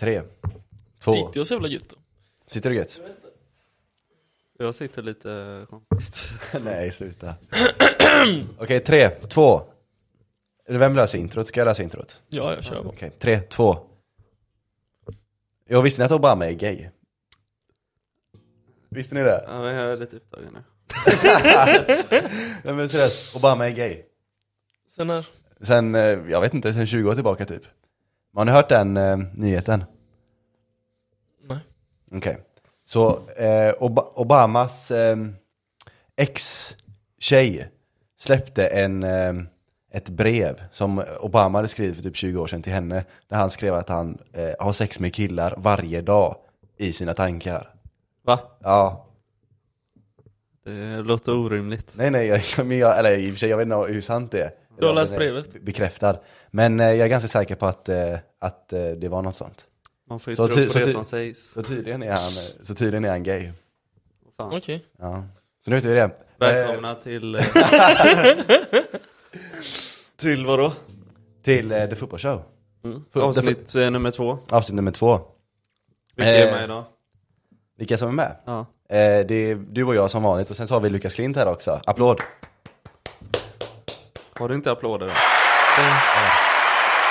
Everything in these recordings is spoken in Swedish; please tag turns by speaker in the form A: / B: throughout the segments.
A: Tre. Två.
B: Sitter jag så jävla gött då?
A: Sitter du gött?
C: Jag sitter lite konstigt.
A: Nej, sluta. Okej, tre, två. Eller Vem löser introt? Ska jag lösa introt?
B: Ja, jag kör bara.
A: Okej, tre, två. Jag visste ni att Obama är gay? Visste ni det?
C: Ja, men jag är lite upptagen nu.
A: Nej men seriöst, Obama är gay.
B: Sen här.
A: Sen, eh, jag vet inte, sen 20 år tillbaka typ. Men Har ni hört den eh, nyheten?
B: Nej.
A: Okej. Så eh, Ob- Obamas eh, ex-tjej släppte en, eh, ett brev som Obama hade skrivit för typ 20 år sedan till henne. Där han skrev att han eh, har sex med killar varje dag i sina tankar.
C: Va?
A: Ja,
C: Det låter orimligt.
A: nej nej, jag, men jag, eller i och för sig, jag vet inte hur sant det är.
B: Du har läst
A: Eller om den är
B: brevet?
A: be- Bekräftad. Men eh, jag är ganska säker på att, eh, att eh, det var något sånt.
C: Man får ju
A: Så
C: tro
A: ty-
C: på
A: så
C: det
A: ty-
C: som sägs.
A: Så tydligen är han, eh, så tydligen är han gay.
C: Fan.
B: Okej.
A: Ja. Så nu vet vi det. Eh,
C: Välkomna till... eh, till vadå?
A: till eh, The Football Show.
C: Mm.
A: För-
C: Avsnitt eh, nummer två.
A: Avsnitt nummer två.
C: Vilka är
A: Eh.
C: med idag?
A: Vilka som är med?
C: Ja.
A: Eh, det är du och jag som vanligt och sen så har vi Lukas Klint här också. Applåd!
C: Har du inte applåder? då?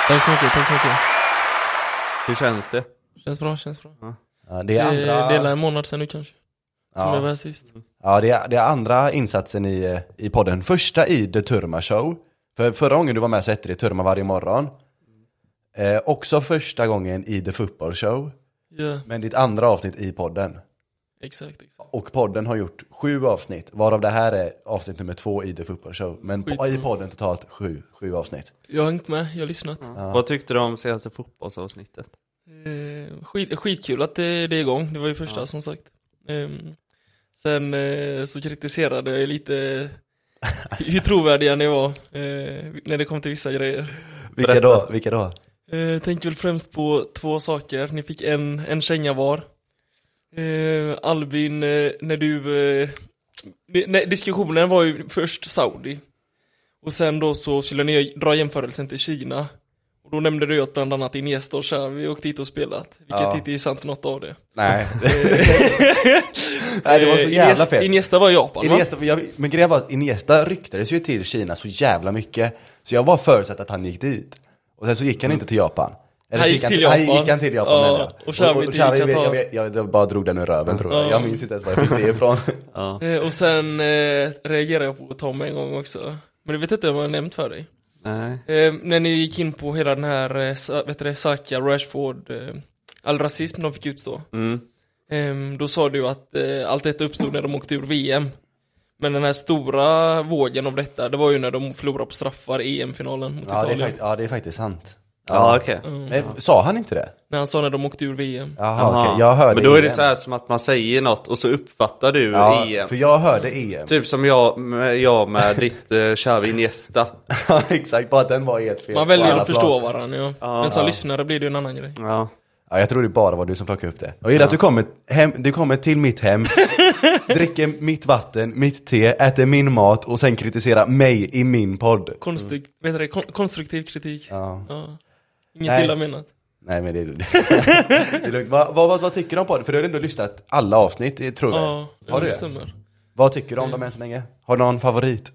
B: Tack så mycket, tack så mycket.
C: Hur känns det?
B: Känns bra, känns bra.
A: Ja, det
B: Det
A: är
B: är,
A: andra,
B: det är en månad sedan nu kanske.
A: Ja.
B: Som
A: Mm.
B: jag var här sist.
A: ja, det är, det är andra insatsen i, eh, i podden. Första i The Turma Show. För förra gången du var med så hette det Turma varje morgon. Eh, också första gången i The Football Show.
B: Ja,
A: Men ditt andra avsnitt i podden.
B: exakt. exakt.
A: Och podden har gjort sju avsnitt, varav det här är avsnitt nummer två i The Football Show. Men på, i podden totalt sju, sju avsnitt.
B: Jag har hängt med, jag har lyssnat.
C: Vad tyckte du om senaste fotbollsavsnittet?
B: Eh, skit, skitkul att det, det är igång, det var ju första
C: Ja.
B: som sagt. Ehm, sen eh, så kritiserade jag ju lite hur trovärdiga ni var eh, när det kom till vissa grejer.
A: Vilka då? Vilka då?
B: Eh, tänk väl främst på två saker, ni fick en, en känga var. Eh, Albin, eh, när du... Eh, det- nej, diskussionen var ju först Saudi. Och sen då så skulle ni dra jämförelsen till Kina. Och då nämnde du ju att bland annat Iniesta och Xavi åkte hit och spelat. Vilket
A: Ja.
B: inte är sant något av det.
A: Nej. Nej, det var så
B: Eh,
A: jävla
B: Iniesta-
A: fel.
B: Iniesta var i Japan va?
A: Iniesta, jag, men grejen var att Iniesta ryktades ju till Kina så jävla mycket. Så jag var förutsatt att han gick dit. Och sen så gick han inte till Japan.
B: Han
A: så
B: gick till
A: Han
B: Japan.
A: gick han till Japan
B: Ja,
A: menar jag.
B: och Xavi till
A: Xavi, jag,
B: Qatar.
A: jag, vet- jag, jag bara drog den ur röven tror jag.
B: Ja.
A: Jag minns inte ens var jag fick det ifrån.
C: Ja.
B: Eh, Och sen eh, reagerade jag på Tom en gång också. Men det vet jag inte om jag har nämnt för dig.
C: Nej.
B: Eh, när ni gick in på hela den här, eh, Sa- vet du det, Saka, Rashford, eh, all rasism de fick utstå.
C: Mm.
B: Ehm, då sa du att eh, allt detta uppstod när de åkte ur VM. Men den här stora vågen av detta, det var ju när de förlorade på straffar i E EM-finalen mot
A: Ja det, är,
B: Italien.
A: fakt- ja, det är faktiskt sant.
C: Ja, okej.
A: Men, sa han inte det?
B: När han sa när de åkte ur VM.
A: Jaha,
C: Jaha.
A: okej. Jag hörde
C: Men då är det
A: EM.
C: så här som att man säger något och så uppfattar du
A: Ja,
C: EM.
A: för jag hörde E EM.
C: Typ som jag med, jag med ditt eh, Xavi Iniesta.
A: Ja, exakt. Bara att den var helt fel.
B: Man
A: på
B: väljer
A: alla
B: att förstå
A: plan.
B: varandra ja. Men som lyssnare blir det ju en annan grej.
C: Ja.
A: Ja, jag tror det bara var du som plockade upp det. Jag gillar att du kommer, hem, du kommer till mitt hem, dricker mitt vatten, mitt te, äter min mat och sen kritiserar mig i min podd.
B: Konstru- vet du det, kon- konstruktiv kritik.
A: Mm. Ja.
B: Ja. Inget
A: Nej.
B: illa menat.
A: Nej men det är, det är lugnt. Vad, vad, vad, vad tycker du om podden? För du har ändå lyssnat alla avsnitt, det tror jag.
B: Ja,
A: har du
B: det
A: det?
B: stämmer.
A: Vad tycker du om dem än så länge? Har du någon favorit?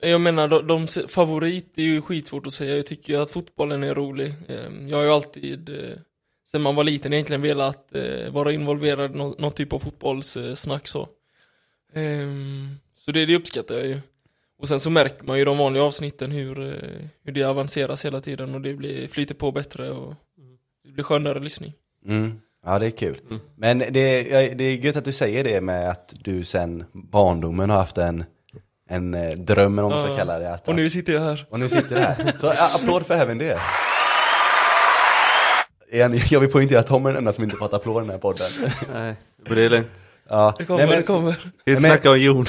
B: Jag menar, de, de, se- favorit är ju skitsvårt att säga. Jag tycker ju att fotbollen är rolig. Ehm, Jag har ju alltid, eh, sen man var liten egentligen, velat eh, vara involverad i nå- någon typ av fotbollssnack så. Ehm, Så det, det uppskattar jag ju. Och sen så märker man ju i de vanliga avsnitten hur, eh, hur det avanceras hela tiden och det blir, flyter på bättre och det blir skönare lyssning.
A: Mm. Ja det är kul. Men det, är- det är gött att du säger det med att du sen barndomen har haft en, en eh, dröm, om man ska
B: Ja.
A: kalla det. Att,
B: Och nu sitter jag här.
A: Och nu sitter det här. Så a- applåd för även det. Igen, jag vill poängtera att Tom är den enda som inte fått applåd i den här podden.
C: Nej. Men det är lugnt.
A: Ja.
B: Det kommer,
A: Nej, men,
B: det kommer.
C: Vi
A: Men-
C: inte snacka om Jonas.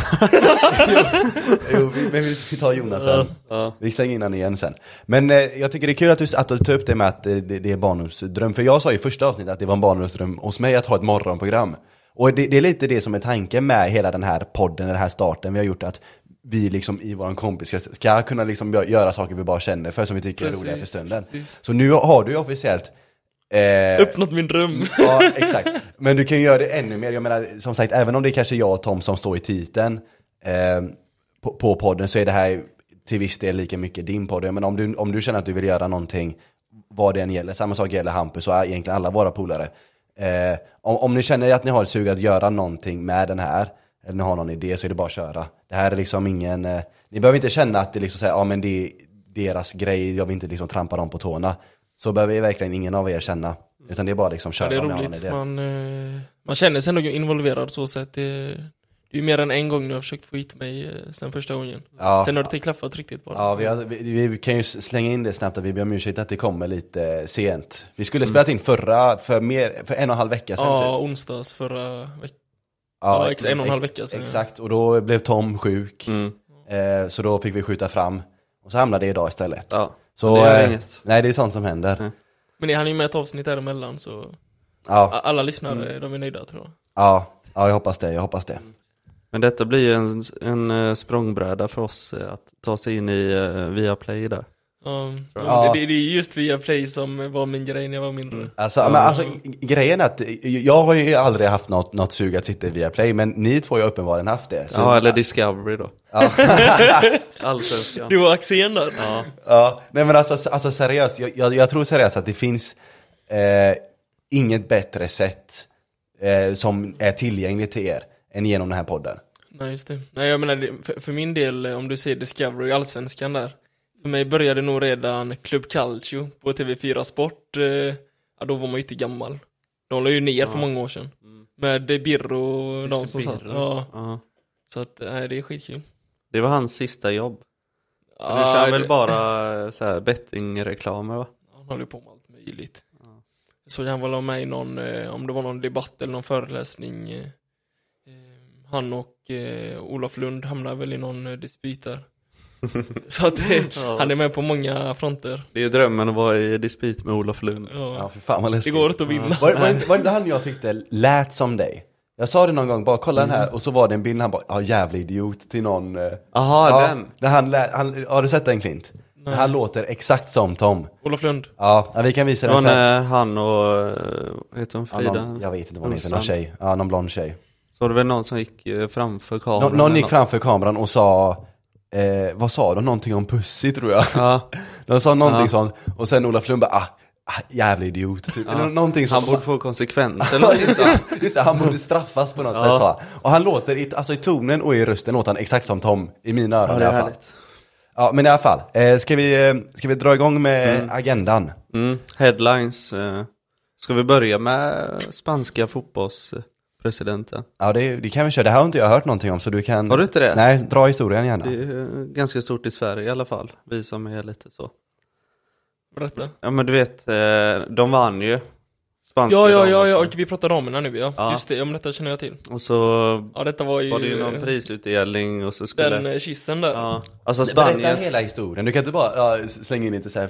A: Jo, vi, men vi, vi tar Jonas sen.
C: Ja.
A: Vi stänger in han igen sen. Men eh, jag tycker det är kul att du, att du tar upp det med att eh, det, det är barndomsdröm. För jag sa i första avsnittet att det var en barndomsdröm hos mig att ha ett morgonprogram. Och det, det är lite det som är tanken med hela den här podden, den här starten vi har gjort. att vi liksom i vår kompiskrets ska kunna liksom gö- göra saker vi bara känner för som vi tycker är roliga för stunden.
B: precis.
A: Så nu har du ju officiellt eh,
B: Uppnått min dröm.
A: Ja, exakt. Men du kan ju göra det ännu mer. Jag menar, som sagt, även om det är kanske jag och Tom som står i titeln eh, på, på podden så är det här till viss del lika mycket din podd. Men om du, om du känner att du vill göra någonting, vad det än gäller, samma sak gäller Hampus och egentligen alla våra polare. Eh, om, om ni känner att ni har ett sug att göra någonting med den här, eller ni har någon idé, så är det bara att köra. Det här är liksom ingen, eh, ni behöver inte känna att det liksom säger, ja men det är deras grej, jag vill inte liksom trampa dem på tårna. Så behöver ju verkligen ingen av er känna. Utan det är bara liksom
B: Ja,
A: köra
B: det är
A: om ni har någon
B: roligt.
A: idé.
B: Man, eh, man känner sig nog involverad så sätt. Det, det är ju mer än en gång nu jag har försökt få hit mig eh, sen första gången.
A: Ja.
B: Sen har det inte klaffat riktigt bara.
A: Ja, vi, har, vi, vi kan ju slänga in det snabbt att vi ber om ursäkt att det kommer lite sent. Vi skulle spelat in förra, för, mer, för en och en halv vecka sedan
B: Mm. Ja,
A: typ.
B: onsdags förra veckan. ja, ex- en och en halv vecka sedan, ja.
A: Exakt, och då blev Tom sjuk.
C: Mm.
A: Eh, så då fick vi skjuta fram. Och så hamnade det idag istället.
C: Ja.
A: Så,
C: det gör
A: eh,
C: inget.
A: Nej, det är sånt som händer.
C: Mm.
B: Men han är ju med ett avsnitt däremellan så a-
A: Ja,
B: alla lyssnare,
A: Mm.
B: de är nöjda tror jag.
A: ja, ja, jag hoppas det, jag hoppas det.
C: Men detta blir ju en, en eh, språngbräda för oss eh, att ta sig in i eh, Viaplay där.
B: Ja,
C: Tror
A: jag.
B: Det, det, det är just via play som var min grej när jag var mindre.
A: Alltså, men alltså, g- grejen är att eh, jag har ju aldrig haft något, något sug att sitta via play, men ni två har ju uppenbarligen haft det. Så,
C: Ja, eller Discovery då. Allsvenskan.
B: Du var Axén där.
C: Ja.
A: Ja, nej men alltså, alltså seriöst, jag, jag, jag tror seriöst att det finns eh, inget bättre sätt eh, som är tillgängligt till er än genom den här podden.
B: Nej just det. Nej jag menar, det- för, för min del, eh, om du ser Discovery, Allsvenskan där. För mig började nog redan Club Calcio på TV4 Sport. Eh, ja, då var man ju inte gammal. De la ju ner för många år sedan. Med eh, Birro och de som satt. Ja,
C: Ja.
B: så att, nej det är skitkul.
C: Det var hans sista jobb. Du
B: Ja,
C: kör
B: det-
C: väl bara eh, så här bettingreklamer va?
B: Han håller på med allt möjligt. Så han var med i någon, eh, om det var någon debatt eller någon föreläsning. eh, eh, Han och eh, Olof Lund hamnar väl i någon eh, dispyt där. Så att eh,
C: Ja.
B: han är med på många fronter.
C: Det är ju drömmen att vara i dispyt med Olof Lund.
A: Ja,
B: Ja,
A: för fan vad
B: det
A: läskigt.
B: går inte att vinna.
A: Var, var, inte, var inte han jag tyckte lät som dig? Jag sa det någon gång, bara kolla
C: Mm.
A: den här, och så var det en bild, han bara, ja jävla idiot till någon. eh,
C: Aha,
A: ja,
C: den!
A: Där han, lät, han, har du sett den Klint?
B: Nej.
A: Han låter exakt som Tom.
B: Olof Lund.
A: Ja, ja, vi kan visa
C: Det
A: den
C: var
A: sen.
C: när han och, eh, vad heter hon,
A: Ja,
C: Frida?
A: någon, jag vet inte vad hon heter, någon
C: Olsson.
A: tjej. Ja, någon blond tjej.
C: Så var det väl någon som gick eh, framför kameran?
A: Nå- någon gick
C: eller
A: framför kameran och sa, eh, vad sa de? Någonting om Pussy tror jag.
C: något.
A: De sa någonting
C: Ja.
A: sånt, och sen Olof Lund bara, ah, ah jävla idiot. Typ.
C: Ja.
A: Eller någonting
C: Ja, han
A: sånt.
C: borde få konsekvenser
A: Ja,
C: eller något
A: just
C: sånt.
A: det. Just det, han borde straffas på något
C: Ja.
A: sätt sa han. Och han låter, i, alltså i tonen och i rösten låter han exakt som Tom, i mina öron
C: Ja,
A: i
C: det är
A: alla fall.
C: härligt.
A: Ja, men i alla fall, eh, ska, vi, eh, ska vi dra igång med agendan?
C: Mm. Headlines. eh. Ska vi börja med spanska fotbollspresidenten?
A: Ja, det, det kan vi köra. Det här har inte jag hört någonting om, så du kan...
C: Har du inte det?
A: Nej, dra historien gärna.
C: Det är eh, ganska stort i Sverige i alla fall, vi som är lite så.
B: Berätta.
C: Ja men du vet, eh, de vann ju. Spanska
B: Ja, ja, ja,
C: damerna.
B: ja, och vi pratar damerna nu ja.
C: Ja.
B: Just det, ja, men detta känner jag till.
C: Och så
B: Ja, detta var ju,
C: var det ju någon
B: eh,
C: prisutdelning och så skulle...
B: den eh, kisten där.
C: ja. Alltså
A: Berätta
C: Spanien.
A: hela historien, du kan inte bara ja, slänga in lite så här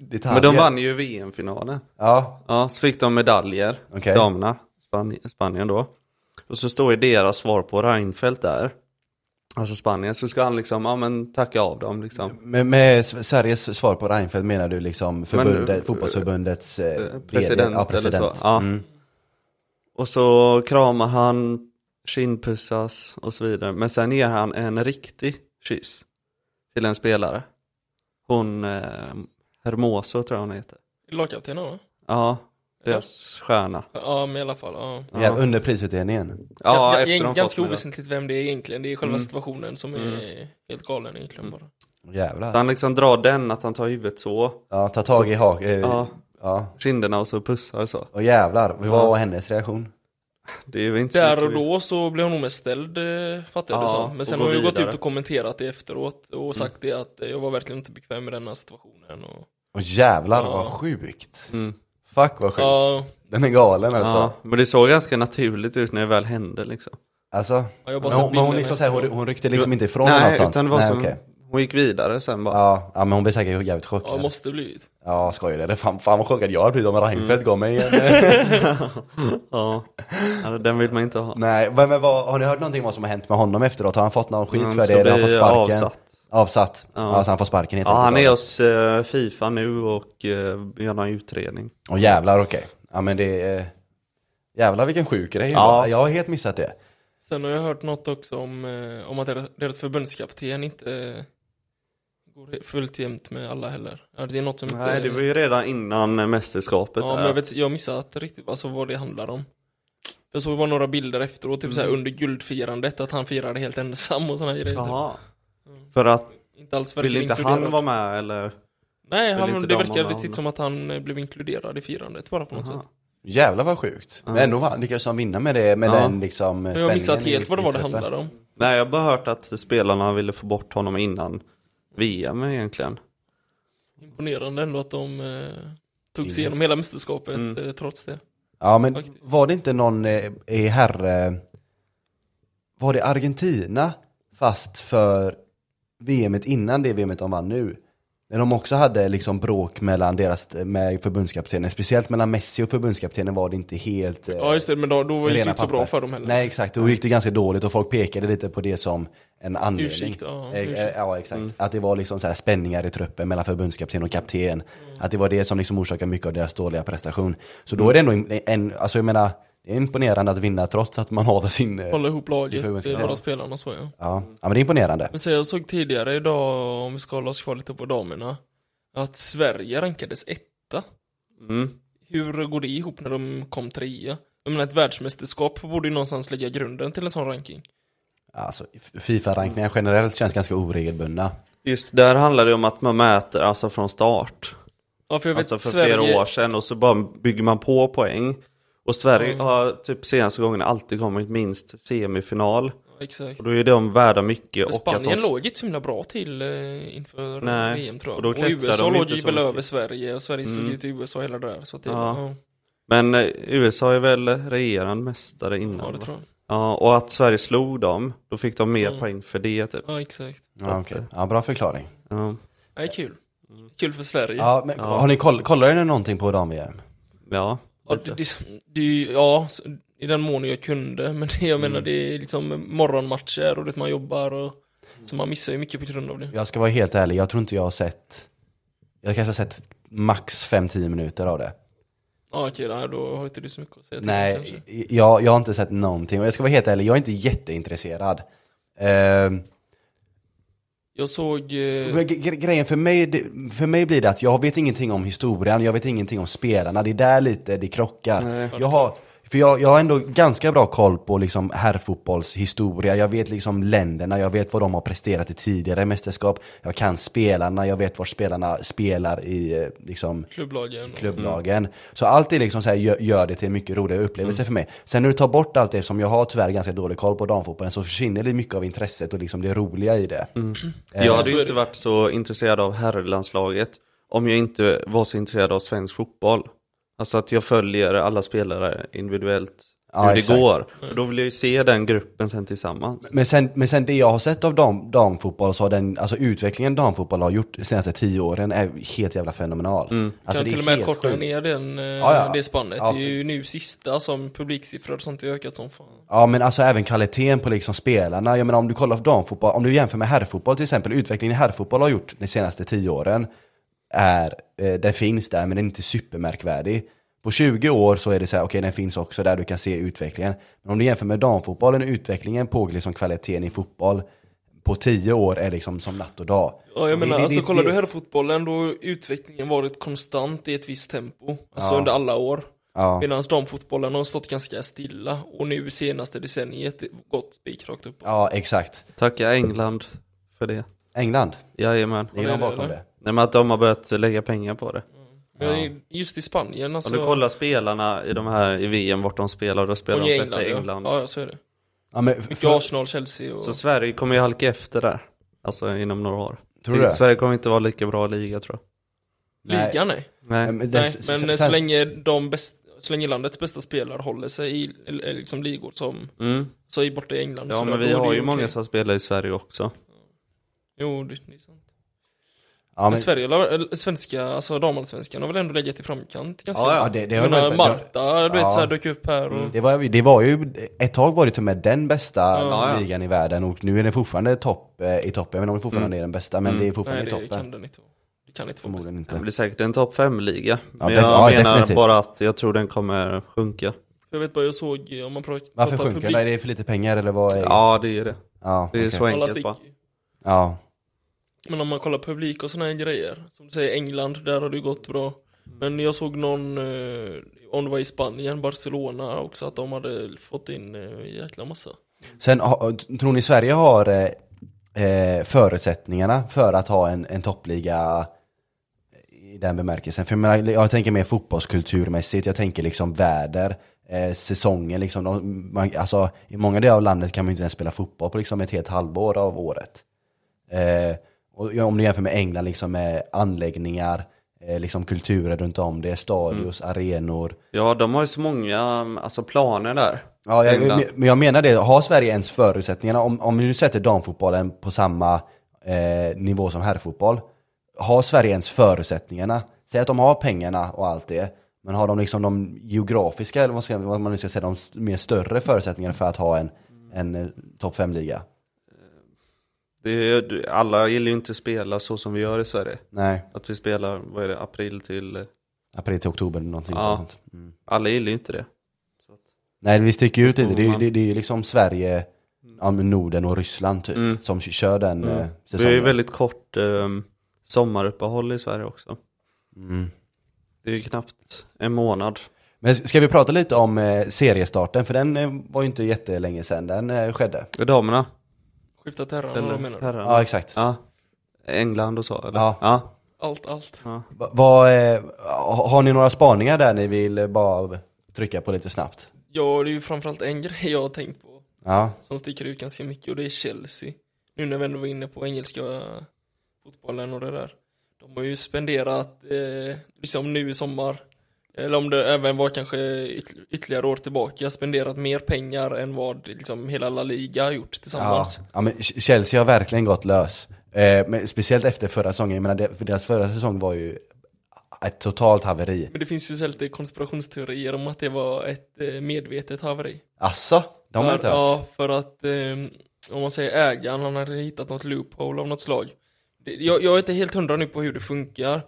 A: detaljer.
C: Men de vann ju VM-finalen.
A: Ja,
C: Ja, så fick de medaljer,
A: Okej.
C: damerna, Span- Spanien då. Och så står ju deras svar på Reinfeldt där, alltså Spanien, så ska han liksom, ja men tacka av dem liksom.
A: med, med S- Sveriges svar på Reinfeldt menar du liksom förbundet,
C: Men, eh,
A: fotbollsförbundets eh, VD?
C: president
A: ja,
C: eller
A: president.
C: så, ja.
A: Mm.
C: Och så kramar han, kindpussas och så vidare. Men sen ger han en riktig kyss till en spelare. Hon, eh, Hermoso tror jag hon heter.
B: Lagkaptenen va?
C: Ja, deras stjärna.
B: Ja, men i alla fall. Ja.
C: Ja,
A: Ja, under prisutdelningen.
C: ja,
B: Ja,
C: efter
B: ja,
C: de fått
B: ganska
C: medalj.
B: oväsentligt vem det är egentligen, det är själva
C: Mm.
B: situationen som är helt galen egentligen bara.
A: Jävlar.
C: Så han liksom drar den, att han tar huvudet så.
A: Ja, ta tag i hak. Eh, ja.
C: Ja, kinderna och så pussar och så.
A: Och jävlar, vad var hennes reaktion?
C: Det är ju inte så
B: Där och
C: mycket vi-
B: då så blev hon nog mest ställd, eh, fattar jag det
C: Ja,
B: som. Men
C: och
B: sen
C: gå
B: har hon ju gått
C: vidare. Mm.
B: ut och kommenterat det efteråt och sagt det att eh, jag var verkligen inte bekväm med den här situationen. Och...
A: Och jävlar
B: Ja.
A: vad sjukt.
C: Mm.
A: Fuck vad sjukt.
B: Ja,
A: Den är galen alltså.
C: Ja, men det såg ganska naturligt ut när det väl hände liksom.
A: Alltså,
B: jag har
A: men
B: bara sett
A: hon, men hon,
B: bilderna
A: liksom, så här, hon,
B: efteråt.
A: hon ryckte liksom inte ifrån
C: Nej,
A: eller något sånt.
C: utan det var
A: Nej,
C: som
A: okej.
C: Hon gick vidare sen bara.
A: Ja, ja men hon blir säkert jävligt
B: Ja,
A: chockad.
B: måste blivit.
A: Ja, skojar du? Fan, fan vad chockad jag hade blivit om
C: Mm.
A: Reinfeldt gav mig en...
C: Ja. ja, den vill man inte ha.
A: Nej, men, men vad, har ni hört någonting om vad som har hänt med honom efteråt? Har han fått någon skit
C: Han
A: för det?
C: ska
A: Eller har han
C: bli
A: fått sparken?
C: avsatt.
A: Avsatt? Ja.
C: Ja.
A: så han får sparken helt
C: Ja, han
A: enkelt
C: är
A: då.
C: hos eh, Fifa nu och eh, gör någon utredning.
A: Åh jävlar, okej. Ja men det är... Jävlar vilken sjuk grej.
C: Ja.
A: Jag har helt missat det.
B: Sen har jag hört något också om, eh, om att deras- deras förbundskapten inte eh, går fullt jämnt med alla heller. Ja, det är något som
C: Nej,
B: inte...
C: det var ju redan innan eh, mästerskapet.
B: Mm. ja,
C: där.
B: men jag, vet, jag missade att riktigt alltså, vad det handlar om. Jag såg bara några bilder efteråt, typ så här
C: Mm.
B: under guldfirandet, att han firade helt ensam och sådana grejer. Typ.
C: Jaha. För att
B: Inte alls verkar
C: ville inte
B: inkluderad.
C: han vara med eller?
B: Nej,
C: Vill
B: han,
C: inte
B: det
C: de
B: verkade
C: vara
B: sitt
C: med?
B: som att han eh, blev inkluderad i firandet bara på något
C: Jaha.
B: sätt.
A: Jävlar vad sjukt. Men ändå vann- lyckades han vinna med det, med
C: Ja.
A: den liksom
B: Men jag har missat
A: spänningen i-
B: helt vad det
A: i
B: var det
A: truppen.
C: typ,
B: handlade om.
C: Nej, jag har bara hört att spelarna ville få bort honom innan VM egentligen. eh.
B: Imponerande ändå att de eh, tog sig
A: Ingen.
B: igenom hela mästerskapet
C: Mm.
B: eh, trots det.
A: Ja men
B: Faktiskt.
A: var det inte någon eh, i herre... Var det Argentina? Fast för VMet innan det VMet de vann nu. När de också hade liksom bråk mellan deras, eh, med förbundskaptenen. Speciellt mellan Messi och förbundskaptenen var det inte helt... eh,
B: Ja just det, men då, då var
A: med
B: det
A: rena
B: inte så bra
A: papper.
B: för dem heller.
A: Nej exakt, då gick det ganska dåligt och folk pekade lite på det som en anledning.
B: Ursäkt, ja,
A: Eh, eh,
B: ursäkt.
A: ja exakt, att det var liksom så här spänningar i truppen mellan förbundskapten och kapten.
B: Mm.
A: Att det var det som liksom orsakade mycket av deras dåliga prestation. Så då är det ändå en, en alltså jag menar, det är imponerande att vinna trots att man har sin... eh,
B: Hålla ihop
A: Det får vi
B: laget,
A: önska.
B: eh,
A: Ja.
B: bara spelarna och så ja.
A: Ja, ja men det är imponerande.
B: Men så jag såg tidigare idag, om vi ska hålla oss kvar lite på damerna, att Sverige rankades etta.
C: Mm.
B: Hur går det ihop när de kom trea? Jag menar ett världsmästerskap borde ju någonstans lägga grunden till en sån ranking.
A: Alltså, f- Fifa-rankningar generellt känns ganska oregelbundna.
C: Just där handlar det om att man mäter alltså från start.
B: Ja för jag vet
C: Alltså för
B: Sverige,
C: flera år sedan och så bara bygger man på poäng. Och Sverige
B: Mm.
C: har typ senaste gången alltid kommit minst semifinal.
B: Ja, exakt.
C: Och då är de värda mycket.
B: För
C: Och
B: Spanien
C: att de...
B: låg inte så himla bra till eh, inför
C: Nej,
B: VM tror jag.
C: och då
B: Och,
C: klättrade
B: USA
C: de
B: låg
C: inte
B: ju
C: så
B: väl
C: mycket.
B: över Sverige och Sverige slog
C: Mm.
B: ut USA hela det där. Så att det,
C: Ja.
B: ja.
C: Men eh, USA är väl regerande mästare innan?
B: ja, det
C: va?
B: tror jag.
C: ja, och att Sverige slog dem, då fick de mer
B: Mm.
C: poäng för det typ.
B: Ja exakt.
A: Ja, okej. ja bra förklaring.
C: Ja.
B: Ja, det är kul.
C: Mm.
B: Kul för Sverige.
A: Ja, men,
C: Ja.
A: Har ni koll, kollar ni någonting på dam-VM?
C: ja.
B: Ja, det, det, det, är ju- ja, s- i den mån jag kunde, men det, jag
A: Mm.
B: menar det är liksom morgonmatcher och det man jobbar och så man missar ju mycket på grund av det.
A: Jag ska vara helt ärlig, jag tror inte jag har sett... Jag kanske har sett max 5-10 minuter av det.
B: Ja okej, nej, då har inte du så mycket att säga till om, kanske.
A: Nej, jag, jag har inte sett någonting. Och jag ska vara helt ärlig, jag är inte jätteintresserad. Ehm,
B: Jag såg, eh,
A: men gre- gre- grejen för mig, det- för mig blir det att jag vet ingenting om historien, jag vet ingenting om spelarna. Det är där lite det krockar. Jag har, för jag, jag har ändå ganska bra koll på liksom herrfotbollshistoria. Jag vet liksom länderna, jag vet vad de har presterat i tidigare mästerskap. Jag kan spelarna, jag vet var spelarna spelar i eh, liksom,
B: klubblagen. och-
A: klubblagen. Så allt är liksom så här, gör, gör det till en mycket roligare
B: Mm.
A: upplevelse för mig. Sen när du tar bort allt det som jag har tyvärr ganska dålig koll på damfotbollen så försvinner det mycket av intresset och liksom det roliga i det.
B: Mm.
A: Eh,
C: Jag
B: så
C: hade
B: är
C: ju inte
B: det.
C: varit så intresserad av herrlandslaget om jag inte var så intresserad av svensk fotboll. Alltså att jag följer alla spelare individuellt
A: Ja,
C: hur det
A: exakt.
C: går.
B: Mm.
C: För då vill jag ju se den gruppen sen tillsammans.
A: Men sen, men sen det jag har sett av dam, damfotboll så har den, alltså utvecklingen damfotboll har gjort de senaste tio åren är helt jävla fenomenal. Alltså
B: kan
A: det är
B: Mm. till och med
A: helt
B: korta
A: sjukt.
B: ner den, eh,
A: ja.
B: det spannet.
A: Ja.
B: Det är ju nu sista som publiksiffror och sånt har ökat som fan.
A: Ja men alltså även kvaliteten på liksom spelarna. Jag menar om du kollar på damfotboll, om du jämför med herrfotboll till exempel. Utvecklingen i herrfotboll har gjort de senaste tio åren är, eh, den finns där men den är inte supermärkvärdig. På 20 år så är det så här, okej den finns också där, du kan se utvecklingen. Men om du jämför med damfotbollen, utvecklingen på liksom kvaliteten i fotboll på 10 år är liksom som natt och dag.
B: Ja jag
A: Det-
B: menar,
A: det-
B: alltså
A: det-
B: kollar
A: det-
B: du herrfotbollen då har utvecklingen varit konstant i ett visst tempo. Alltså
A: Ja.
B: under alla år.
A: Ja.
B: Medan damfotbollen har stått ganska stilla och nu senaste decenniet gått spikrakt upp.
A: ja, exakt.
C: Tacka England för det.
A: England,
C: Jajamän.
A: ligger
B: det
A: de
B: är det,
A: bakom
B: eller?
A: det?
C: Nej men att de har börjat lägga pengar på det.
B: Men just i Spanien alltså.
C: Om du kollar spelarna i de här i VM vart de spelar, då spelar
B: och
C: de
B: i
C: flesta i England.
B: Ja. ja, så är det.
A: Ja, men,
B: Mycket
A: för,
B: Arsenal, Chelsea och...
C: Så Sverige kommer ju halka efter där. Alltså inom några år.
A: tror du det?
C: Sverige kommer inte vara lika bra liga tror
A: Nej.
B: Ligan nej.
C: jag.
A: Ja,
C: Nej.
A: det-
B: nej.
A: s-
B: Men eh,
A: s-
B: så
A: sen-
B: länge de bäst, så länge landets bästa spelare håller sig i eller, eller liksom ligor som
C: Mm.
B: så i borta i England.
C: Ja
B: så
C: men
B: då-
C: vi
B: då är
C: har
B: det
C: ju många
B: okej.
C: som spelar i Sverige också.
B: Jo, det, det är sant.
A: Ja,
B: Men
A: men,
B: Sverige, la- eller svenska, alltså damallsvenskan har väl ändå legat i framkant ganska
C: Ja, ja.
A: ja, det, det,
B: Jag
A: har
B: menar
A: varit, det,
B: Malta, du vet
A: Ja. Mm,
B: såhär dök upp här och...
A: det, var, det var ju, ett tag var det till och med den bästa
B: Ja,
C: ja.
A: ligan i världen och nu är den fortfarande topp, eh, i toppen. Jag vet inte om det fortfarande
C: Mm.
A: är den bästa, men
C: Mm.
A: det är fortfarande
B: Nej det
A: i toppen.
B: kan den inte vara. Det kan inte vara bäst.
A: Förmodligen
C: Det
A: inte.
C: blir säkert en topp 5-liga. Men
A: def-
C: jag
A: ja,
C: menar
A: definitivt.
C: bara att jag tror den kommer sjunka.
B: Jag vet bara, jag såg, eh, om man pratar
A: Varför
B: pratar
A: sjunker den? Är det för lite pengar eller vad? Är...
C: Ja, det är det.
A: ja
C: Det är
A: okej.
C: så
B: alla
C: enkelt bara.
B: sticker ju.
A: Ja.
B: Men om man kollar publik och sådana här grejer, som du säger England, där har det ju gått bra.
C: Mm.
B: Men jag såg någon, eh, om det var i Spanien, Barcelona också, att de hade fått in eh, jäkla massa.
A: Sen, ha- tror ni Sverige har eh, eh, förutsättningarna för att ha en, en toppliga i den bemärkelsen? För jag, menar, jag tänker mer fotbollskulturmässigt, jag tänker liksom väder, eh, säsongen liksom. De, man, alltså, I många delar av landet kan man ju inte ens spela fotboll på liksom ett helt halvår av året. Eh, och ja, om du jämför med England liksom med anläggningar, eh, liksom kulturer runt om det, stadios, arenor.
C: Ja, de har ju så många alltså, planer där.
A: Ja, jag,
C: England.
A: men jag menar det. Har Sverige ens förutsättningarna? Om, om vi nu sätter damfotbollen på samma eh, nivå som herrfotboll. Har Sverige ens förutsättningarna? Säg att de har pengarna och allt det. Men har de liksom de geografiska, eller vad, ska, vad man nu ska säga, de s- mer större förutsättningarna för att ha en, en eh, topp 5-liga?
C: Det är, alla gillar ju inte att spela så som vi gör i Sverige.
A: Nej,
C: Att vi spelar, vad är det, april till...
A: april till oktober eller någonting
C: Ja.
A: sånt. Mm.
C: Alla gillar ju inte det.
A: Nej, vi sticker ut lite. Det är ju
C: Mm.
A: det, det är ju liksom Sverige, ja, men Norden och Ryssland typ,
C: Mm.
A: som kör den
C: Mm.
A: eh,
C: Det är
A: säsongen.
C: ju väldigt kort eh, sommaruppehåll i Sverige också.
A: mm.
C: Det är ju knappt en månad.
A: Men s- ska vi prata lite om eh, seriestarten? För den eh, var ju inte jättelänge sedan den eh, skedde.
C: Är Damerna?
B: Skifta till herrarna,
C: Eller
B: vad menar du?
A: Ja,
C: herrarna?
A: exakt.
C: Ja. England och så eller?
A: Ja.
C: ja.
B: Allt, allt.
A: Va- vad, eh, ha- har ni några spaningar där ni vill eh, bara trycka på lite snabbt?
B: Ja, det är ju framförallt en grej jag har tänkt på,
A: Ja,
B: som sticker ut ganska mycket, och det är Chelsea. Nu när vi ändå var inne på engelska fotbollen och det där. De har ju spenderat, eh, liksom nu i sommar, eller om det även var kanske yt- ytterligare år tillbaka, spenderat mer pengar än vad liksom hela La Liga har gjort
A: ja.
B: tillsammans.
A: ja men Ch- Chelsea har verkligen gått lös. Eh, men speciellt efter förra säsongen, jag menar det- för deras förra säsong var ju ett totalt haveri.
B: Men det finns ju så här lite konspirationsteorier om att det var ett eh, medvetet haveri.
A: Asså? De har
B: för,
A: inte hört?
B: Ja, för att ehm, om man säger ägaren, han hade hittat något loophole av något slag. Det- Jag, jag är inte helt hundra nu på hur det funkar,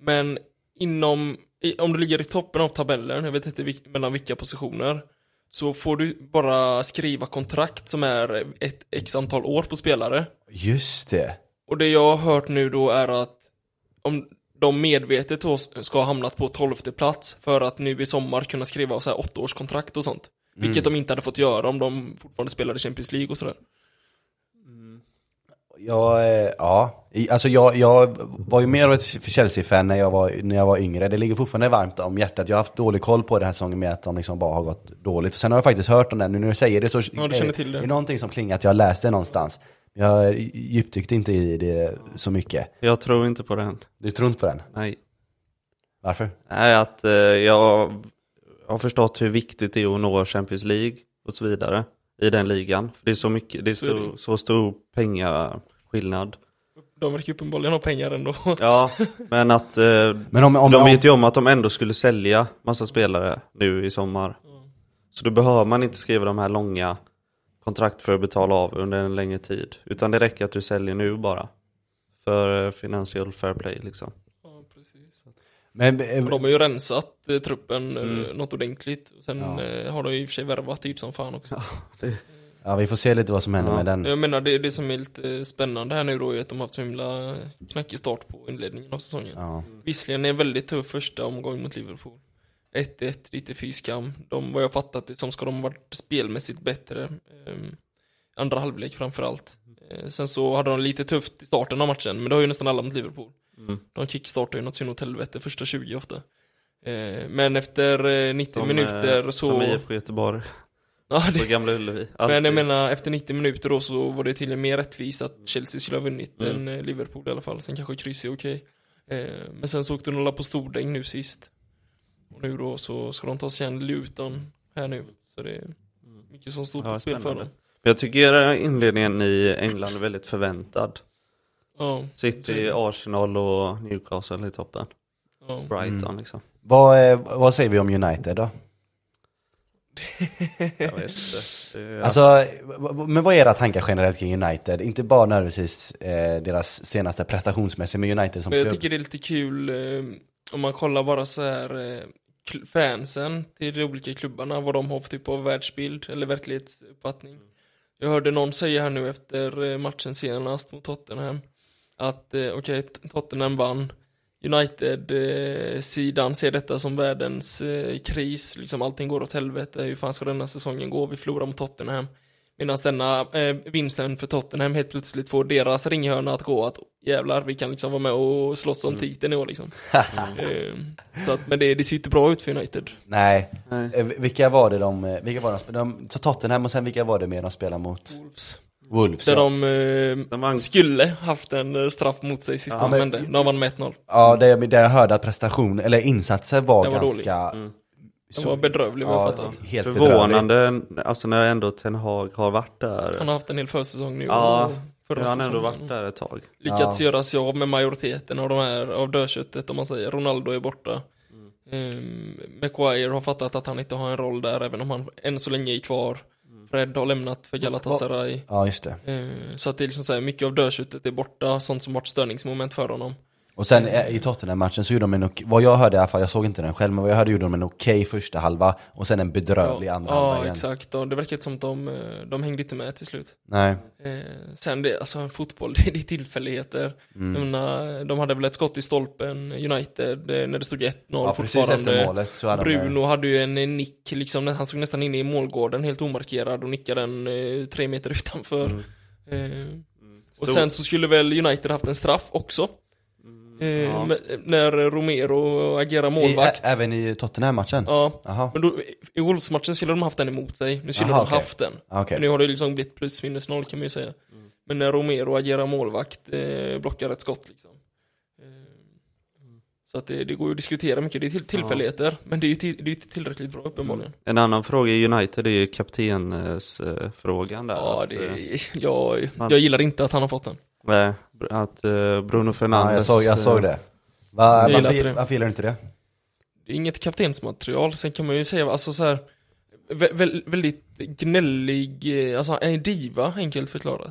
B: men inom, i, om du ligger i toppen av tabellen, jag vet inte vil, mellan vilka positioner, så får du bara skriva kontrakt som är ett x antal år på spelare.
A: Just det.
B: Och det jag har hört nu då är att om de medvetet då ska ha hamnat på 12 plats för att nu i sommar kunna skriva så här åttaårskontrakt och sånt. Vilket
C: Mm.
B: de inte hade fått göra om de fortfarande spelade Champions League och sådär.
A: Ja, eh, ja. I- Alltså jag, jag var ju mer av ett Chelsea-fan när jag, var, när jag var yngre. Det ligger fortfarande varmt om hjärtat. Jag har haft dålig koll på den här säsongen med att de liksom bara har gått dåligt. Och sen har jag faktiskt hört om den. Nu när du säger det så
B: Ja, du känner till det.
A: är det någonting som klingar att jag läste det någonstans. Jag djupdykte inte i det så mycket.
C: Jag tror inte på det än.
A: Du tror inte på den?
C: Nej.
A: Varför?
C: Nej, att eh, jag har förstått hur viktigt det är att nå Champions League och så vidare i den ligan. För det är så mycket, det är
B: Så är det
C: så, så stor pengaskillnad.
B: De verkar ju uppenbarligen ha pengar ändå.
C: Ja, men att eh,
A: Men om, om,
C: de
A: om,
C: vet ju om att de ändå skulle sälja massa spelare nu i sommar. Så då behöver man inte skriva de här långa kontrakt för att betala av under en längre tid. Utan det räcker att du säljer nu bara. För eh, financial fair play liksom.
B: Ja, precis.
A: men, eh,
B: Och de har ju rensat eh, truppen eh,
C: Mm.
B: något ordentligt. Och sen
A: Ja.
B: eh, har de ju i och för sig värvat dyrt som fan också.
A: ja, vi får se lite vad som händer
C: Ja.
A: med den.
B: Jag menar det, det som är lite eh, spännande här nu då är att de har haft så himla knackig start på inledningen av säsongen.
A: Ja.
B: Visserligen är det en väldigt tuff första omgång mot Liverpool. 1-1, lite fy skam. De, vad jag fattat det som ska de ha varit spelmässigt bättre. Ehm, andra halvlek framförallt. Eh, sen så hade de lite tufft i starten av matchen, men det har ju nästan alla mot Liverpool.
C: Mm.
B: De kickstartar ju något sin åt helvete första 20 ofta. Eh, men efter eh, 90
C: Som, eh,
B: minuter så...
C: Som IFK Göteborg
B: ja, det,
C: på Gamla Ullevi.
B: men
C: Alltid.
B: jag menar, efter 90 minuter då så var det tydligen mer rättvist att Chelsea skulle ha vunnit
C: Mm.
B: än eh, Liverpool i alla fall. Sen kanske kryss är okej. Eh, men sen så åkte de alla på stordäng nu sist. Och nu då så ska de ta sig an Luton här nu. Så det är mycket som står på
C: Mm. Ja,
B: spel för
C: spännande.
B: dem.
C: Men Jag tycker inledningen i England är väldigt förväntad.
B: Ja,
C: City, Arsenal och Newcastle i toppen.
B: ja.
C: Brighton
A: Mm.
C: liksom.
A: Vad, eh, vad säger vi om United då?
C: Jag vet inte. Det är,
A: Alltså, v- v- men vad är era tankar generellt kring United? Inte bara nödvändigtvis eh, deras senaste prestationsmässigt, men United som
B: Men jag
A: klubb.
B: tycker det är lite kul eh, om man kollar bara så här eh, kl- fansen till de olika klubbarna, vad de har för typ av världsbild eller verklighetsuppfattning. Jag hörde någon säga här nu efter eh, matchen senast mot Tottenham att eh, okej, T- Tottenham vann. United-sidan ser detta som världens eh, kris, liksom allting går åt helvete, hur fan ska denna säsongen gå, vi förlorar mot Tottenham. Medan denna eh, vinsten för Tottenham helt plötsligt får deras ringhörna att gå att jävlar, vi kan liksom vara med och slåss
C: Mm.
B: om titeln i år liksom. eh, så att, men det, det ser ju inte bra ut för United.
A: Nej,
C: nej.
A: Eh, vilka var det de, eh, vilka var de, sp- de så Tottenham och sen vilka var det mer de spelade mot?
B: Wolves.
A: Wolves.
B: Där
A: Ja,
B: de eh,
C: De vann
B: skulle haft en eh, straff mot sig sista
A: Ja,
B: som
A: men-
B: hände. De vann med 1-0.
A: ja där, jag, där jag hörde att prestation, eller insatser var,
B: Den var dålig.
A: ganska...
C: Mm.
B: Den var bedrövlig vad jag fattar.
A: helt bedrövlig.
C: Förvånande, alltså när ändå Ten Hag har varit där.
B: Han har haft en hel försäsong nu.
C: Ja,
B: och
C: Nu
B: förra
C: har han ändå
B: säsongen.
C: varit där ett tag.
B: Lyckats
A: Ja.
B: göra sig av med majoriteten av de här, av dödköttet om man säger. Ronaldo är borta. Ehm, Maguire har fattat att han inte har en roll där även om han än så länge är kvar.
A: Mm.
B: Fred har lämnat för Galatasaray.
A: Ja, just det.
B: Ehm, så att det är liksom så här, mycket av dödköttet är borta, sånt som varit störningsmoment för honom.
A: Och sen eh, i Tottenham-matchen så gjorde de en, ok- vad jag hörde i alla fall, jag såg inte den själv, men vad jag hörde gjorde de en okej första halva och sen en bedrövlig andra halva
B: ja
A: igen.
B: exakt. Och det verkar inte som att de, eh, de hängde inte med till slut.
A: Nej.
B: Eh, sen det, alltså fotboll, det är tillfälligheter.
A: Mm.
B: Jag menar, de hade väl ett skott i stolpen, United, eh, när det stod 1-0
A: Ja, precis efter
B: fortfarande.
A: målet så hade
B: Bruno hade ju en eh, nick, liksom, han stod nästan inne i målgården helt omarkerad och nickade den eh, tre meter utanför.
A: Mm.
B: Eh, och
C: Stor-
B: sen så skulle väl United haft en straff också. Eh,
C: ja.
B: men- när Romero agerar
A: de... Mm, I, ä,
B: målvakt.
A: även i Tottenham-matchen?
B: ja.
A: Jaha,
B: Men då, i Wolves-matchen skulle de haft den emot sig, nu skulle
A: Aha,
B: de
A: okej.
B: haft den.
A: Ah, okej. Mm.
B: Men nu har det liksom blivit plus minus noll kan man ju säga. Men när Romero agerar målvakt, eh, blockar ett skott liksom. Eh, så att det, det går ju att diskutera mycket, det är till, tillfälligheter. Men det är ju till, det är ju inte tillräckligt bra uppenbarligen.
C: En annan fråga i United är ju kaptensfrågan där.
B: Ja,
C: att,
B: det,
C: eh,
B: jag,
C: man-
B: jag gillar inte att han har fått den.
C: nej, br- att eh, Bruno Fernandes...
A: Ja, jag såg, jag såg
C: eh,
A: det. Va,
B: Jag gillar
A: varför,
B: inte det.
A: varför gillar du inte det?
B: Det är inget kaptensmaterial, sen kan man ju säga alltså så här vä vä väldigt gnällig, eh, alltså en diva enkelt förklarat.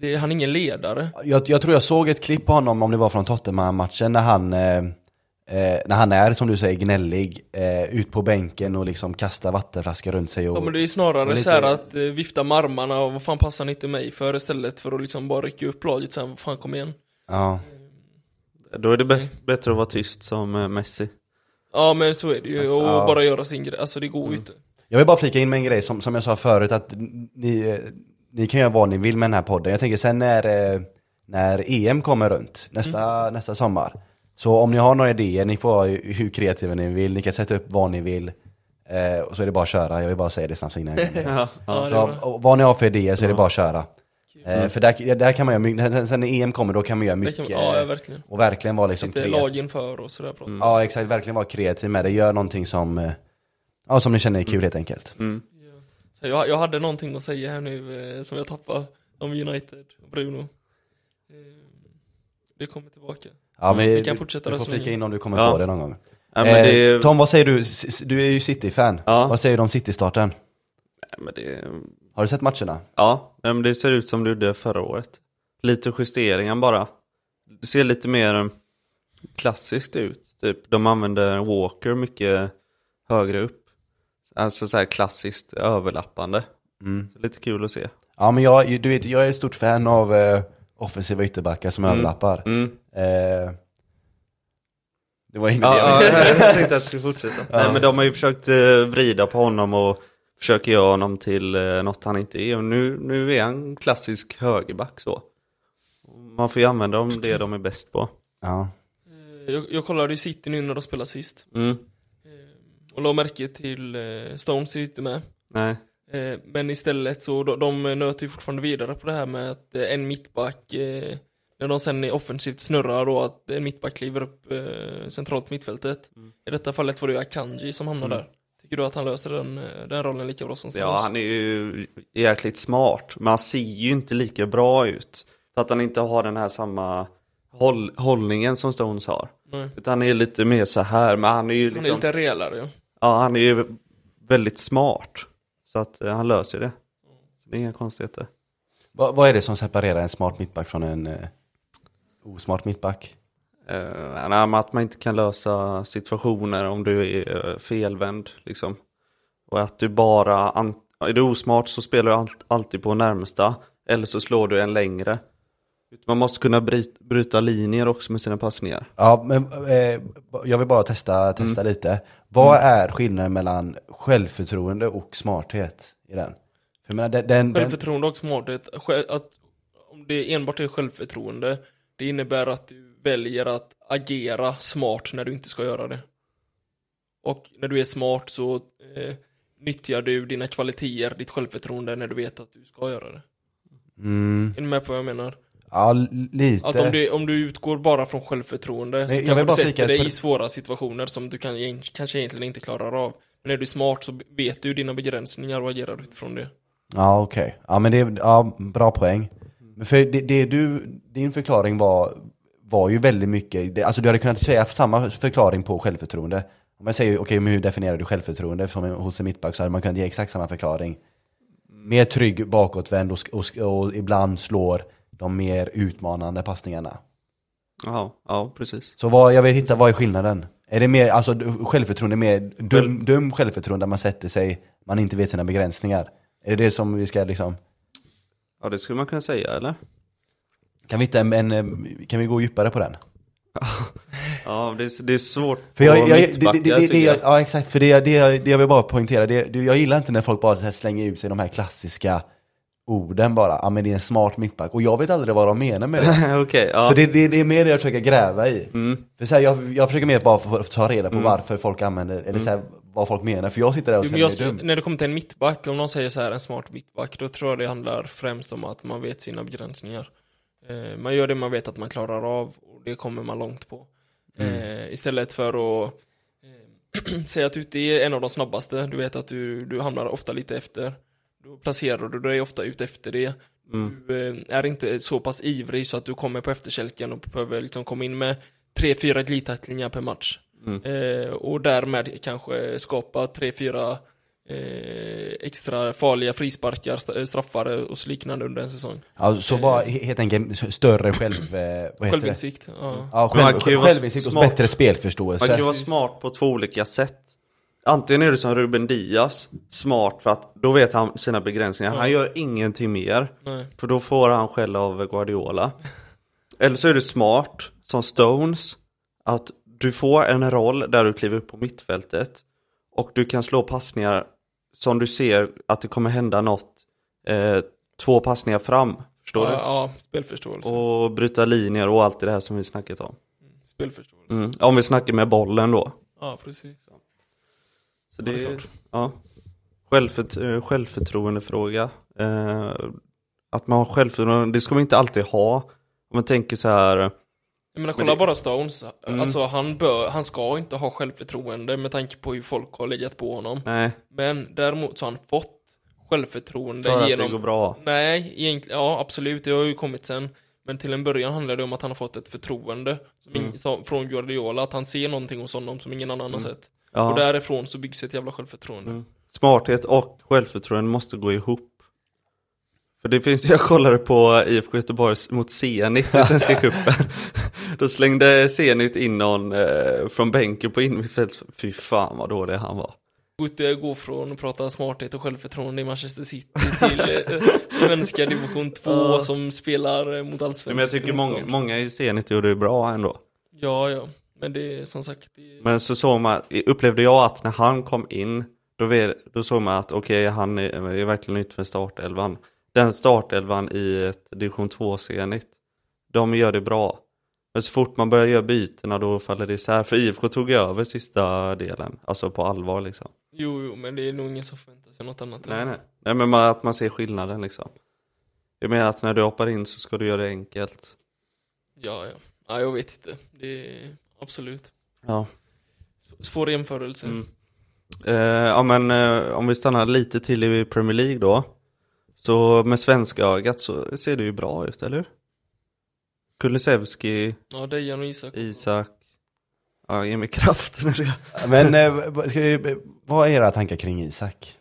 B: Det, han är ingen ledare.
A: Jag, jag tror jag såg ett klipp på honom, om det var från Tottenham-matchen, när han, eh, eh, när han är, som du säger, gnällig, eh, ut på bänken och liksom kastar vattenflaskor runt sig. Och,
B: Ja men det är snarare
A: lite-
B: så här att eh, vifta med armarna och vad fan passar ni inte mig för istället för att liksom bara rycka upp laget sen, vad fan kom igen.
A: ja.
C: Då är det
B: Mm.
C: bäst, bättre att vara tyst som eh, Messi.
B: Ja men så är det ju,
A: Nästa,
B: och
A: ja.
B: bara göra sin grej, alltså det går ju inte.
A: Jag vill bara flika in med en grej som, som jag sa förut att ni, eh, ni kan göra vad ni vill med den här podden. Jag tänker sen när, eh, när EM kommer runt nästa,
B: Mm.
A: nästa sommar. Så om ni har några idéer, ni får vara ju- hur kreativa ni vill, ni kan sätta upp vad ni vill. Eh, och så är det bara att köra, jag vill bara säga det snabbt innan. jag glömmer.
C: Ja,
B: Ja, det är
A: så,
B: bra.
A: och vad ni har för idéer så är det bara att köra. Eh, för där, där kan man göra mycket, sen när EM kommer då kan man göra
B: Det
A: mycket.
B: kan, ja ja, verkligen.
A: och verkligen vara liksom
B: Lite
A: kreativ.
B: lagen för och sådär bra.
A: Ja exakt, verkligen vara kreativ med det. Gör någonting som, eh, ja, som ni känner är kul
B: Mm.
A: helt enkelt.
C: Mm.
B: Så jag, jag hade någonting att säga här nu eh, som jag tappade om United och Bruno. Eh, det kommer tillbaka.
A: Ja, men
B: Mm. vi kan fortsätta
A: Du får
B: resonera.
A: flika in om du kommer
C: Ja.
A: på det någon gång.
C: Ja, men det,
A: eh, Tom, vad säger du? S- s- Du är ju City-fan.
C: Ja.
A: Vad säger du om City-starten?
C: nej, men det,
A: Har du sett matcherna?
C: ja, nej, men det ser ut som det gjorde förra året. Lite justeringar bara. Det ser lite mer eh, klassiskt ut. Typ, de använder Walker mycket högre upp. Alltså så här klassiskt överlappande. Så Lite kul att se.
A: Mm. Ja, men jag, du vet, jag är ett stort fan av eh, offensiva ytterbackar som överlappar.
C: Mm.
A: Eh, det var ingen idé.
C: Ja, ja, jag tänkte att jag skulle fortsätta. Nej, men de har ju försökt eh, vrida på honom och försöker göra honom till eh, något han inte är. Och nu, nu är han klassisk högerback så. Man får ju använda dem det de är bäst på.
A: Ja.
B: Eh, jag, jag kollade ju City nu när de spelade sist.
C: Mm.
B: Eh, och la märke till eh, Stones är ju inte med.
C: Nej.
B: Eh, Men istället så, de, de nöter ju fortfarande vidare på det här med att eh, en mittback, eh, när de sen är offensivt snurrar då, att en mittback kliver upp eh, centralt på mittfältet. I detta fallet var det ju Akanji som hamnade där. Tycker du att han löser den, eh, den rollen lika bra som Stones?
C: Ja, han är ju jäkligt smart, men han ser ju inte lika bra ut. För att han inte har den här samma håll, hållningen som Stones har.
B: Nej.
C: Utan han är lite mer så här, men han är ju
B: Han är
C: liksom,
B: lite rejälare ju.
C: ja han är ju väldigt smart. Så att eh, han löser det. Så det är inga konstigheter.
A: Vad, vad är det som separerar en smart mittback från en eh, osmart mittback?
C: Uh, nej, men att man inte kan lösa situationer om du är eh, felvänd. Liksom. Och att du bara, an- är du osmart så spelar du allt- alltid på närmsta. Eller så slår du en längre. Man måste kunna bryt- bryta linjer också med sina passningar.
A: Ja, men eh, jag vill bara testa, testa
B: Mm.
A: lite. Vad är skillnaden mellan självförtroende och smarthet i den? För jag menar, den, den, den,
B: Självförtroende och smarthet. Själv- Att om det enbart är självförtroende, det innebär att du väljer att agera smart när du inte ska göra det. Och när du är smart så eh, nyttjar du dina kvaliteter, ditt självförtroende när du vet att du ska göra det.
A: mm,
B: Är ni med på vad jag menar?
A: ja, l- lite.
B: Att om du, om du utgår bara från självförtroende så
A: jag vill
B: kanske
A: bara
B: du
A: flika
B: sätter dig
A: på det-
B: i svåra situationer som du kan, egent- kanske egentligen inte klarar av. Men när du är smart så vet du dina begränsningar och agerar utifrån det.
A: Ja, okej. Ja, men det är ja, bra poäng. Men För det, det du, din förklaring var, var ju väldigt mycket, det, alltså du hade kunnat säga samma förklaring på självförtroende. Om jag säger, okej, men hur definierar du självförtroende från, en- hos en mittback så hade man kunnat ge exakt samma förklaring. Mer trygg, bakåtvänd och, sk- och, sk- och ibland slår de mer utmanande passningarna.
C: Ja, ja precis.
A: Så vad, jag vill hitta, vad är skillnaden? Är det mer, alltså du- självförtroende, mer dum, dum självförtroende, man sätter sig, man inte vet sina begränsningar? Är det det som vi ska liksom
C: Ja, det skulle man kunna säga, eller?
A: Kan vi, inte, en, en, kan vi gå djupare på den?
C: Ja, det är, det är svårt
A: För jag,
C: på
A: jag, det, det,
C: mittbackar,
A: det, det,
C: tycker jag.
A: ja exakt, för det, det, det jag vill bara poängtera, det, det, jag gillar inte när folk bara så här slänger ut sig de här klassiska orden bara, ja men det är en smart mittback, och jag vet aldrig vad de menar med det.
C: Okej, ja. Mm.
A: Så det, det, det är mer det jag försöker gräva i. För så här, jag, jag försöker mer bara få, ta reda på varför folk använder, eller så
C: Mm.
A: här, vad folk menar, för jag sitter där och
B: Jo, men
A: känner
B: jag,
A: mig dum.
B: när det kommer till en mittback, om någon säger så här en smart mittback, då tror jag det handlar främst om att man vet sina begränsningar. Eh, man gör det man vet att man klarar av och det kommer man långt på.
A: Mm.
B: Eh, istället för att eh, säga att du inte är en av de snabbaste, du vet att du, du hamnar ofta lite efter. Då placerar du dig ofta ut efter det.
C: Mm.
B: Du eh, är inte så pass ivrig så att du kommer på efterkälken och behöver liksom komma in med tre, fyra glidtacklingar per match.
C: Mm.
B: Eh, och därmed kanske skapa tre, fyra eh, extra farliga frisparkar, st- eh, straffar och så liknande under en säsong.
A: Ja, så bara he- helt enkelt större själv, eh, vad heter det?
B: Självinsikt. Ja.
A: Ja,
C: Man
A: själv,
C: kan ju vara
A: självinsikt och
C: smart.
A: bättre
C: Man
A: spelförståelse.
C: kan ju vara smart på två olika sätt. Antingen är det som Ruben Diaz, smart för att då vet han sina begränsningar. Han gör ingenting mer,
B: Nej.
C: för då får han skäll av Guardiola. Eller så är du smart, som Stones, att du får en roll där du kliver upp på mittfältet och du kan slå passningar som du ser att det kommer hända något eh, två passningar fram. Förstår
B: Ja, ja, spelförståelse.
C: du? Och bryta linjer och allt det här som vi snackat om.
B: Spelförståelse.
C: Mm. Om vi snackar med bollen då.
B: Ja, precis.
C: Så
B: Ja,
C: det
B: det är
C: är ja. Självfört, eh, självförtroendefråga. Eh, att man har självförtroende, det ska man inte alltid ha. Om man tänker så här,
B: Jag menar,
C: Men
B: kolla
C: det-
B: bara Stones.
C: Mm.
B: Alltså, han, bör, han ska inte ha självförtroende med tanke på hur folk har legat på honom.
C: nej,
B: Men däremot så har han fått självförtroende
C: för att
B: genom...
C: det går bra.
B: Nej, egentligen, ja absolut, det har ju kommit sen. Men till en början handlar det om att han har fått ett förtroende som
C: Mm.
B: ing- som, från Guardiola, att han ser någonting hos honom som ingen annan har sett. Och
C: Ja.
B: därifrån så byggs ett jävla självförtroende.
C: Mm. Smarthet och självförtroende måste gå ihop. För det finns, jag kollade på IFK Göteborg mot Zenit i Svenska cupen. Då slängde Zenit in någon eh, från bänken på innermittfält. Fy fan vad dålig han var.
B: Gutte går från att prata smarthet och självförtroende i Manchester City till eh, svenska division 2
C: Ja.
B: som spelar eh, mot allsvenskt
C: Men jag tycker många,
B: motstånd.
C: många i Zenit gjorde det bra ändå.
B: Ja, ja. Men det är som sagt, det är...
C: Men så såg man, upplevde jag att när han kom in, då, ve- då såg man att okej, han är, är verkligen nytt för startelvan. Den startelvan i ett division 2-senigt, de gör det bra. Men så fort man börjar göra bytena då faller det isär, för IFK tog över sista delen, alltså på allvar liksom.
B: jo, jo, men det är nog ingen som förväntar sig något annat.
C: Nej, nej. nej men man, att man ser skillnaden liksom. Jag menar att när du hoppar in så ska du göra det enkelt.
B: Ja, ja. Ja, jag vet inte. Det är absolut.
C: Ja.
B: S- Svår jämförelse.
C: Mm. Eh, ja men eh, om vi stannar lite till i Premier League då. Så med svenska ögat så ser det ju bra ut, eller hur? Kulusevski,
B: Ja, Dejan och Isak.
C: Isak, ja ge mig kraft. Nu ska jag-
A: Men eh, vad- ska vi, vad är era tankar kring Isak?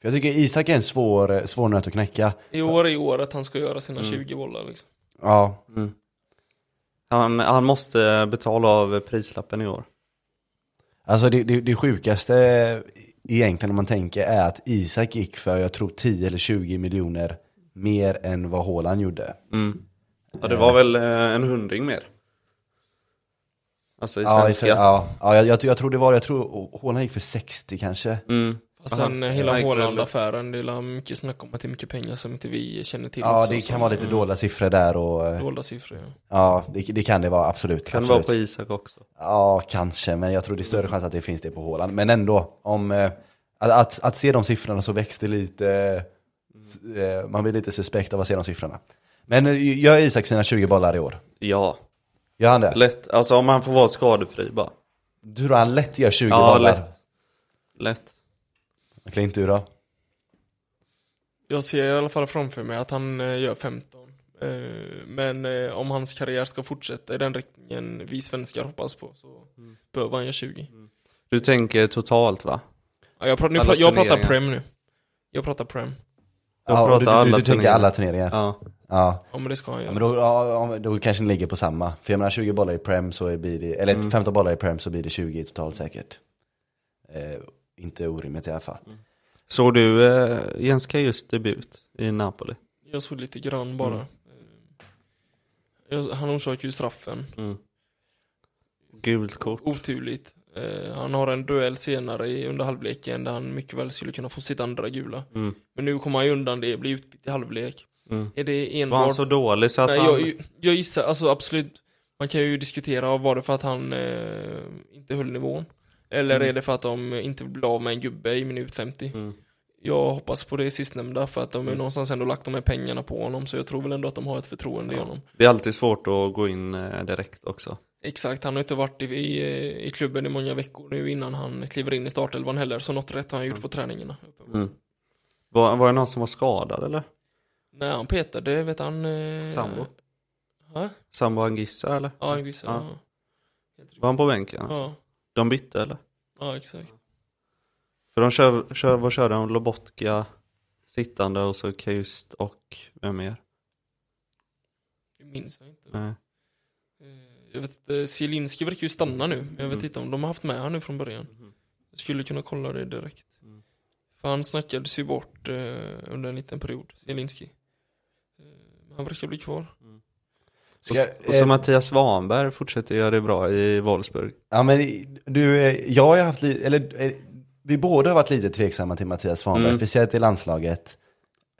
A: För jag tycker Isak är en svår, eh, svår nöt att knäcka.
B: I år är år att han ska göra sina
C: Mm.
B: 20 bollar liksom.
A: Ja,
C: Han, han måste betala av prislappen i år.
A: Alltså det, det, det sjukaste egentligen om man tänker är att Isak gick för jag tror 10 eller 20 miljoner mer än vad Haaland gjorde.
C: Mm. Ja det var väl eh, en hundring mer. Alltså i
A: Ja, i
C: svenska.
A: Sverige- ja, ja jag, jag, jag tror det var, jag tror Haaland gick för 60 kanske.
C: Mm.
B: Och sen
C: Aha.
B: eh, hela
C: Nej,
B: Haaland-affären, det är la mycket snack om att det är mycket pengar som inte vi känner till.
A: Ja,
B: också,
A: det
B: som-
A: kan vara lite
B: mm,
A: dåliga siffror där och eh,
B: Dolda siffror, ja.
A: ja, det, det kan det vara absolut.
C: Kan
A: absolut.
C: vara på Isak också.
A: Ja, kanske, men jag tror det är större chans att det finns det på Haaland. Men ändå, om, eh, att, att, att se de siffrorna så växte lite, eh, s- eh, man blir lite suspekt av att se de siffrorna. Men eh, gör Isak sina 20 bollar i år?
C: Ja,
A: Gör han det?
C: lätt. Alltså om han får vara skadefri bara.
A: Du tror han lätt gör 20
C: Ja,
A: bollar?
C: lätt. Lätt.
A: Klint inte du då?
B: Jag ser i alla fall framför mig att han eh, gör 15. Eh, Men eh, om hans karriär ska fortsätta i den riktningen vi svenskar hoppas på så
C: Mm.
B: behöver han göra 20.
C: Du tänker totalt va?
B: Ja, jag, pratar, nu,
C: Alla
B: pra- jag pratar
C: turneringar.
B: Prem nu. Jag pratar Prem.
C: Jag
A: Ja,
C: pratar
A: du, du,
C: alla
A: du tänker
C: turneringar.
A: alla turneringar? Ja.
C: Ja.
B: Ja men det ska han
A: Ja,
B: göra.
A: men då, ja, om- då kanske ni ligger på samma. För jag menar 20 bollar i Prem så blir det, eller
C: Mm.
A: 15 bollar i Prem så blir det 20 totalt säkert. Eh, inte orimligt i alla fall.
C: Såg du eh, Jens Kajus debut i Napoli?
B: Jag såg lite grann bara.
C: Mm.
B: Eh, jag- Han orsakar ju straffen.
C: Gult kort.
B: Oturligt. Eh, Han har en duell senare i- under halvleken där han mycket väl skulle kunna få sitt andra gula.
C: Mm.
B: Men nu kommer han ju undan det, blir utbytt i halvlek.
C: Mm.
B: Är det
C: Var han
B: enbart
C: så dålig så att
B: Nej,
C: han...
B: jag, jag gissar, alltså absolut, man kan ju diskutera, var det för att han eh, inte höll nivån? Eller
C: Mm.
B: är det för att de inte blev av med en gubbe i minut 50?
C: Mm.
B: Jag hoppas på det sistnämnda för att de har ju någonstans ändå lagt de här pengarna på honom så jag tror väl ändå att de har ett förtroende i honom.
C: Det är alltid svårt att gå in eh, direkt också.
B: Exakt, han har inte varit i, i, eh, i klubben i många veckor nu innan han kliver in i startelvan heller, så något rätt har han gjort
C: Mm.
B: på träningarna.
C: Var, var det någon som var skadad eller?
B: Nej, han petade, vet han... Eh,
C: Sambo?
B: Ja,
C: Sambo Angissa eller?
B: ja, jag gissar.
C: Ja.
B: Ja.
C: Var han på bänken? alltså?
B: Ja,
C: De bytte eller?
B: ja, exakt.
C: För de kör, kör vad körde de? Lobotka sittande och så Kajust och vem mer?
B: Det minns jag inte.
C: Nej.
B: Eh, Jag vet inte, Zielinski verkar ju stanna nu, men jag vet
C: Mm.
B: inte om de har haft med han nu från början. Jag skulle kunna kolla det direkt.
C: Mm.
B: För han snackades ju bort eh, under en liten period, Zielinski. Eh, men han verkar bli kvar.
A: Ska,
C: och, och så
A: eh,
C: Mattias Svanberg fortsätter göra det bra i Wolfsburg.
A: Ja men du, eh, jag har ju haft lite, eller eh, vi båda har varit lite tveksamma till Mattias Svanberg,
C: Mm.
A: speciellt i landslaget.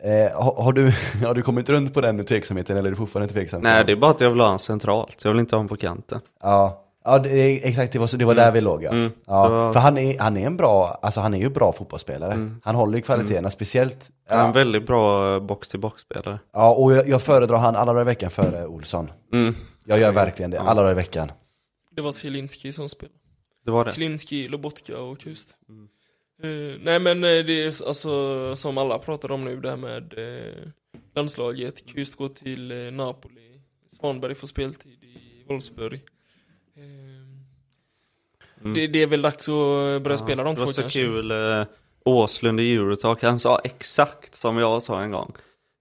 A: Eh, har, har, du, har du kommit runt på den tveksamheten eller är du fortfarande tveksam?
C: Nej, det är bara att jag vill ha honom centralt. Jag vill inte ha honom på kanten.
A: Ja, ja det, är- exakt det var, så- det var där vi låg ja.
C: Mm.
A: ja
C: Det var-
A: För han är, han är en bra, alltså han är ju bra fotbollsspelare. Han håller ju kvaliteterna, speciellt,
C: Han är en
A: ja,
C: väldigt bra eh, box-till-box-spelare.
A: ja och jag, jag föredrar han alla dagar i veckan före Olsson.
C: Mm.
A: Jag gör verkligen det,
C: Ja.
A: alla dagar i veckan.
B: Det
C: Mm.
B: var Zielinski som spelade.
C: Det var det.
B: Zielinski, Lobotka och Kust.
C: Mm.
B: Eh, nej men eh, det är alltså som alla pratar om nu det här med eh, landslaget. Kust går till eh, Napoli. Svanberg får speltid i Wolfsburg. Eh,
C: Mm.
B: det, det är väl dags att eh, börja
C: Ja,
B: spela de
C: Det var
B: två
C: så
B: kanske.
C: kul, eh, Åslund i Eurotalk, han sa exakt som jag sa en gång.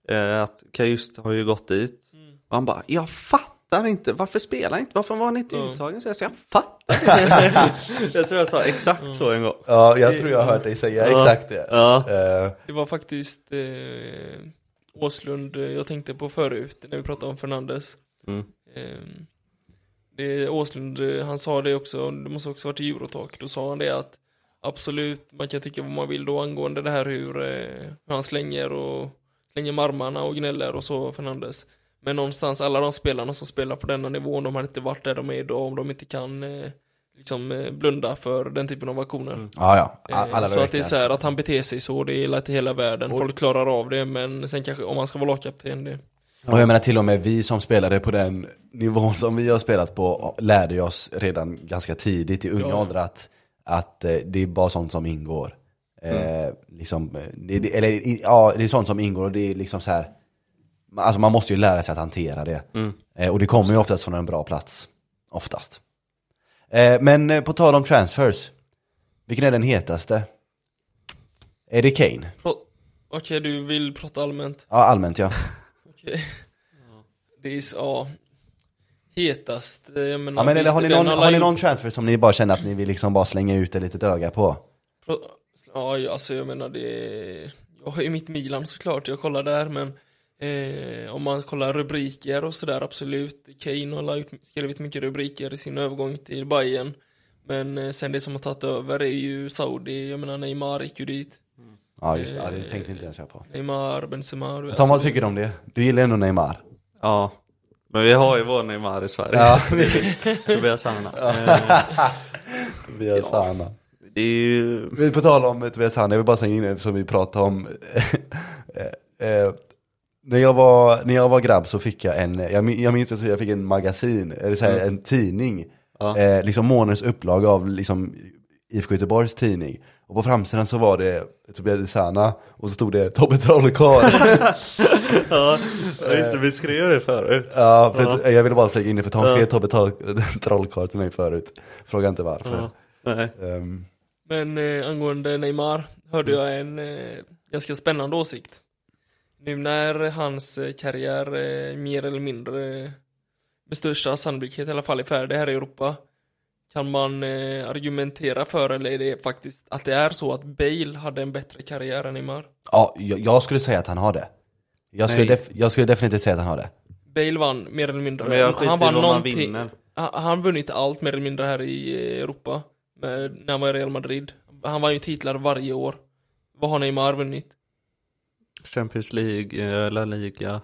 C: Eh, att Kajust har ju gått dit.
B: Mm.
C: Och han bara, jag fattar inte, varför spelar han inte? Varför var han inte
B: Ja.
C: uttagen? Så jag, sa, jag fattar inte. jag tror jag sa exakt så en gång.
A: Ja, jag tror jag har hört dig säga
C: Ja.
A: exakt det.
C: Ja,
A: Eh,
B: Det var faktiskt eh, Åslund eh, jag tänkte på förut när vi pratade om Fernandes.
C: Mm.
B: Eh, det, Åslund, eh, han sa det också, det måste också varit i Eurotalk, då sa han det att absolut, man kan tycka vad man vill då angående det här hur, eh, hur han slänger och slänger med armarna och gnäller och så Fernandes. Men någonstans, alla de spelarna som spelar på denna nivån, de hade inte varit där de är idag om de inte kan eh, liksom eh, blunda för den typen av aktioner.
C: Mm.
A: ja, ja. a-
B: Eh,
A: Alla dagar i
B: så att det är
A: veckan.
B: så här att han beter sig så, det gillar inte hela världen.
A: Oj.
B: Folk klarar av det, men sen kanske om han ska vara lagkapten, det...
A: Och jag menar till och med vi som spelade på den nivån som vi har spelat på lärde ju oss redan ganska tidigt i unga
B: Ja.
A: åldrar att, att eh, det är bara sånt som ingår. Eh, liksom, eh, det, det, eller, i- ja, det är sånt som ingår och det är liksom så här Alltså man måste ju lära sig att hantera det.
C: Mm.
A: Eh, och det kommer ju oftast från en bra plats. Oftast. Eh, men eh, på tal om transfers. Vilken är den hetaste? Är det Kane?
B: Pro- Okej, du vill prata allmänt.
A: Ja, allmänt ja.
B: Okej. eh, Det är så, ja. Hetast, eh, jag menar,
A: ja men, eller,
B: visst,
A: har, ni
B: den
A: någon,
B: alla
A: har ni
B: gjort-
A: någon transfer som ni bara känner att ni vill liksom bara slänga ut ett litet öga på?
B: Pro- Ja, ju, alltså jag menar det... Jag har ju mitt Milan såklart, jag kollar där men eh, om man kollar rubriker och sådär, absolut. Kane har lagt, skrivit mycket rubriker i sin övergång till Bayern. Men eh, sen det som har tagit över är ju Saudi, jag menar Neymar gick ju dit.
A: Ja just det, ja, det tänkte inte ens jag på.
B: Neymar, Benzema, du vet,
A: Tom, vad
B: alltså,
A: tycker du om det? Du gillar ändå Neymar?
C: Ja, men vi har ju vår Neymar i Sverige.
A: Ja.
C: Tobias Anna. Eh,
A: Tobias
C: Ja.
A: Hanna.
C: det är ju...
A: Vi på tal om Tobias Hanna, jag vill bara slänga in det som vi pratade om. Eh, eh, när, jag var, när jag var grabb så fick jag en, jag, min- jag minns att jag fick en magasin, eller så här, en tidning.
C: Ja.
A: Eh, liksom månadens upplaga av liksom, IFK Göteborgs tidning. Och på framsidan så var det Tobias Hanna och så stod det Tobbe Trollkarl.
C: Ja, just det, vi skrev det förut.
A: Ja, för att- jag ville bara flika in det för Tom
C: Ja.
A: skrev Tobbe Troll- Trollkarl till mig förut. Fråga inte varför.
C: Ja. Nej.
A: Ehm,
B: Men eh, angående Neymar hörde
C: Mm.
B: jag en eh, ganska spännande åsikt. Nu när hans eh, karriär eh, mer eller mindre eh, med största sannolikhet i alla fall är färdig här i Europa kan man eh, argumentera för, eller är det faktiskt att det är så att Bale hade en bättre karriär än Neymar?
A: ja, jag, jag skulle säga att han har det. Jag skulle,
C: Nej.
A: def, jag skulle definitivt säga att han har det.
B: Bale vann mer eller mindre.
C: Men jag skiter i vad man
B: någonting-
C: vinner.
B: Han han vunnit allt mer eller mindre här i eh, Europa. Med, när han var i Real Madrid. Han vann ju titlar varje år. Vad har Neymar vunnit?
C: Champions League, eh, La Liga,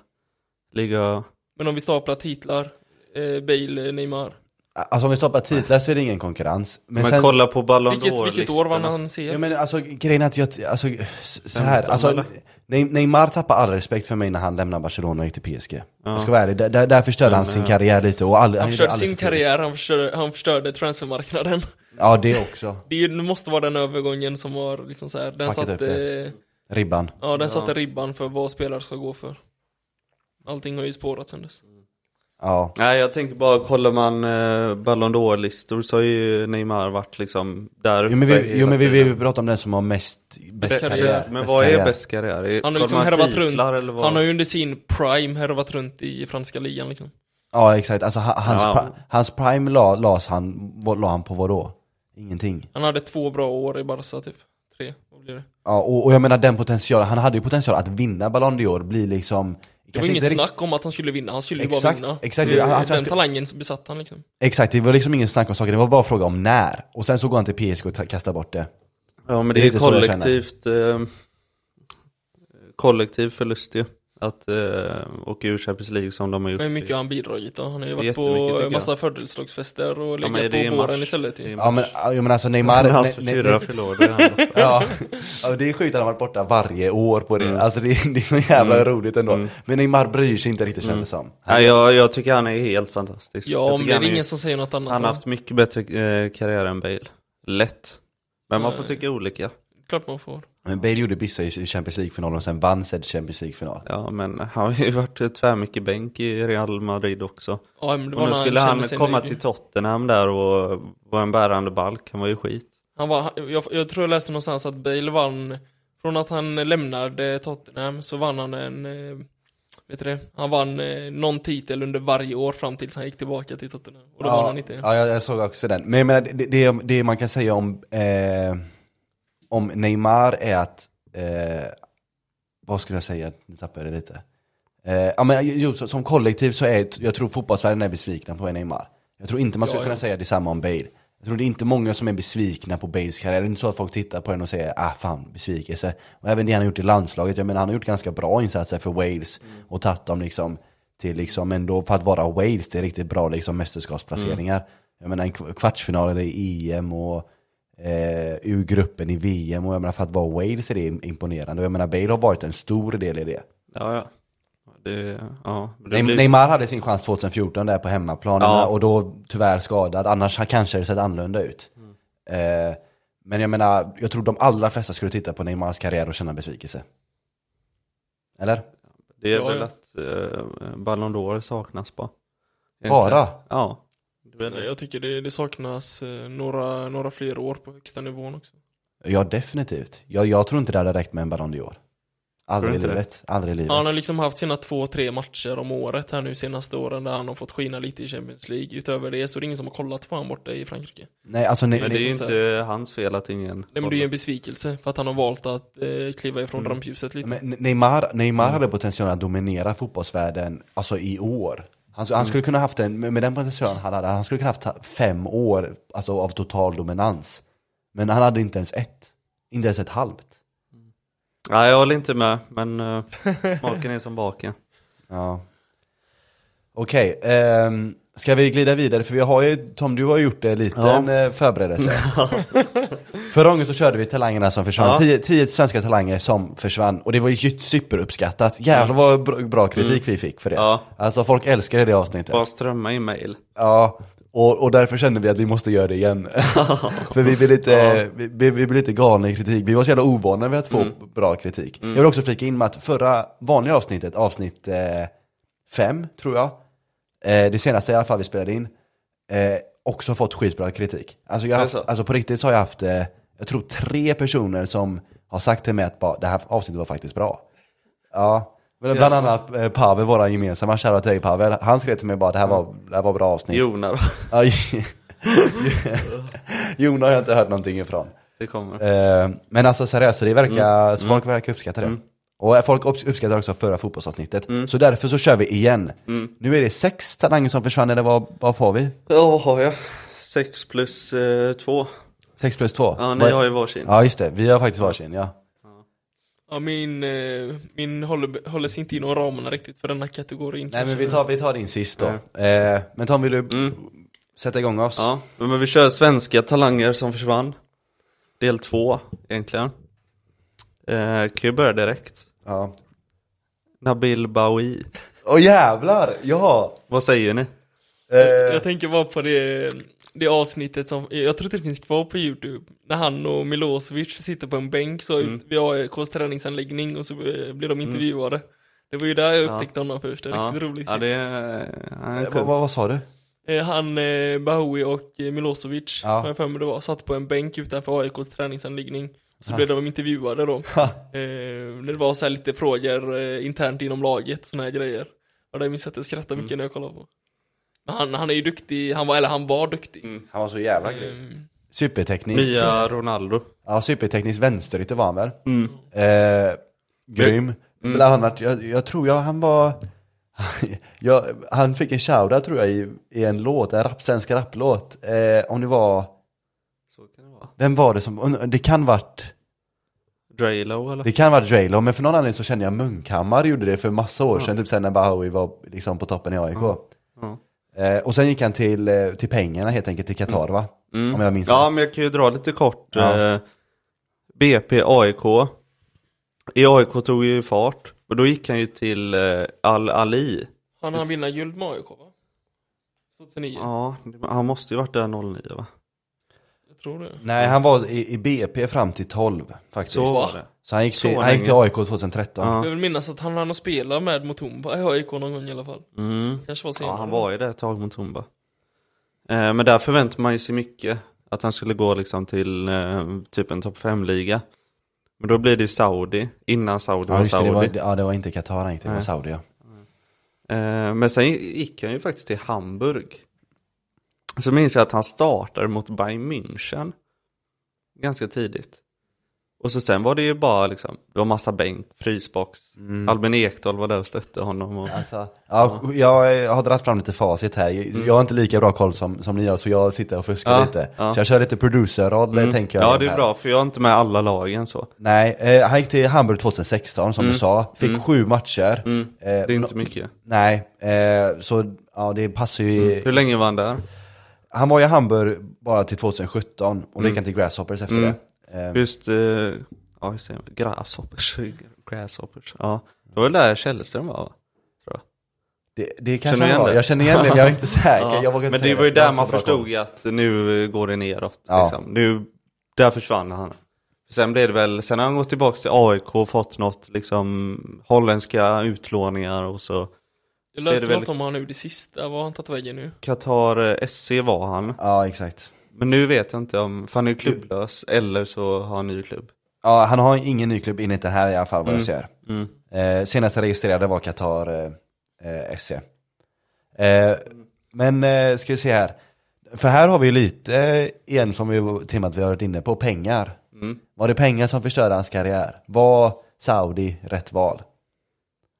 C: Liga...
B: Men om vi staplar titlar, eh, Bale, eh, Neymar.
A: Alltså om vi stoppar titlar så är det ingen konkurrens. Men,
C: Men
A: sen,
C: kolla på Ballon
B: Vilket, vilket år vann
C: d'Or-listorna.
B: han CL?
A: ja, men alltså grejen är att jag, alltså s- så här,
C: 15,
A: alltså
C: eller?
A: Ne- Neymar tappar all respekt för mig när han lämnar Barcelona och gick till PSG.
C: Ja.
A: Jag ska vara ärlig, där, där, där förstörde han
C: Men,
A: sin
C: eh,
A: karriär lite och all,
B: han
A: gjorde
B: förstörde
A: alldeles
B: sin
A: för tidigt.
B: karriär, han förstörde, han förstörde transfermarknaden.
A: Ja, det också.
B: Det, är ju- det måste vara den övergången som var liksom så här, den
A: Packat upp det.
B: satte,
A: Ribban.
B: ja, den
C: Ja.
B: satte ribban för vad spelare ska gå för. Allting har ju spårat sen dess.
A: Ja.
C: Nej, jag tänker bara, kollar man eh, Ballon d'Or-listor så har ju Neymar varit liksom där uppe
A: Jo men vi,
C: hela
A: jo, men vi,
C: tiden.
A: vi pratar om den som har mest, bäst
B: Bäst
A: karriär.
B: karriär.
C: Men
A: Bäst
C: vad
A: karriär.
C: är bäst karriär? Är-
B: Han har
C: kollar
B: liksom
C: man
B: härvat
C: titlar Eller vad?
B: Han har ju under sin prime härvat runt i franska ligan liksom.
A: Ja exakt, alltså ha- hans,
C: Ja.
A: pri- hans prime la, las han, vad la han på vad då? Ingenting.
B: Han hade två bra år i Barca typ. Tre, vad blir det?
A: Ja, och, och jag menar den potentialen, han hade ju potential att vinna Ballon d'Or, bli liksom
B: Det var inget snack om att han skulle vinna, han skulle ju bara
A: Exakt,
B: vinna.
A: exakt.
B: Det,
A: Han- han-
B: den
A: han skulle-
B: talangen besatt han liksom.
A: Exakt, det var liksom ingen snack om saker, det var bara fråga om när. Och sen så går han till PSG och ta- kastar bort det.
C: Ja men
A: Det är
C: det är
A: lite så jag
C: kollektivt eh, Kollektiv förlust ju Att eh, åka ur Champions League som de har gjort
B: Men hur mycket har han bidragit då? Han har ju varit
C: Jättemycket,
B: på
C: tycker jag.
B: massa födelsedagsfester och
C: men
B: legat
C: det är
B: på
C: en
B: båren
C: match.
B: istället
C: Det är
B: ju.
C: en
A: Ja men, ja, jag menar alltså Neymar...
C: Men
A: ne-
C: Hans
A: ne-
C: syrra
A: ne-
C: förlorade han.
A: Ja, ja det är sjukt att han har varit borta varje år på det.
B: Mm.
A: Alltså det, är- det är så jävla roligt ändå. Men Neymar bryr sig inte riktigt känns det
B: Mm.
A: som.
C: Nej, jag, jag tycker han är helt fantastisk
B: Ja,
C: jag
B: om
C: tycker
B: det är
C: han,
B: ingen som säger något annat.
C: han har haft mycket bättre eh, karriär än Bale Lätt Men man får
B: Nej.
C: tycka olika
B: Klart man får.
A: Men Bale gjorde bissa i i Champions League-finalen och sen vann sedd Champions League-final.
C: Ja men han har ju varit eh, tvärmycket bänk i Real Madrid också
B: Ja, men det var
C: Och nu
B: när han
C: skulle han
B: kände sig
C: komma
B: nöjd ju.
C: till Tottenham där och vara en bärande balk Han var ju skit
B: Han var, han- jag, jag tror jag läste någonstans att Bale vann, från att han lämnade Tottenham så vann han en, eh, vet du det? Han vann eh, någon titel under varje år fram tills han gick tillbaka till Tottenham. Och då vann han inte en.
A: Ja, jag, jag såg också den. Men jag menar, det, det, det man kan säga om, eh, om Neymar är att, eh, vad skulle jag säga, nu tappade jag det lite. Eh, ja, men, jo, så- som kollektiv så är, jag tror fotbollsvärlden är besvikna på Neymar. Jag tror inte man skulle
B: Ja, ja.
A: kunna säga detsamma om Bale. Jag tror det är inte många som är besvikna på Bales karriär. Det är inte så att folk tittar på den och säger ah fan, besvikelse. Och även det han har gjort i landslaget, jag menar han har gjort ganska bra insatser för Wales
B: Mm.
A: och tagit dem liksom till liksom ändå, för att vara Wales, det är riktigt bra liksom mästerskapsplaceringar.
B: Mm.
A: Jag menar en kv- kvartsfinal i EM och eh, ur gruppen i VM och jag menar för att vara Wales är det imponerande. Och jag menar Bale har varit en stor del i det.
C: Ja, ja. Det, ja. men det
A: Neym-
C: blir-
A: Neymar hade sin chans 2014 där på hemmaplan
C: Ja.
A: jag menar, och då tyvärr skadad, annars ha- kanske det sett annorlunda ut.
C: Mm.
A: Eh, men jag menar, jag tror de allra flesta skulle titta på Neymars karriär och känna besvikelse. Eller?
C: Det är
B: Ja,
C: väl
B: ja.
C: att eh, Ballon d'Or saknas bara. Egentligen.
A: Bara?
C: Ja. Det är väl-
B: Jag tycker det, det saknas eh, några, några fler år på högsta nivån också.
A: Ja, definitivt. Jag, jag tror inte det hade räckt med en Ballon d'Or. Aldrig i
C: inte det?
A: livet. Aldrig i livet.
B: Han har liksom haft sina två, tre matcher om året här nu senaste åren där han har fått skina lite i Champions League. Utöver det så är det ingen som har kollat på honom borta i Frankrike.
A: Nej, alltså nej,
C: Men det är ju
A: nej,
B: så
C: inte hans fel att ingen
B: Nej men det är ju en besvikelse för att han har valt att eh, kliva ifrån rampljuset lite.
A: Mm. men Neymar, Neymar hade potential att dominera fotbollsvärlden alltså i år. Han, han skulle kunna haft en, med med den potentialen han hade, han skulle kunna haft ta- fem år alltså, av total dominans. Men han hade inte ens ett. Inte ens ett halvt.
C: Nej jag håller inte med, men uh, maken är som baken.
A: Ja. Okej, ehm, ska vi glida vidare? För vi har ju, Tom du har gjort en liten
C: Ja.
A: eh, förberedelse. Förra gången så körde vi talangerna som försvann.
C: Ja.
A: Tio, tio svenska talanger som försvann. Och det var ju superuppskattat. Jävlar vad bra, bra kritik vi fick för det.
C: Mm. Ja.
A: Alltså folk älskade det avsnittet.
C: Bara strömma i mail.
A: Ja. Och, och därför kände vi att vi måste göra det igen. för vi blev lite, vi, vi vi blev lite galna i kritik. Vi var så jävla ovana vid att
C: Mm.
A: få bra kritik. Jag vill också flika in med att förra vanliga avsnittet, avsnitt eh, fem tror jag, eh, det senaste i alla fall vi spelade in, eh, också fått skitbra kritik. Alltså, jag har
C: Är det
A: haft,
C: så?
A: alltså på riktigt så har jag haft, eh, jag tror tre personer som har sagt till mig att bara, det här avsnittet var faktiskt bra. Ja. Men bland annat eh, Pavel, våran gemensamma, shoutout till dig Pavel, han skrev till mig bara det här var, det här var bra avsnitt.
C: Jonar,
A: Ja, J- Jon har jag inte hört någonting ifrån.
C: det kommer.
A: Eh, Men alltså seriöst, så det verkar, så folk verkar uppskatta det. Och folk upps- uppskattar också förra fotbollsavsnittet. Så därför så kör vi igen. Nu är det sex talanger som försvann, eller vad, vad får vi?
C: Ja har jag. 6 plus 2.
A: Sex plus två?
C: ja
A: Vad-
C: ni har ju varsin.
A: Ja just det, vi har faktiskt varsin ja.
B: Ja, min, eh, min håller, håller sig inte inom ramarna riktigt för den här kategorin.
A: Nej
B: kanske.
A: men vi tar, vi tar din sist då. Eh, Men Tom, vill du sätta igång oss?
C: Ja, men vi kör svenska talanger som försvann. Del två, egentligen. Eh, kan ju börja direkt.
A: Ja.
C: Nabil Bawi.
A: Åh jävlar, ja!
C: Vad säger ni?
B: Jag,
A: Eh,
B: jag tänker bara på det, det avsnittet som, jag tror inte det finns kvar på youtube. När han och Milosevic sitter på en bänk så
A: Mm.
B: vid AIKs träningsanläggning och så eh, blir de intervjuade. Det var ju där jag upptäckte honom först, det är
C: Ja,
B: riktigt roligt.
C: ja det är... han är
A: vad,
C: kul.
A: Eh, vad, vad sa du?
B: Eh, Han, eh, Bahoui och eh, Milosevic,
A: Ja.
B: har jag för mig det var, satt på en bänk utanför AIKs träningsanläggning. Så blev de intervjuade då. Eh, det var så här lite frågor eh, internt inom laget, såna här grejer. Och det minns jag att jag skrattade mycket
C: Mm.
B: när jag kollade på. Men han, han är ju duktig, han var, eller han var duktig.
C: Mm.
A: Han var så jävla
B: Eh,
A: Superteknisk.
C: Nya Ronaldo.
A: Ja, superteknisk vänsterytter var han väl?
C: Mm.
A: Eh, grym. Bland annat, jag, jag tror jag han var... jag, han fick en shoutout tror jag i, i en låt, en rap, svensk rapplåt. Eh, om det var,
C: Så kan det vara.
A: vem var det som, det kan varit,
C: Draylo eller?
A: det kan varit Draylo, men för någon anledning så känner jag Munkhammar gjorde det för massa år
C: Mm.
A: sedan, typ sen när Bahoui var liksom på toppen i AIK.
C: Ja.
A: Eh, och sen gick han till, eh, till pengarna helt enkelt, till Qatar va?
C: Mm.
A: Om jag minns
C: Ja,
A: rätt.
C: men jag kan ju dra lite kort.
A: Ja.
C: Eh, BP AIK. I AIK tog ju fart. Och då gick han ju till eh, Al Ali.
B: Han hann vinna guld med AIK va? 2009,
C: Ja, han måste ju varit där 09 va?
B: jag tror det.
A: Nej, han var i, i BP fram till 12 faktiskt.
C: Så
A: Så,
C: var det.
A: han, gick till,
C: Så
A: han gick till
C: länge.
A: AIK 2013.
C: Ja.
B: Jag vill minnas att han hann att spela med Mutomba i AIK någon gång i alla fall.
C: Mm.
B: Kanske var senare.
C: Ja, han var ju där ett tag mot Tumba. Eh, men där förväntar man ju sig mycket. Att han skulle gå liksom till eh, typ en topp 5-liga. Men då blir det ju Saudi, innan Saudi
A: Ja,
C: var
A: just det,
C: Saudi.
A: det var, ja, det var inte Qatar han gick till, det var Saudi
C: Nej.
A: ja.
C: Eh, men sen gick han ju faktiskt till Hamburg. Så minns jag att han startade mot Bayern München. Ganska tidigt. Och så sen var det ju bara liksom, det var massa bänk, frysbox. Albin Ekdal var där och stötte honom. Och,
A: Mm. Alltså, ja, jag har dragit fram lite facit här. Jag har inte lika bra koll som, som ni har, så jag sitter och fuskar
C: Mm. Ja,
A: lite.
C: ja. Mm.
A: Så jag kör lite producerroll, tänker jag.
C: ja, det är
A: här.
C: bra, för jag är inte med alla lagen så.
A: Nej, eh, han gick till Hamburg 2016, som du sa. Fick sju matcher. Eh,
C: Mm. Det är inte
A: no-
C: mycket.
A: Nej, eh, så ja, det passar ju...
C: Hur länge var han där?
A: Han var i Hamburg bara till 2017, och då gick han till Grasshoppers efter
C: Mm.
A: det. Eh,
C: Just, eh, ja hur säger man, grasshoppers, grasshoppers. Ja, det var väl där Källström var va?
A: det, det
C: Känner
A: kanske
C: du
A: han
C: igen
A: var.
C: det?
A: Jag känner igen det, men jag är inte säker.
C: Ja,
A: Jag vågar inte
C: men
A: säga
C: det var ju
A: Jag har
C: där
A: inte så
C: man
A: bra koll.
C: förstod ju att nu eh, går det neråt.
A: Ja.
C: Liksom. Nu, där försvann han. Sen blev det väl, sen har han gått tillbaka till AIK och fått något liksom holländska utlåningar och så
B: Jag
C: det är
B: läste
C: väl-
B: något om han nu, det sista, var han tagit vägen nu?
C: Qatar eh, SC var han.
A: Ja, exakt.
C: Men nu vet jag inte om, för han är klubblös eller så har han ny klubb.
A: Ja, han har ingen ny klubb in inte här i alla fall vad jag ser.
C: Mm.
A: Eh, senaste registrerade var Qatar eh, eh, SC. Eh, men eh, ska vi se här. För här har vi ju lite, eh, igen som vi, temat vi har varit inne på, pengar.
C: Mm.
A: Var det pengar som förstörde hans karriär? Var Saudi rätt val?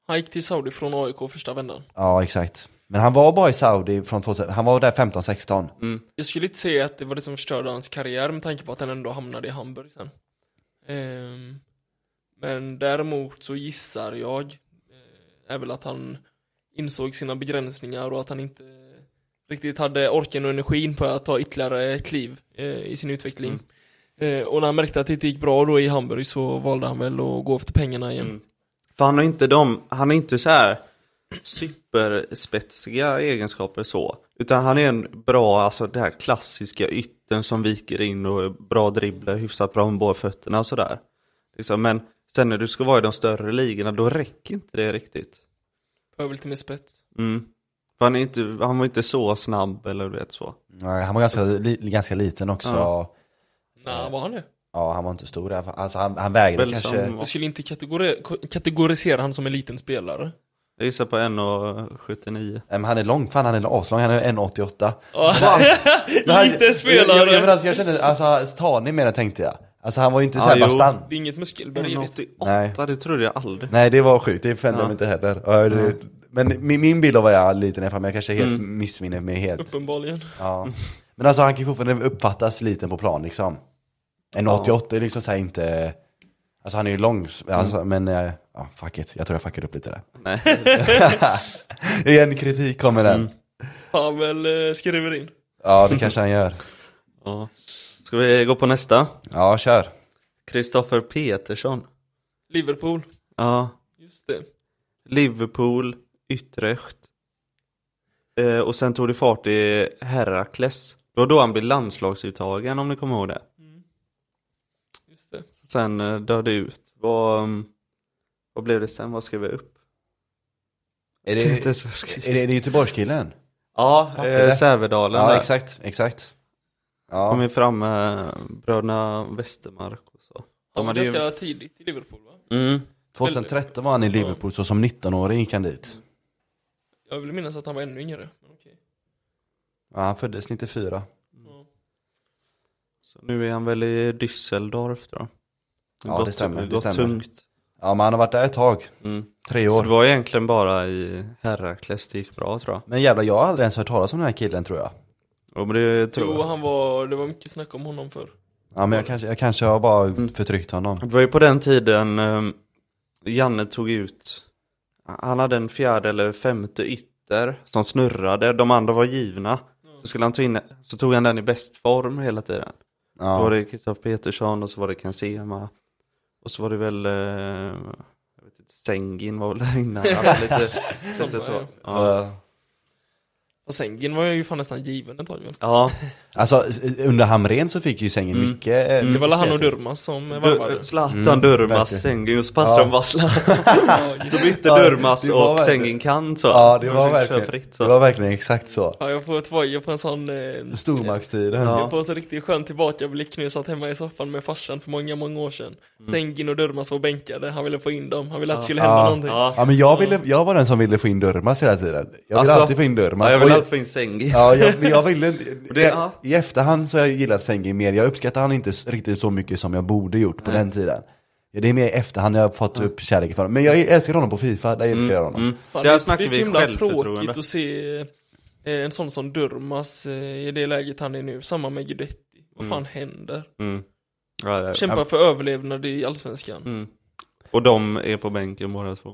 B: Han gick till Saudi från AIK första vändan.
A: Ja, exakt. Men han var bara i Saudi från 2000, han var där 15-16.
C: Mm.
B: Jag skulle inte säga att det var det som förstörde hans karriär med tanke på att han ändå hamnade i Hamburg sen. Ehm, men däremot så gissar jag eh, är väl att han insåg sina begränsningar och att han inte riktigt hade orken och energin på att ta ytterligare kliv eh, i sin utveckling. Eh, och när han märkte att det inte gick bra då i Hamburg så valde han väl att gå efter pengarna igen.
C: Mm. För han har inte de, han är inte så här superspetsiga egenskaper så. Utan han är en bra, alltså det här klassiska ytten som viker in och är bra dribblar, hyfsat bra med båda fötterna och sådär. Liksom, men sen när du ska vara i de större ligorna, då räcker inte det riktigt.
B: Behöver lite mer spets.
C: Mm. För han, är inte, han var inte så snabb eller du vet så.
A: Nej, Eh, Han var ganska, li, ganska liten också. Ja.
C: Ja.
B: Nej, var han det?
A: han var inte stor i alla fall. Alltså han, han vägde
C: Väl
A: kanske.
C: som-
B: Jag skulle inte kategori kategorisera han som en liten spelare.
C: Jag gissar på 1,79.
A: Nej, men han är lång, fan han är aslång, han är 1,88. Men han-
B: Liten spelare!
A: Jag, jag, men alltså, jag kände, alltså tanig mer tänkte jag. Alltså han var ju inte såhär
C: Ja, jo.
A: bastant.
B: Det är inget muskelberg i det.
C: 1,88, det trodde jag aldrig.
A: Nej det var sjukt, det förväntade jag
C: Ja.
A: mig inte heller. Ja, det, Men min, min bild av vad jag är liten är, fan, men jag kanske helt
C: Mm.
A: missminner mig helt.
B: Uppenbarligen.
A: Ja. Men alltså han kan ju fortfarande uppfattas liten på plan liksom. En 88 är liksom såhär inte, alltså han är ju lång, alltså,
C: Mm.
A: men eh, ja, fuck it, jag tror jag fuckade upp lite där.
C: Nej.
A: Igen, kritik kommer den.
C: Mm.
B: Fan väl eh, skriver in.
A: Ja det kanske han gör.
C: Ja. Ska vi gå på nästa?
A: Ja, kör.
C: Kristoffer Petersson.
B: Liverpool.
C: Ja.
B: Just det.
C: Liverpool, Utrecht. Eh, och sen tog det fart i Herakles. Det var då han blev landslagsuttagen om ni kommer ihåg det.
B: Just det.
C: Sen eh, dör det ut. Vad, mm, vad blev det sen? Vad skrev jag upp?
A: Är
C: Jag vet
A: det,
C: inte ens vad jag skrev.
A: är det, är det Göteborgskillen?
C: Ja,
A: Tappade det.
C: eh, Sävedalen
A: Ja
C: där.
A: exakt, exakt. Ja.
C: De är framme, eh, bröderna Westermark och så.
B: Han
C: De
B: var
C: hade ju...
B: ganska tidigt i Liverpool va?
C: Mm.
A: 2013 var han i Liverpool, så som 19-åring gick han dit.
B: Jag vill minnas att han var ännu yngre. Men okej.
A: Ja, han föddes 94.
C: Mm.
B: Ja.
C: Så nu är han väl i Düsseldorf då.
A: Ja, det stämmer, det
C: gått
A: stämmer.
C: tungt.
A: Ja, men han har varit där ett tag.
C: Mm.
A: Tre
C: Så det
A: år.
C: var egentligen bara i Herakles det gick bra tror jag.
A: Men jävlar, jag har aldrig ens hört talas om den här killen tror jag.
C: Ja, men det tror
B: Jo,
C: jag.
B: han var, det var mycket snack om honom förr.
A: Ja, men jag kanske, jag kanske har bara
C: Mm.
A: förtryckt honom.
C: Det var ju på den tiden ehm, Janne tog ut, han hade en fjärde eller femte ytter som snurrade, de andra var givna. Så, skulle han ta in, så tog han den i bäst form hela tiden. Då var
A: Ja.
C: det Kristoffer Petersson och så var det Kansema. Och så var det väl, eh, jag vet inte, Sengin var väl där innan. Alltså lite, lite så. Ja.
A: Eh,
B: Och Sengin var ju fan nästan given ett tag väl?
C: ja.
A: Alltså, s- under Hamren så fick ju sängen
C: Mm.
A: mycket... eh,
B: Det
A: mycket
B: var väl han och
A: speltid.
B: Durmas som
C: Du-
B: varvade?
C: Zlatan,
A: Mm, verkligen.
C: Durmas, Sengin och så passade
A: Ja.
C: de bara Zlatan.
B: Ja, just
C: Så bytte
A: Ja,
C: Durmas
A: det var
C: och
A: verkligen-
C: Sengin Kant så.
A: Ja, det
C: De
A: var,
C: fick köra
A: verkligen,
C: fritt, så.
A: det var verkligen exakt så.
B: Ja, jag får tvåja på en sån... Eh,
A: Stormaktstiden.
C: Ja.
B: Jag får en sån riktigt skön tillbakablick nu, jag satt hemma i soffan med farsan för många, många år sedan. Sengin och Durmas var bänkade, han ville få in dem, han ville att det skulle hända
A: Ja.
B: någonting.
C: Mm. Ja.
A: Ja, men jag, ville, jag var den som ville få in Durmas hela tiden. Jag ville
C: Alltså,
A: alltid få in Durmas.
C: Ja, jag
A: Och
C: vill
A: jag-
C: alltid få in Sengin.
A: Ja, jag, men jag ville
C: det- ja.
A: I efterhand så har jag gillat Sengin mer. Jag uppskattar han inte s- riktigt så mycket som jag borde gjort på den tiden. Ja, det är mer i efterhand jag har fått upp kärleken för honom. Men jag älskar honom på Fifa, där älskar jag honom.
C: Mm.
B: Fan,
C: Där
B: det, det
C: snackar
B: är så
C: vi
B: himla
C: självförtroende.
B: tråkigt att se eh, en sån som Durmas eh, i det läget han är nu, samma med Guidetti. Vad fan händer?
C: Mm. Ja, det är.
B: Kämpar för överlevnad i Allsvenskan.
C: Mm. Och de är på bänken båda två.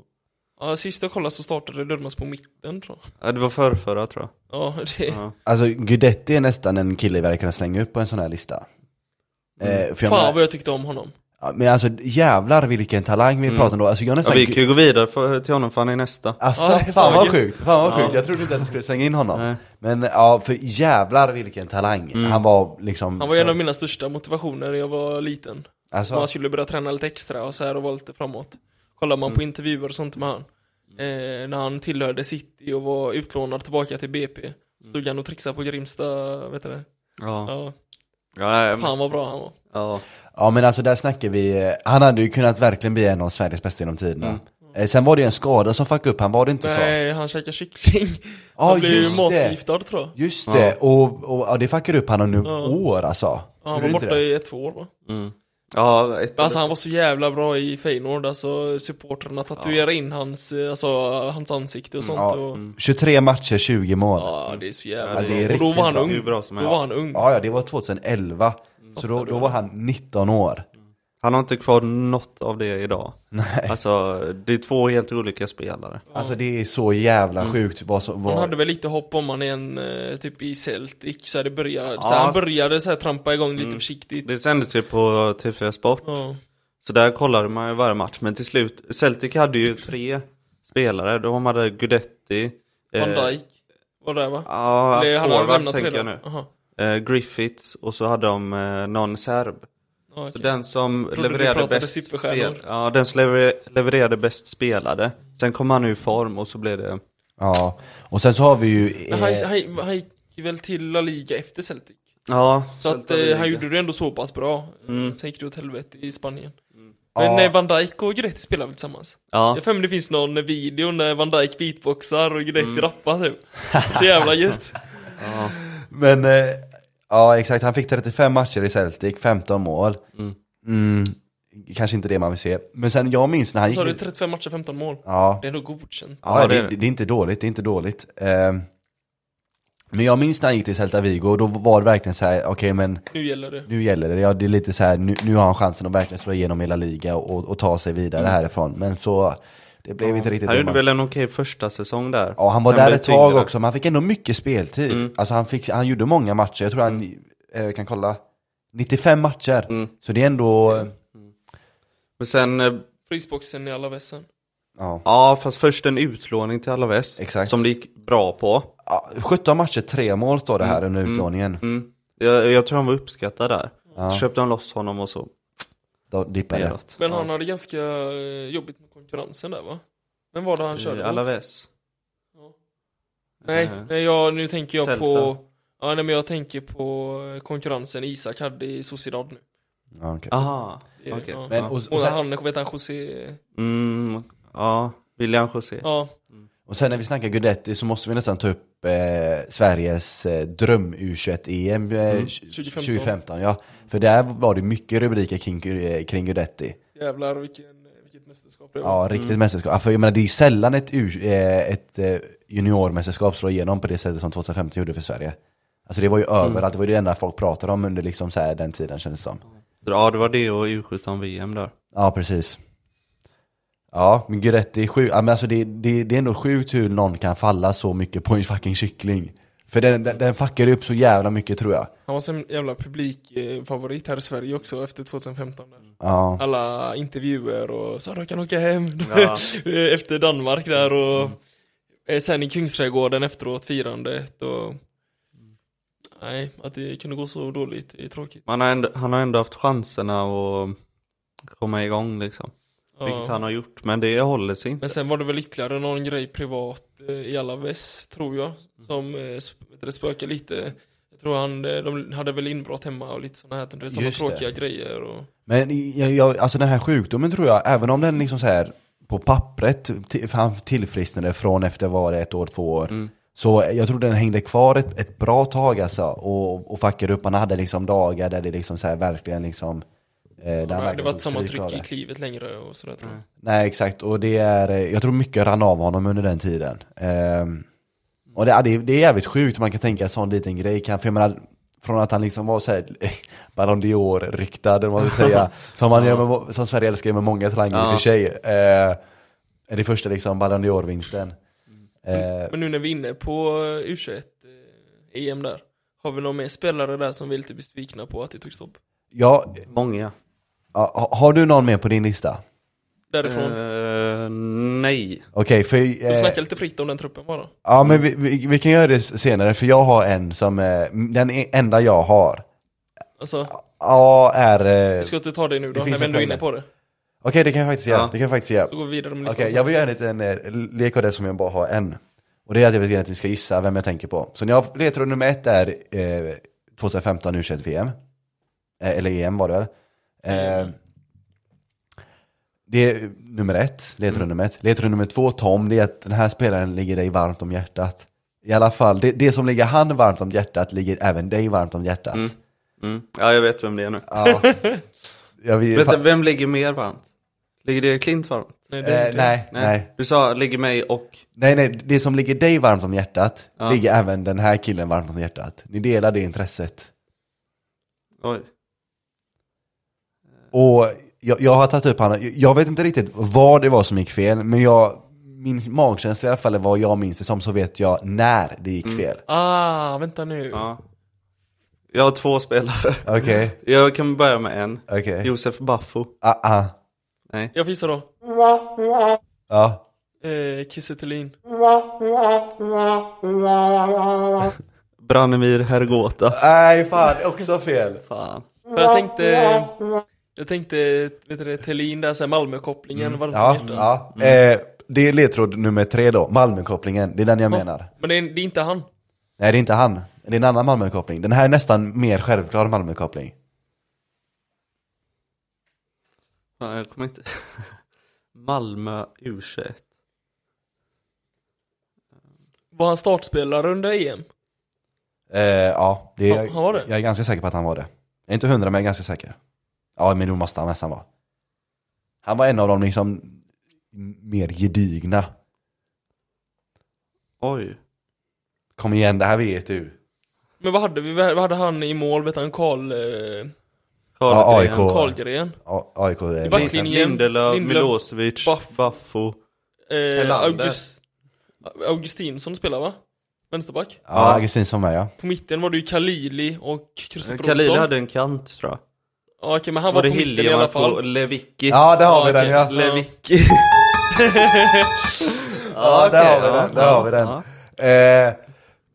B: Ja, sist jag kollade så startade Durmas på mitten tror jag.
C: Ja, det var förrförra tror jag.
B: Ja, det,
C: Ja.
A: Alltså Guidetti är nästan en kille vi hade kunnat slänga upp på en sån här lista. Eh, för jag
B: fan
A: menar,
B: vad jag tyckte om honom.
A: ja, men alltså jävlar vilken talang vi pratar om då. Alltså jag är
C: Ja,
A: nästan...
C: vi kan ju gå vidare för, till honom för han är nästa.
A: Alltså,
B: Ja, det är
A: fan,
B: fan
A: vad
B: gud.
A: sjukt, fan vad
C: Ja.
A: sjukt. Jag trodde inte att du skulle slänga in honom.
C: Nej.
A: Men ja, för jävlar vilken talang. Han var liksom...
B: Han var en av mina största motivationer när jag var liten.
A: Alltså,
B: Man skulle börja träna lite extra och så här och vara lite framåt. Kollar man på
C: Mm.
B: intervjuer och sånt med han. Eh, när han tillhörde City och var utlånad tillbaka till BP. Stod han och trixade på Grimsta, vet du det?
C: Mm. Ja.
B: Ja.
C: Ja, ja,
B: Fan vad bra han var.
C: ja.
A: ja men alltså där snackar vi, eh, han hade ju kunnat verkligen bli en av Sveriges bästa genom tiderna. Eh, Sen var det ju en skada som fuckade upp han, var det inte så?
B: Mm. Nej, han käkade kyckling.
A: Ja,
B: han blev ju
A: just det.
B: matförgiftad tror jag.
A: Just det, och, och, och det fuckade upp han under år alltså.
B: Ja, han
A: Gjorde
B: var
A: inte
B: borta
A: det?
B: i ett, två år va?
C: Mm. Ja, ett
B: Men Alltså han var så jävla bra i Feyenoord, alltså supportrarna tatuerade in hans, eh, alltså, hans ansikte och sånt
A: Mm, Ja,
B: och,
A: 23 matcher, 20 mål. Ja,
B: Ja det är så
C: Ja,
B: jävla
A: är
C: det
B: bra. Och då
A: riktigt
B: var han
A: bra.
B: ung,
C: Hur bra som
B: då
C: helst.
B: var han ung
A: ja det var 2011. Så då, då var han 19 år.
C: Han har inte kvar något av det idag. Nej. Alltså, det är två helt olika spelare.
A: Alltså det är så jävla sjukt vad som
B: Mm. Han
A: var...
B: hade väl lite hopp om han igen, eh, typ i Celtic, så här, det började, så
C: Ja,
B: här, han
C: ass-
B: började så här, trampa igång
A: Mm.
B: lite försiktigt
C: Det sändes ju på TV4 Sport,
B: ja.
C: så där kollade man ju varje match. Men till slut, Celtic hade ju tre spelare. De hade Gudetti,
A: Eh,
C: eh,
B: Van Dijk var där va?
C: ja,
B: Eller, han hade
C: forward
B: lämnat
C: tänker jag
B: redan?
C: nu.
B: Aha.
C: Eh, Griffiths och så hade de eh, någon serb.
B: Ja,
C: Så
B: okej.
C: den som
B: Trodde du
C: levererade
B: pratade
C: bäst
B: superstjärnor.
C: spel, ja, den som lever- levererade bäst spelade. Sen kom han ur form och så blev det
A: Ja. Och sen så har vi ju...
B: Men han,
A: Eh,
B: han, han gick ju väl till La Liga efter Celtic
C: Ja,
B: Så att,
C: Celta
B: eh,
C: Vigo.
B: han gjorde det ändå så pass bra
C: Mm.
B: Sen gick det åt helvete i Spanien Men
A: Ja.
B: nej, Van Dijk och Guidetti spelar väl tillsammans?
C: Ja,
B: Jag för mig det finns någon eh, video när Van Dijk beatboxar och Guidetti rappar typ Så jävla gött
A: Men, eh, ja exakt, han fick 35 matcher i Celtic, 15 mål. Mm, kanske inte det man vill se. Men sen, jag minns när han
B: Så har du
A: gick...
B: 35 matcher, 15 mål
A: Ja,
B: Det är nog godkänt
A: ja
C: Ja,
A: det,
C: det-
A: det, är inte dåligt, det är inte dåligt. Ehm, men jag minns när han gick till Celta Vigo, och då var det verkligen så här, okej men
B: Nu gäller det
A: nu gäller det. Ja, det är lite så här, nu, nu har han chansen att verkligen slå igenom hela liga och, och, och ta sig vidare härifrån. Men så, det blev inte riktigt
C: han
A: det
C: gjorde
A: man-
C: väl en okej första säsong där.
A: Ja, han var
C: Sen
A: där
C: blev
A: ett
C: det tyngre. Mm.
A: tag också, men han fick ändå mycket speltid. Alltså han, fick, han gjorde många matcher, jag tror han, eh, kan kolla, 95 matcher.
C: Mm.
A: Så det är ändå,
C: Men sen, eh,
B: Frysboxen i alla vässen
A: ja.
C: ja fast först en utlåning till Alaves.
A: Exakt.
C: Som det gick bra på.
A: Ja, 17 matcher, 3 mål står det här under utlåningen.
C: Mm. Jag, jag tror han var uppskattad där.
A: Ja.
C: Så köpte han loss honom och så.
A: Då dippade det.
C: neråt.
B: Men han hade ganska eh, jobbigt med konkurrensen där va? Vem var det han
C: I
B: körde mot?
C: Alaves.
B: Nej,
C: Eh,
B: nej jag, nu tänker jag
C: Celta.
B: på Ja nej, men jag tänker på eh, konkurrensen Isak hade i Sociedad nu
A: Ja, okej.
C: Aha,
B: Det är-
C: okej.
B: ja.
A: Men,
C: Ja.
A: och, och,
B: Och
A: sen,
B: han, vad heter han, José?
C: Mm, ja, William José.
B: Ja,
A: och sen när vi snackar Gudetti så måste vi nästan ta upp eh, Sveriges eh, dröm U21-EM eh,
C: Mm.
B: 2015.
A: 2015. Ja. För där var det mycket rubriker kring, eh, kring Gudetti.
B: jävlar vilken, vilket mästerskap det var
A: Ja, riktigt mästerskap. Ja, För jag menar, det är sällan ett, U- eh, ett eh, juniormästerskap slår igenom på det sättet som 2015 gjorde för Sverige. Alltså det var ju överallt, det var ju det enda folk pratade om under liksom så här, den tiden kändes det som.
C: Ja, det var det och U17-VM där.
A: Ja, precis. Ja, men Guidetti är sjukt. Ja, men alltså det, det, det är ändå sjukt hur någon kan falla så mycket på en fucking kyckling. För den, den, den fuckar upp så jävla mycket tror jag.
B: Han var så en jävla publikfavorit här i Sverige också efter 2015 där.
C: Mm.
A: Ja,
B: Alla intervjuer och så de kan åka hem
C: Ja. Mm.
B: efter Danmark där och eh, sen i Kungsträdgården efteråt firandet och
C: Mm.
B: Nej, att det kunde gå så dåligt är tråkigt
C: Man har ändå, han har ändå haft chanserna att komma igång liksom. Vilket
B: ja.
C: han har gjort, men det håller sig inte.
B: Men sen var det väl ytterligare någon grej privat eh, i Alaves tror jag
C: Mm.
B: som eh, sp- vet du, det spökade lite jag tror han, eh, de hade väl inbrott hemma och lite sådana här såna
A: Just det.
B: tråkiga grejer och
A: men jag, jag, alltså den här sjukdomen tror jag, även om den liksom så här på pappret, till, han tillfrisknade från efter var det ett år, två år.
B: Mm.
A: Så jag tror den hängde kvar ett, ett bra tag alltså och, och fuckade upp. Han hade liksom dagar där det liksom så här verkligen liksom... Eh, där han
B: Ja, det
A: verkligen tog
B: var inte samma
A: stryk av
B: tryck i
A: det.
B: klivet längre och sådär tror jag.
A: Nej exakt, och det är, eh, jag tror mycket rann av honom under den tiden. Ehm, och det, ja, det, är- det är jävligt sjukt, man kan tänka en sån liten grej. Kan, för jag menar, från att han liksom var såhär Ballon d'Or-ryktad, eller vad man ska säga. som, man gör med, som Sverige älskar med många talanger i och
C: Ja.
A: för sig. Eh, är det första liksom Ballon d'Or-vinsten. Eh,
B: Mm. Men nu när vi är inne på eh, U21 eh, EM där Har vi någon mer spelare där som vi är lite besvikna på att det tog stopp?
A: ja,
C: Många.
A: ja, ha- har du någon mer på din lista?
B: Därifrån?
C: Eh, nej.
A: Okej, för...
B: Du
A: eh,
B: snackar lite fritt om den truppen bara
A: Ja men vi, vi, vi kan göra det senare för jag har en som, eh, den e- enda jag har
B: Alltså,
A: Ja, är... eh,
B: vi ska inte ta det nu då,
A: finns
B: när vi
A: en
B: ändå är
A: poäng
B: inne på det.
A: Okej, det kan jag faktiskt göra.
C: Ja.
A: Det kan jag faktiskt göra.
B: Så går vi vidare med
A: Okej,
B: listan sen.
A: jag vill göra en liten eh, lek av det som jag bara har en. Och det är att jag vill gärna att ni ska gissa vem jag tänker på. Så när jag ledtråd nummer ett är eh, 2015 U21-VM. E Eh, eller EM var det väl? Eh, det är nummer ett, ledtråd nummer ett. Ledtråd nummer två, Tom, det är att den här spelaren ligger dig varmt om hjärtat. I alla fall, det, det som ligger han varmt om hjärtat ligger även dig varmt om hjärtat.
C: Mm. Mm. Ja, jag vet vem det är nu.
A: Ja. Jag vill,
C: Vänta, vem ligger mer varmt? Ligger det Klint varmt?
B: Nej, det är
A: eh,
B: inte-
A: nej, nej.
C: Du sa ligger mig och...
A: Nej, nej, det som ligger dig varmt om hjärtat
C: Ja.
A: ligger även den här killen varmt om hjärtat. Ni delar det intresset.
C: Oj.
A: Och jag, jag har tagit upp honom, jag vet inte riktigt vad det var som gick fel, men jag, min magkänsla i alla fall är vad jag minns det som, så vet jag när det
B: Mm.
A: gick fel.
B: Ah, vänta nu.
C: Ja. Jag har två spelare.
A: Okej,
C: Jag kan börja med en.
A: okej.
C: Josef Baffo.
A: Ah, ah.
C: Nej.
B: Jag visar då.
A: Ja.
B: Eh, Kiese Thelin.
C: Branimir Hergota.
A: Nej, fan, också fel.
C: Fan.
B: För jag tänkte, jag tänkte, vet du det, Thelin där, så här Malmö-kopplingen, varmt om
A: Mm. Ja,
B: hjärtat. Mm.
A: ja. Eh, det är ledtråd nummer tre då, Malmökopplingen, det är den jag menar.
B: Men det är, det är inte han.
A: Nej, det är inte han. Det är en annan Malmökoppling. Den här är nästan mer självklar Malmökoppling.
C: Fan, jag kommer inte... Malmö U21.
B: Var han startspelare under E EM?
A: Eh, ja, det är,
B: Ja, han var det.
A: jag är ganska säker på att han var det. Jag är inte hundra, men jag är ganska säker. Ja, men då måste han nästan vara. Han var en av de liksom mer gedigna.
C: Oj.
A: Kom igen, det här vet du.
B: Men vad hade vi? Vad hade han i mål? Vet han Karl... Eh,
A: Ja,
C: Karlgren.
A: AIK.
B: Karlgren?
A: A- eh, AIK är
B: var-
A: med.
B: Backlinjen,
C: Lindelöf,
B: Lindelöf,
C: Milosevic,
B: Baff-
C: Baffo.
B: Eh,
C: Helander.
B: August, Augustinsson spelar va? Vänsterback?
A: Ja, Augustinsson med ja.
B: På mitten var det ju Kalili och Kristoffer
C: Kalil
B: Olsson.
C: Eh, hade en kant tror jag.
B: Ja, okej, men han
C: var
B: var,
C: det
B: på mitten i alla
C: Hiljemark och
B: fall.
C: Levicki.
A: Ja, där har
B: Ja,
A: vi den
B: okej.
A: ja.
C: Levicki.
A: Ja, där har
C: okej,
A: vi
C: ja,
A: den. Där har vi den.
C: ja.
A: Eh,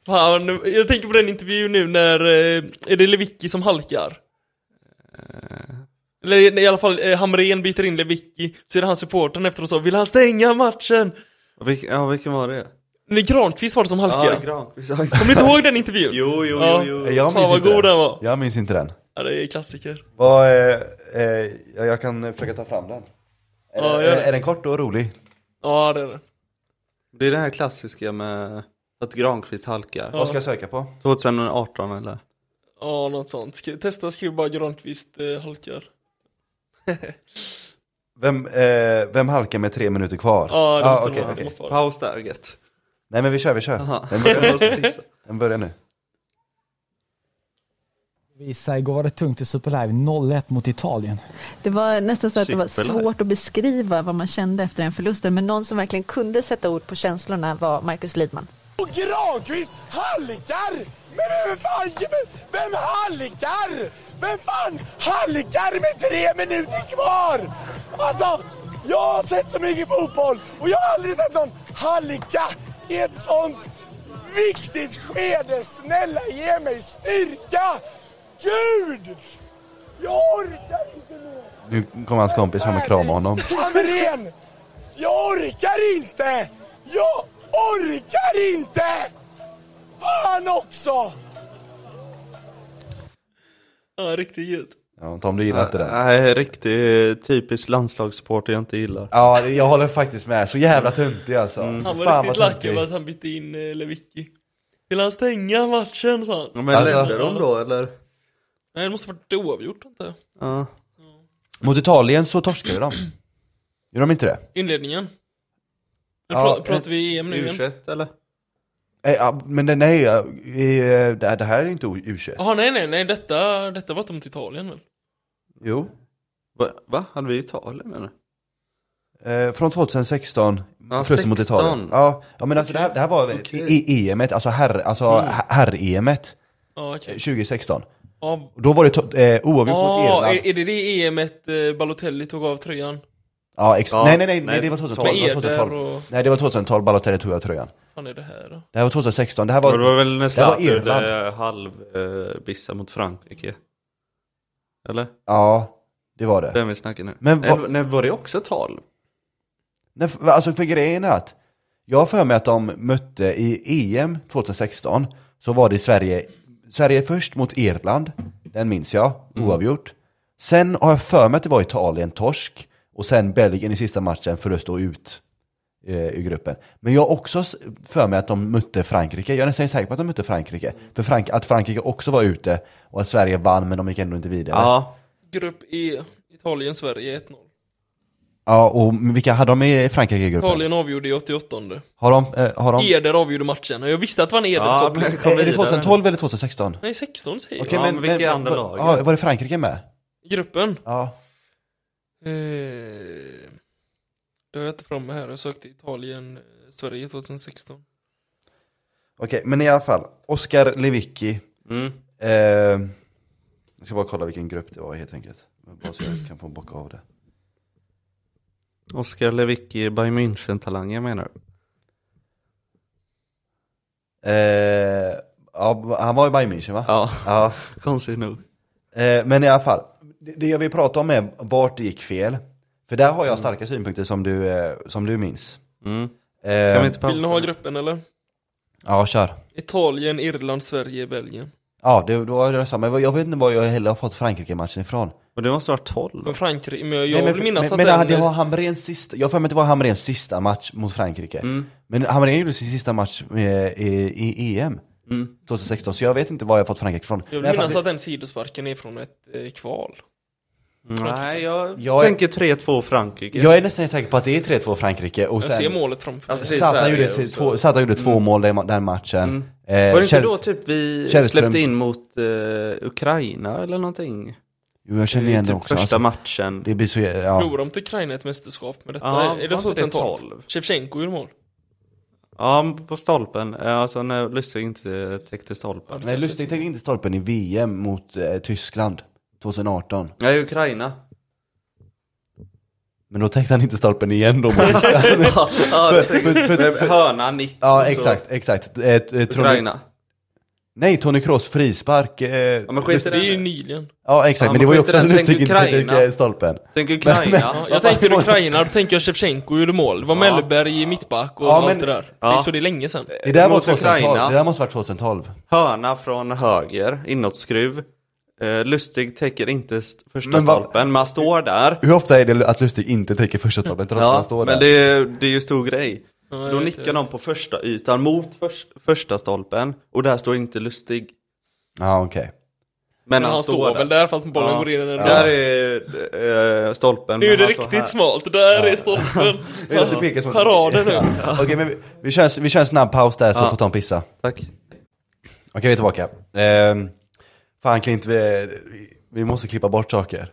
B: Fan, nu- jag tänker på den intervjun nu när, eh, är det Lewicki som halkar? Eller i alla fall, eh, Hamrén byter in Lewicki, så är det han supporten efteråt så vill han stänga matchen?
C: Vilken, ja, vilken var det?
B: Nej, Granqvist var det som halkade.
C: Ja, Granqvist. Ja.
B: Kommer ni inte ihåg den intervjun?
C: Jo, jo,
B: Ja.
C: jo, jo.
A: jag
B: Fan,
A: minns
B: vad
A: inte
B: god den var.
A: Jag minns inte den.
B: Ja, det är klassiker.
A: Vad, eh, eh, jag- jag kan eh, försöka ta fram den. Är,
B: Ja,
A: det-
B: gör
A: är,
B: det.
A: är den kort och rolig?
B: Ja, det är det.
C: Det är det här klassiska med att Granqvist halkar.
B: Ja.
A: Vad ska jag söka på?
C: 2018 eller?
B: Ja, något sånt. Skri testa skriv bara Granqvist eh, halkar.
A: Vem, eh, vem halkar med tre minuter kvar?
B: Ja, det måste det
A: okej,
B: vara.
A: okej.
B: Det måste vara.
C: Paus där gött.
A: Nej men vi kör, vi kör.
C: Jaha.
A: Den börjar,
C: Jag måste pissa.
A: den börjar nu.
D: Visa, igår var det tungt i Superlive, 0-1 mot Italien.
E: Det var nästan så att det var
C: Superlive.
E: svårt att beskriva vad man kände efter den förlusten, men någon som verkligen kunde sätta ord på känslorna var Marcus Lidman.
F: Och Granqvist halkar! Men vem fan, vem halkar? Vem fan halkar med tre minuter kvar? Alltså, jag har sett så mycket fotboll och jag har aldrig sett någon halka i ett sånt viktigt skede. Snälla ge mig styrka! Gud! Jag orkar inte mer!
A: Nu kommer hans kompis fram och kramar honom.
F: Hamrén! Jag orkar inte! Jag orkar inte! Fan också!
B: Ja, riktigt gött.
A: Ja, Tom du gillar inte den.
C: Nej, riktig typisk landslagssupporter jag inte gillar.
A: Ja, jag håller faktiskt med. Så jävla töntig alltså.
B: Han var
A: Fan vad
B: riktigt lack
A: töntig.
B: över att han bytte in eh, Lewicki. Vill han stänga matchen, sa han.
C: Men
A: Alltså-
C: ledde de då eller?
B: Nej, det måste varit oavgjort, antar jag.
C: Ja.
A: Mot Italien så torskar ju de. Gör de inte det?
B: Inledningen. Men
A: Ja,
B: pra- pratar vi EM nu igen?
C: U21 eller?
A: Eh, ja, men det- nej, eh, eh, det här- det här är inte u
B: Jaha, nej, nej, nej, detta, detta var inte mot Italien väl?
A: Jo.
C: Va? Va? Hade vi Italien eller?
A: Eh, från 2016,
C: Ja,
A: förlusten mot
C: 16.
A: Italien. Ja, ja men alltså det här, det här var
C: Okej.
A: i EM, alltså herr-EM alltså, herr EMet,
B: Ja,
A: eh,
B: okej.
A: 2016.
B: Ja,
A: Då var det to- eh, oavgjort mot
B: ah,
A: Irland.
B: är, är det det EM et eh, Balotelli tog av tröjan?
A: Ja, ex-
C: Ja,
A: nej, nej, nej,
C: nej,
A: nej, det var 2012.
B: Med
A: Det var
B: Eder
A: 2012.
B: E och...
A: Nej, det var 2012, Balotelli tog jag tröjan.
B: fan är det här då?
A: Det här var 2016, det här
C: Ja, Det
A: var...
C: var väl när
A: Det var
C: Zlatan
A: Irland.
C: gjorde halvbissa mot eh, Frankrike. Eller?
A: Ja, det var det.
C: Den vi snackar nu.
A: Men
C: nej,
A: vad-
C: nej, var det också 12?
A: Nej, för, alltså för grejen är att jag har för mig att de mötte i EM 2016 så var det Sverige, Sverige först mot Irland, den minns jag, oavgjort. Sen har jag för mig att det var Italien torsk och sen Belgien i sista matchen förlust och ut eh, ur gruppen. Men jag har också s- för mig att de mötte Frankrike, jag är nästan säker på att de mötte Frankrike. För Frank att Frankrike också var ute och att Sverige vann men de gick ändå inte vidare.
C: Ja.
B: Grupp E, Italien, Sverige 1-0.
A: Ja, och vilka hade de i Frankrike i gruppen?
B: Italien avgjorde i 88
A: Har de, eh, har de...
B: Eder avgjorde matchen, och jag visste att det var en Eder
C: Ja,
B: koppling.
C: men
A: Är
C: E, kom
A: är det
C: vidare.
A: 2012 eller 2016?
B: Nej, 16 säger
A: Okej,
C: Ja,
A: men,
C: men vilka
A: men-
C: andra
A: va-
C: lag?
A: Ja, var det Frankrike med?
B: jag. Gruppen.
A: Ja.
B: Eh, det har jag inte framme här, jag sökte Italien, eh, Sverige 2016.
A: Okej, men i alla fall. Oskar Lewicki.
C: Mm.
A: Eh, jag ska bara kolla vilken grupp det var helt enkelt. Bara så jag kan få bocka av det.
C: Oskar Lewicki, Bayern München-talanger menar du?
A: Eh, ja, han var i Bayern München va?
C: Ja,
A: ja.
C: konstigt nog.
A: Eh, men i alla fall, det, det jag vill prata om är vart det gick fel. För där har jag starka synpunkter som du, eh, som du minns.
C: Mm.
A: Eh,
C: Kan vi inte pausa?
B: Vill ni ha gruppen eller?
A: Ja, kör.
B: Italien, Irland, Sverige, Belgien.
A: Ja, det, då var det samma. Jag vet inte var jag heller har fått Frankrike-matchen ifrån.
C: Och det måste vara 12.
B: Men Frankrike, men jag
A: Nej,
B: vill minnas
A: men,
B: att
A: men
B: den...
A: det var Hamrens sista, jag har för mig att det var Hamrens sista match mot Frankrike.
C: Mm.
A: Men Hamrén gjorde sin sista match eh, i, i EM
C: Mm.
A: 2016, så jag vet inte var jag fått Frankrike från. Men
B: jag vill
A: i alla
B: minnas
A: fall,
B: att den sidosparken är från ett eh, kval.
C: Nej, jag,
A: Jag är-
C: tänker 3-2 Frankrike.
A: jag är nästan helt säker på att det är 3-2 Frankrike och
B: Jag ser
A: sen
B: målet framför mig.
C: Alltså, precis.
A: Zlatan
C: Sverige
A: gjorde, sitt
C: också.
A: två, Zlatan gjorde två mål den, den matchen.
C: Mm.
A: Eh,
C: Var det inte
A: Chelsea-
C: då typ vi
A: Källström.
C: släppte in mot eh, Ukraina eller någonting?
A: Jo, jag känner
C: I
A: igen
C: typ
A: det också.
C: första
A: Alltså,
C: matchen.
A: det blir så, ja.
B: Förlorade de till Ukraina ett mästerskap med detta?
C: Ja,
B: är det
C: var inte det
B: 2012?
C: 12?
B: Shevchenko gjorde mål.
C: Ja, på stolpen. Eh, Alltså när Lustig inte täckte stolpen.
A: Nej, Lustig tänkte inte stolpen i VM mot eh, Tyskland 2018.
C: Nej, Ukraina.
A: Men då täckte han inte stolpen igen då. mot Tyskland.
C: ja, ja, det tänkte-
A: För- för- för-
C: Hörna, nick
A: ja,
C: och så.
A: exakt, exakt. Eh, eh, Tony,
C: Ukraina.
A: nej, Tony Kroos frispark. Eh,
C: Ja, men skit i
B: Det är ju
C: den.
B: Nilen.
A: Ja exakt,
C: Ja,
A: men det
C: men
A: var ju
C: skit i
A: också
C: den, tänk
A: Lustig inte
C: Ukraina.
A: täckte stolpen.
C: Tänk Ukraina.
B: Ja, jag tänker Ukraina, då tänker jag Shevchenko gjorde mål. Det var Mellberg i mittback och
A: Ja,
B: allt
A: men-
B: det där. Det är
C: Ja.
B: så det är länge sedan.
A: Det där, var
C: Mot
A: 2012.
C: Ukraina.
A: det där måste varit 2012.
C: Hörna från höger, inåtskruv. Eh, Lustig täcker inte st- första
A: Men vad-
C: stolpen, man står där.
A: Hur ofta är det att Lustig inte täcker första stolpen trots att Alltså, han står
C: men
A: där?
C: det är, det är ju stor grej.
B: Ja, jag
C: Då
B: vet,
C: nickar
B: jag
C: de på första ytan mot förs- första stolpen och där står inte Lustig.
A: Ja okej.
C: Men,
B: Men han står väl där fast bollen går in i den
C: ja.
B: där.
C: Där är eh, stolpen.
B: Nu
C: men
B: är det
C: han står
B: riktigt
C: här.
B: smalt, där är stolpen.
A: Jag vill att du pekar som att-
B: Paraden nu.
A: Ja. Okej men vi, vi, kör, en- vi kör en snabb paus där så
C: Ja.
A: får ta en pissa. Okej
C: Tack.
A: vi är tillbaka. Ehm, fan Klint, vi, vi måste klippa bort saker.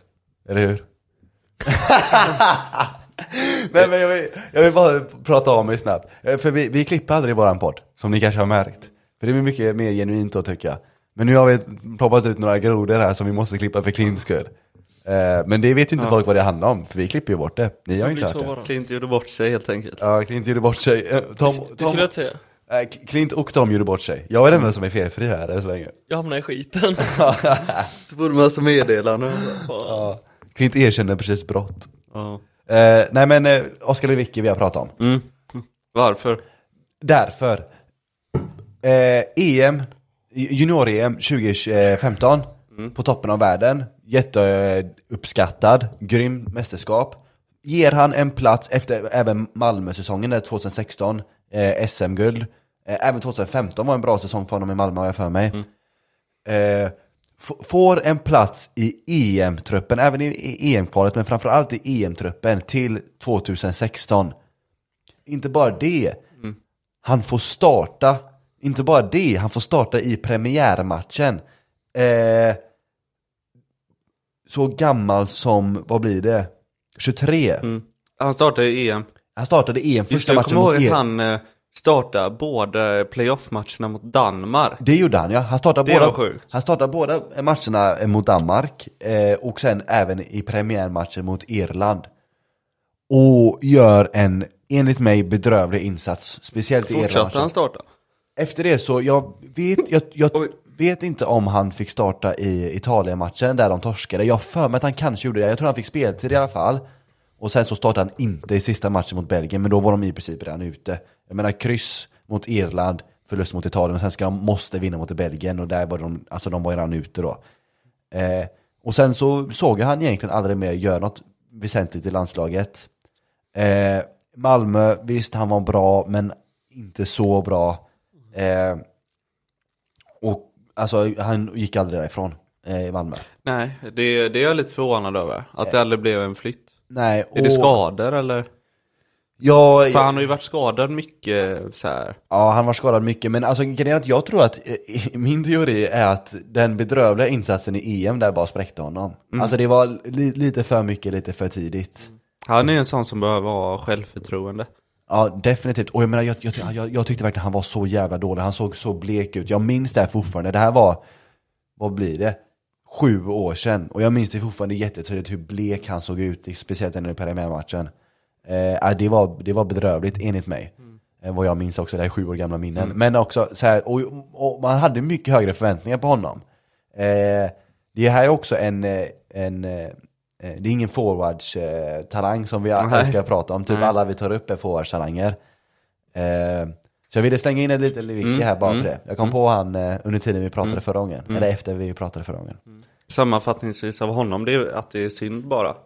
A: Eller hur? Nej men jag vill, jag vill bara prata om mig snabbt. Eh, För vi, vi klipper aldrig våran podd, som ni kanske har märkt. För det blir mycket mer genuint då tycker jag. Men nu har vi ploppat ut några grodor här som vi måste klippa för Klints skull. Eh, Men det vet ju inte folk vad det handlar om, för vi klipper ju bort det. Ni har ju
B: Det
A: inte
B: blir
A: hört
B: så
A: det.
B: bara.
C: Klint gjorde bort sig helt enkelt.
A: Ja, Klint gjorde bort sig. Eh, Tom,
B: Det skulle jag
A: Tom,
B: inte säga. Mm.
A: eh, Klint och Tom gjorde bort sig. Jag är den enda som är felfri här än så länge.
B: Jag hamnar i skiten.
C: Det borde massa meddelanden.
A: Ja. Klint erkänner precis brott.
C: Ja.
A: Eh, nej men eh, Oskar Lewicki vi har pratat om.
C: Mm. Varför?
A: Därför. Eh, EM, junior-EM 2015 på toppen av världen. Jätteuppskattad, grym mästerskap. Ger han en plats efter även Malmö-säsongen där 2016, eh, SM-guld. Eh, även 2015 var en bra säsong för honom i Malmö har jag för mig. Eh, f- får en plats i EM-truppen, även i, i EM-kvalet men framförallt i EM-truppen till 2016. Inte bara det, han får starta, inte bara det, han får starta i premiärmatchen. Eh, så gammal som, vad blir det? 23.
C: Han startade i EM.
A: Han startade EM
C: Just
A: första
C: det, jag
A: matchen
C: kommer ihåg
A: mot E
C: att
A: er.
C: han eh, startade båda playoff-matcherna mot Danmark.
A: Det gjorde han ja, han startade,
C: Det var
A: båda,
C: sjukt.
A: han startade båda matcherna mot Danmark eh, och sen även i premiärmatchen mot Irland. Och gör en, enligt mig, bedrövlig insats. Speciellt i
C: Fortsatte
A: Irland.
C: han starta?
A: Efter det så, jag vet, jag, jag,
C: Oj.
A: vet inte om han fick starta i Italien-matchen där de torskade. Jag har för mig att han kanske gjorde det. Jag tror han fick speltid i alla fall. Och sen så startade han inte i sista matchen mot Belgien, men då var de i princip redan ute. Jag menar kryss mot Irland, förlust mot Italien och sen ska de, måste vinna mot Belgien och där var de, alltså de var redan ute då. Eh, och sen så såg jag han egentligen aldrig mer göra något väsentligt i landslaget. Eh, Malmö, visst han var bra, men inte så bra. Eh, och alltså han gick aldrig därifrån eh, i Malmö.
C: Nej, det, det är jag lite förvånad över. Att
A: Eh.
C: det aldrig blev en flytt.
A: Nej,
C: Är det skador eller?
A: Ja,
C: För han har ju varit skadad mycket så här.
A: Ja, han var skadad mycket, men alltså grejen är att jag tror att, eh, min teori är att den bedrövliga insatsen i EM där bara spräckte honom. Alltså det var li, lite för mycket, lite för tidigt.
C: Han är en sån som behöver ha självförtroende.
A: Ja, definitivt. Och jag menar, jag, jag, jag, jag tyckte verkligen han var så jävla dålig. Han såg så blek ut. Jag minns det här fortfarande. Det här var, vad blir det? Sju år sedan. Och jag minns det fortfarande jättetydligt hur blek han såg ut. Speciellt under premiärmatchen. Eh, ja, det, var, det var bedrövligt enligt mig. Eh, vad jag minns också, det här är sju år gamla minnen. Men också så här, och, och man hade mycket högre förväntningar på honom. Eh, det här är också en, eh, en eh, eh, det är ingen forwards-talang eh, talang som vi
C: Nej.
A: älskar att prata om. Typ
C: Nej.
A: alla vi tar upp är forwardstalanger. Eh, så jag ville slänga in ett litet lirike
C: Mm,
A: här bara
C: mm,
A: för det. Jag kom
C: mm.
A: på han eh, under tiden vi pratade
C: Mm.
A: förra gången.
C: Mm.
A: Eller efter vi pratade förra gången.
C: Sammanfattningsvis av honom, det är ju att det är synd bara.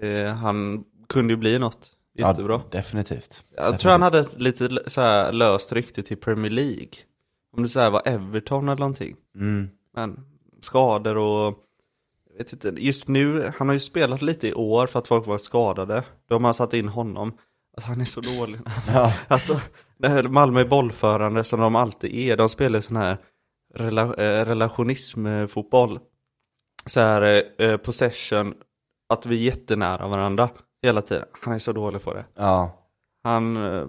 C: Eh, han kunde ju bli något jättebra.
A: Ja, definitivt.
C: Jag tror han hade ett lite l- så här löst rykte till Premier League. Om det så här var Everton eller någonting.
A: Mm.
C: Men skador och... Jag vet inte, just nu, han har ju spelat lite i år för att folk var skadade. Då har man satt in honom. Alltså han är så dålig.
A: Ja.
C: Alltså, det här Malmö är bollförande som de alltid är. De spelar sån här rela eh, relationism-fotboll. Så här eh, possession, att vi är jättenära varandra hela tiden. Han är så dålig på det.
A: ja.
C: Han, eh,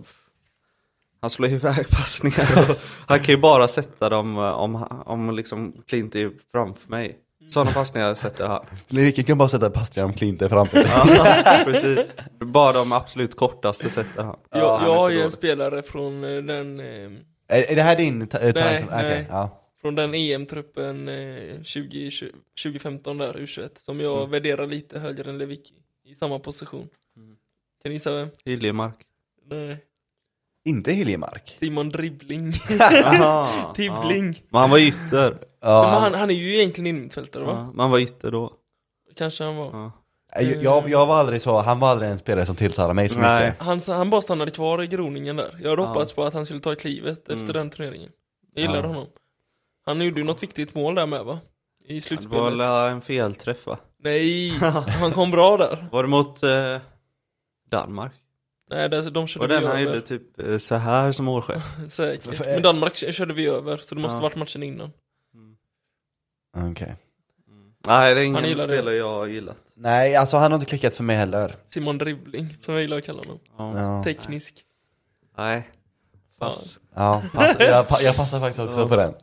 C: han slår iväg passningar. och han kan ju bara sätta dem eh, om, om liksom Klint är framför mig. Sådana passningar sätter han.
A: Lirike kan bara sätta Bastian Klint där framför dig.
C: Ja, precis. Bara de absolut kortaste sätter han.
B: Jag,
C: Han är
B: jag
C: så
B: har ju en
C: dålig.
B: spelare från eh, den, eh,
A: är, är det här din ta- eh, talang? som-
B: Nej,
A: okej,
B: nej.
A: Ja.
B: från den EM-truppen eh, 20, 2015 där, U21, som jag värderar lite högre än Lewicki i samma position. Kan ni gissa vem?
C: Hiljemark.
B: Nej.
A: Inte Hiljemark.
B: Simon Dribbling.
C: Aha,
B: Tibbling.
C: ja. Men han var ytter.
A: Ja,
B: Men han, han är ju egentligen innermittfältare va?
C: Ja, Man var ytter då.
B: Kanske han var.
C: Ja.
A: jag, Eh, jag, jag var aldrig så, han var aldrig en spelare som tilltalade mig så
C: Nej.
A: mycket.
B: Han, han bara stannade kvar i groningen där. Jag hade
C: Ja.
B: hoppats på att han skulle ta klivet efter den turneringen. Jag gillade
A: Ja.
B: honom. Han gjorde ju något viktigt mål där med va? I
C: Det var
B: slutspelet.
C: väl eh, en felträff va?
B: Nej, han kom bra där.
C: Var det mot eh, Danmark?
B: Nej, där, de körde
C: Var
B: vi
C: den
B: över.
C: han gjorde typ eh, så här som målchef?
A: För-
B: Säkert.
A: för-
B: Men Danmark k- körde vi över, så det måste
C: Ja.
B: varit matchen innan.
A: Okej.
C: Nej, det är ingen
B: Han gillade
C: spelare jag har gillat.
A: Nej, alltså han har inte klickat för mig heller.
B: Simon Dribbling, som jag gillar att kalla honom.
A: Ja.
B: Teknisk.
C: Nej. Pass.
A: Ja, pass, jag, pa- jag passar faktiskt också
C: Ja.
A: på den.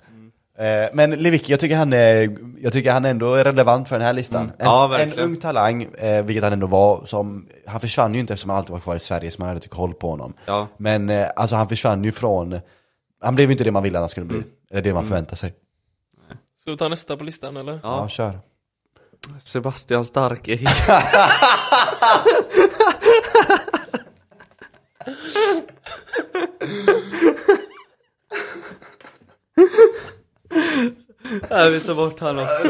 A: Eh, Men Lewicki, jag tycker han är, jag tycker han ändå är relevant för den här listan. En,
C: Mm. Ja,
A: en
C: verkligen.
A: ung talang, eh, vilket han ändå var, som, han försvann ju inte eftersom han alltid var kvar i Sverige, så man hade inte koll på honom.
C: Ja.
A: Men eh, alltså han försvann ju från, han blev ju inte det man ville att han skulle bli.
C: Mm.
A: Eller det man förväntade sig.
B: Ska vi ta nästa på listan eller?
A: Ja,
C: ja.
A: kör.
C: Sebastian Starke. Nej, vi tar bort han också.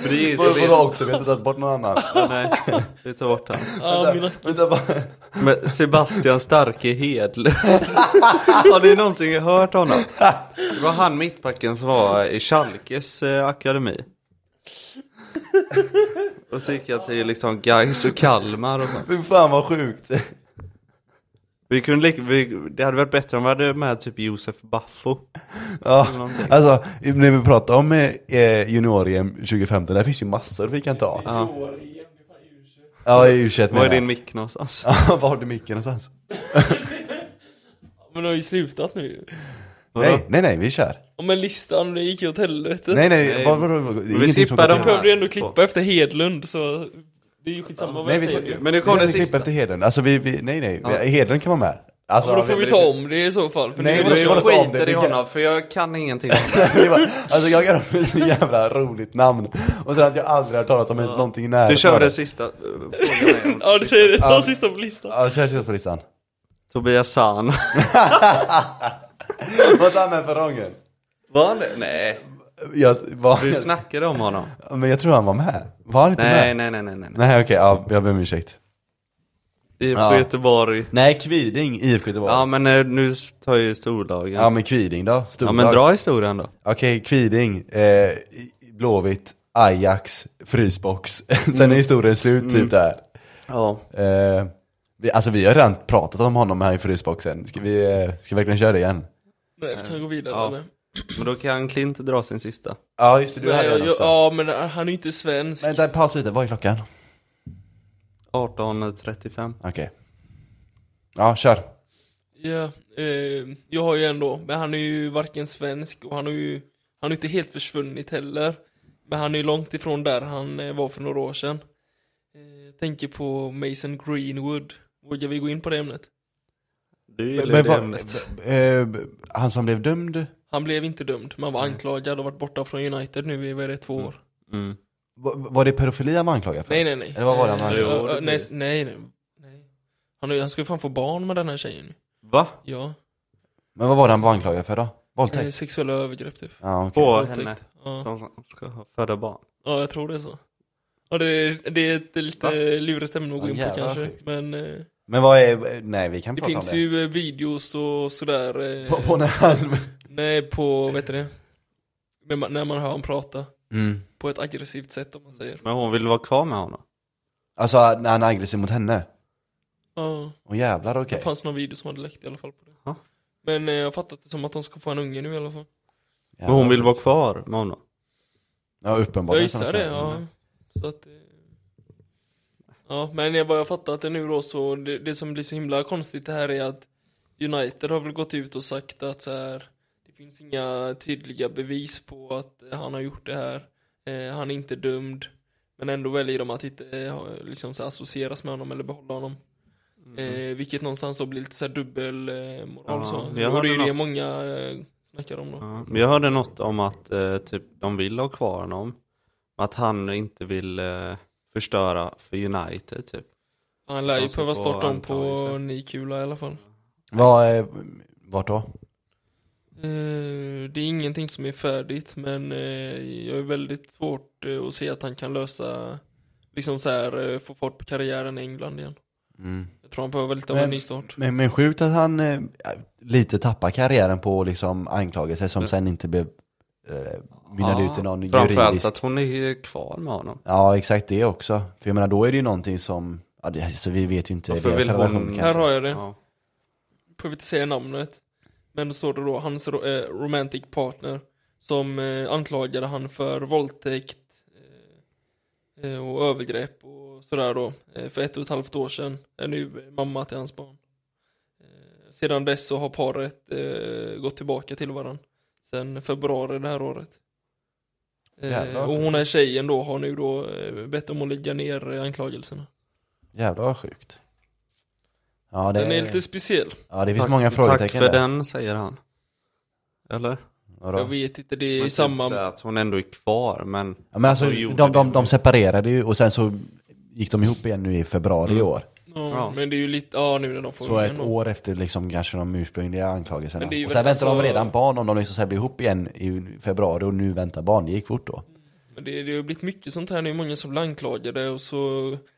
C: För det är ju så det
A: Vadå också, vi har inte tagit bort någon annan.
C: Nej, vi tar bort han.
B: Ah, mina...
A: Vänta, bara,
C: Men Sebastian Starke Hedlund. Har ni någonsin hört honom? Det var han mittbacken som var i Schalkes eh, akademi. Och så gick jag till liksom Gais och Kalmar och så.
A: fy fan vad sjukt.
C: vi kunde lika, vi, Det hade varit bättre om vi hade med typ Josef Baffo.
A: Ja,
C: någonting.
A: alltså när vi pratar om eh, junior-EM 2015, där finns ju massor vi kan ta.
C: Ja.
A: Ja, i U21 menar
C: Var är
A: jag.
C: din mick någonstans?
A: Ja, var har du micken någonstans?
B: Men de har ju slutat nu ju.
A: Nej, nej, nej, vi kör.
B: Ja, Men listan, det gick ju åt helvete.
A: Nej, nej,
C: Nej.
A: vad, vadå? vad,
C: Vi skippar
B: De
C: dem.
B: behövde ju ändå klippa efter Hedlund så det är ju skitsamma vad
A: Nej,
B: jag
A: vi
B: säger.
A: skippar
C: Men nu
A: kom
C: kom den
A: klipp
C: sista.
A: efter Hedlund. Alltså vi, vi nej, nej,
C: Ja.
A: Hedlund kan vara med. Alltså,
B: men då får vi
A: det-
B: ta om det i så fall. För
A: Nej,
B: det
A: det
B: var
A: är bara
B: så.
A: att ta om det.
C: skiter i
A: Vi kan-
C: honom för jag kan ingenting.
A: det var, alltså jag gav dem ett så jävla roligt namn. Och sen att jag aldrig hört talas om ens någonting i närheten.
C: Du kör
A: av
C: den sista eh, frågan igen.
B: Ja, du säger det. Ta
A: Ja.
B: sista på listan.
A: Ja, kör sist på listan.
C: Tobias Zahn.
A: Vad sa han för gången?
C: Var han det? Nej.
A: Jag, var,
C: Du snackade om honom.
A: men jag tror han var med. Var han inte
C: Nej,
A: med?
C: nej, nej, nej, nej.
A: Nej, okej, ja, jag ber om ursäkt.
C: IFK
A: Ja.
C: Göteborg.
A: Nej, Kviding, IFK Göteborg.
C: Ja
A: Ja,
C: men eh, nu tar ju storlagen.
A: ja, men Kviding då?
C: Ja,
A: Storlag.
C: men dra historien då.
A: Okej, Kviding, eh, i- Blåvitt, Ajax, Frysbox. Sen är historien slut
B: Mm.
A: typ där.
C: Ja.
A: Eh, vi, alltså vi har redan pratat om honom här i Frysboxen. Ska vi, eh, ska vi verkligen köra det igen?
B: Nej, vi kan gå vidare
C: Ja.
B: eller?
C: Men då kan Klint dra sin sista.
A: Ja, just det, du
B: Nej,
A: hade
B: jag,
A: den
B: jag,
A: också.
B: ja, men han är ju inte svensk.
A: Vänta, paus lite, vad är klockan?
C: 18.35.
A: Okej. Ja, kör.
B: Ja, eh, jag har ju ändå, men han är ju varken svensk och han är ju, han är inte helt försvunnit heller. Men han är ju långt ifrån där han eh, var för några år sedan. Eh, jag tänker på Mason Greenwood. Vågar vi gå in på det ämnet?
C: Du gillar ju
A: Men
C: det
A: vad-
C: ämnet.
A: b- eh, b- han som blev dömd,
B: Han blev inte dömd, men han var
A: Mm.
B: anklagad och varit borta från United nu i, vad är det, två år?
C: Mm.
A: va- var det pedofili han var anklagad för?
B: Nej, nej, nej.
A: Eller vad var det han
B: Eh,
A: hade?
B: ö-
C: Jo, det
B: ö- nej,
C: blir-
B: nej, nej. nej. Han, har ju- han ska ju fan få barn med den här tjejen.
C: Va?
B: Ja,
A: Men vad var det han var anklagad för då?
B: eh,
A: Våldtäkt?
B: sexuella övergrepp typ.
A: Ja, okej.
C: På
B: Våldtäkt.
C: henne
B: Ja.
C: som ska ha- föda barn.
B: Ja, jag tror det är så. Ja, det, är- det är ett lite
C: Va?
B: lurigt ämne att gå
A: Ja,
B: in på
A: jävlar,
B: kanske.
A: sjukt.
B: Men eh,
A: Men vad är, nej vi kan
B: det
A: prata
B: finns
A: om det.
B: ju eh, videos och sådär. eh,
A: På, på när han...
B: Nej, på, vet du det? När man, när man hör honom prata.
A: Mm.
B: På ett aggressivt sätt om man säger.
C: Men hon vill vara kvar med honom.
A: Alltså när han är aggressiv mot henne?
B: Ja,
A: Åh jävlar okej.
B: det fanns någon video som hade läckt i alla fall på det.
C: Ja.
B: Men eh, jag har fattat det som att de ska få en unge nu i alla fall.
A: Jävlar.
C: Men hon vill vara kvar med honom.
A: Ja
B: Jag
A: uppenbarligen.
B: gissar det, ja.
A: Mm.
B: Så att, eh, ja, men jag- vad jag fattat det nu då så, det, det som blir så himla konstigt det här är att United har väl gått ut och sagt att så här, det finns inga tydliga bevis på att eh, han har gjort det här, eh, han är inte dömd, men ändå väljer de att inte eh, ha- liksom, så här, associeras med honom eller behålla honom. Eh, vilket någonstans då blir lite så här dubbel eh, moral
C: Mm. Ja,
B: så.
C: jag
B: Och det är
C: hörde
B: ju det
C: något.
B: många eh, snackar om då.
C: Ja, men jag hörde något om att eh, typ, de vill ha kvar honom. Att han inte vill eh, förstöra för United typ.
B: Han lär ju
C: De ska
B: behöva
C: få
B: starta om på
C: antagelse.
B: ny kula i alla fall.
A: Vad, eh, vart då?
B: Eh, Det är ingenting som är färdigt men eh, jag är väldigt svårt eh, att se att han kan lösa liksom så här eh, få fart på karriären i England igen.
A: Mm.
B: Jag tror han behöver lite av en
A: Men-
B: ny start.
A: Men, men sjukt att han eh, lite tappar karriären på liksom anklagelser som sen inte blev eh, mynnade
C: Ja,
A: ut i någon
C: Framförallt
A: juridisk...
C: att hon är kvar med honom.
A: Ja exakt det också. För jag menar då är det ju någonting som, ja, det, alltså, vi vet ju inte
C: Varför vill hon-
A: relation
B: Här
A: kanske.
B: har jag det.
C: Ja.
B: Behöver inte säga namnet. Men då står det då hans ro- eh, romantic partner som eh, anklagade han för våldtäkt eh, eh, och övergrepp och sådär då eh, för ett och ett halvt år sedan. Är nu eh, mamma till hans barn. Eh, sedan dess så har paret eh, gått tillbaka till varandra. Sen februari det här året. Eh,
A: Jävlar.
B: och hon här tjejen då har nu då eh, bett om att lägga ner eh, anklagelserna.
A: Jävlar vad sjukt. Ja det,
B: Den är lite speciell.
A: ja, det finns
C: Tack-
A: många frågetecken
C: Tack för
A: där.
C: den, säger han. Eller?
A: Vadå?
B: Jag vet inte, det är
C: Men
B: i
C: typ
B: samma...
C: så att hon ändå är kvar, men...
A: Ja, men alltså,
C: Hon gjorde
A: de, de, de,
C: det, men-
A: separerade ju och sen så gick de ihop igen nu i februari i
C: Mm.
A: år.
B: Ja,
C: Ja.
B: men det är ju lite, ja nu när de får
A: Så
B: ungen
A: ett
B: då.
A: år efter liksom kanske de ursprungliga anklagelserna.
B: Men det är ju
A: Och sen
B: väl
A: väntar de
B: alltså-
A: redan barn om de liksom så här blir ihop igen i februari och nu väntar barn. Det gick fort då.
B: Men det, det har ju blivit mycket sånt här nu, många som blir anklagade och så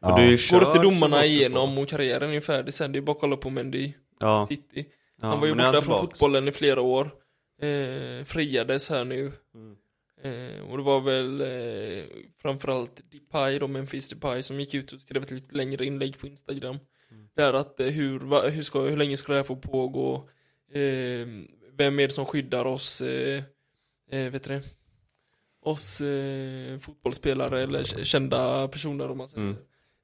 A: Ja.
C: Och du är ju
B: går
C: körd
B: det till
C: så gott
B: domarna
C: du får.
B: igenom och karriären är ju färdig sen, det är bara att kolla på Mendy
C: Ja,
B: City.
C: ja,
B: Han var ju
C: men nu är
B: borta från
C: tillbaks.
B: fotbollen i flera år, eh, friades här nu.
C: Mm.
B: Eh, och det var väl eh, framförallt Depay då, Memphis Depay, som gick ut och skrev ett lite längre inlägg på Instagram.
C: Mm.
B: Där att eh, hur, va, hur, ska, hur länge ska det här få pågå? Eh, vem är det som skyddar oss, eh, eh, vet du det? Oss eh, fotbollsspelare eller k- kända personer om man säger.
C: Mm.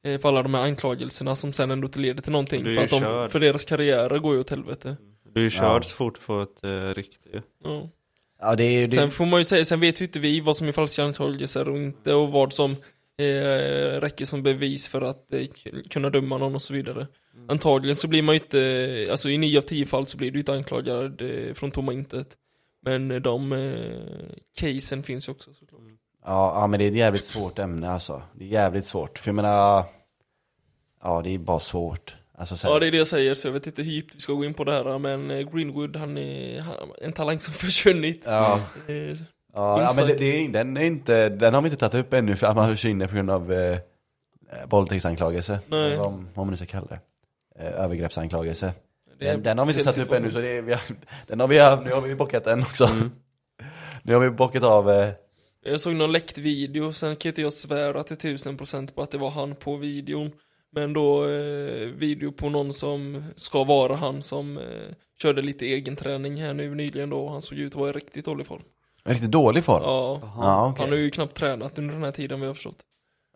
B: Eh, för alla de här anklagelserna som sen ändå inte leder till någonting.
C: Du är
B: För,
C: ju Mm.
B: att de,
C: körd.
B: för deras karriärer går ju åt helvete.
C: Du är
A: Ja.
C: körd så fort för ett eh, riktigt.
B: Ja.
A: Ja, det är ju... Det...
B: Sen får man ju säga, sen vet ju inte vi vad som är falska anklagelser och inte och vad som eh, eh, räcker som bevis för att eh, k- kunna döma någon och så vidare.
A: Mm.
B: Antagligen så blir man ju inte, alltså i 9 av 10 fall så blir du inte anklagad eh, från tomma intet. Men eh, de eh, casen finns ju också såklart.
A: Ja, ja, men det är ett jävligt svårt ämne alltså. Det är jävligt svårt. För jag menar, ja det är bara svårt. Alltså, så här-
B: Ja det är det jag säger, så jag vet inte hur djupt vi ska gå in på det här men eh, Greenwood han är han, en talang som försvunnit.
A: ja,
B: Eh,
A: ja, ja
B: Minst
A: men det,
B: sagt.
A: det är, den, är inte, den har vi inte tagit upp ännu för att man försvinner på grund av eh, våldtäktsanklagelse.
B: Nej.
A: Eller Vad, om- vad man nu ska kalla det. Eh, övergreppsanklagelse.
B: det är
A: Den, den har vi inte tagit upp
B: situation.
A: ännu så det är, vi har, den har vi, nu har vi bockat den också.
C: Mm.
A: Nu har vi bockat av, eh,
B: Jag såg någon läckt video, sen kan inte jag svära till tusen procent på att det var han på videon. Men då eh, video på någon som ska vara han som eh, körde lite egen träning här nu nyligen då och han såg ut att vara i riktigt dålig form.
A: en riktigt dålig form.
B: Ja,
A: Ja, okej.
B: han har ju knappt tränat under den här tiden vad jag har förstått.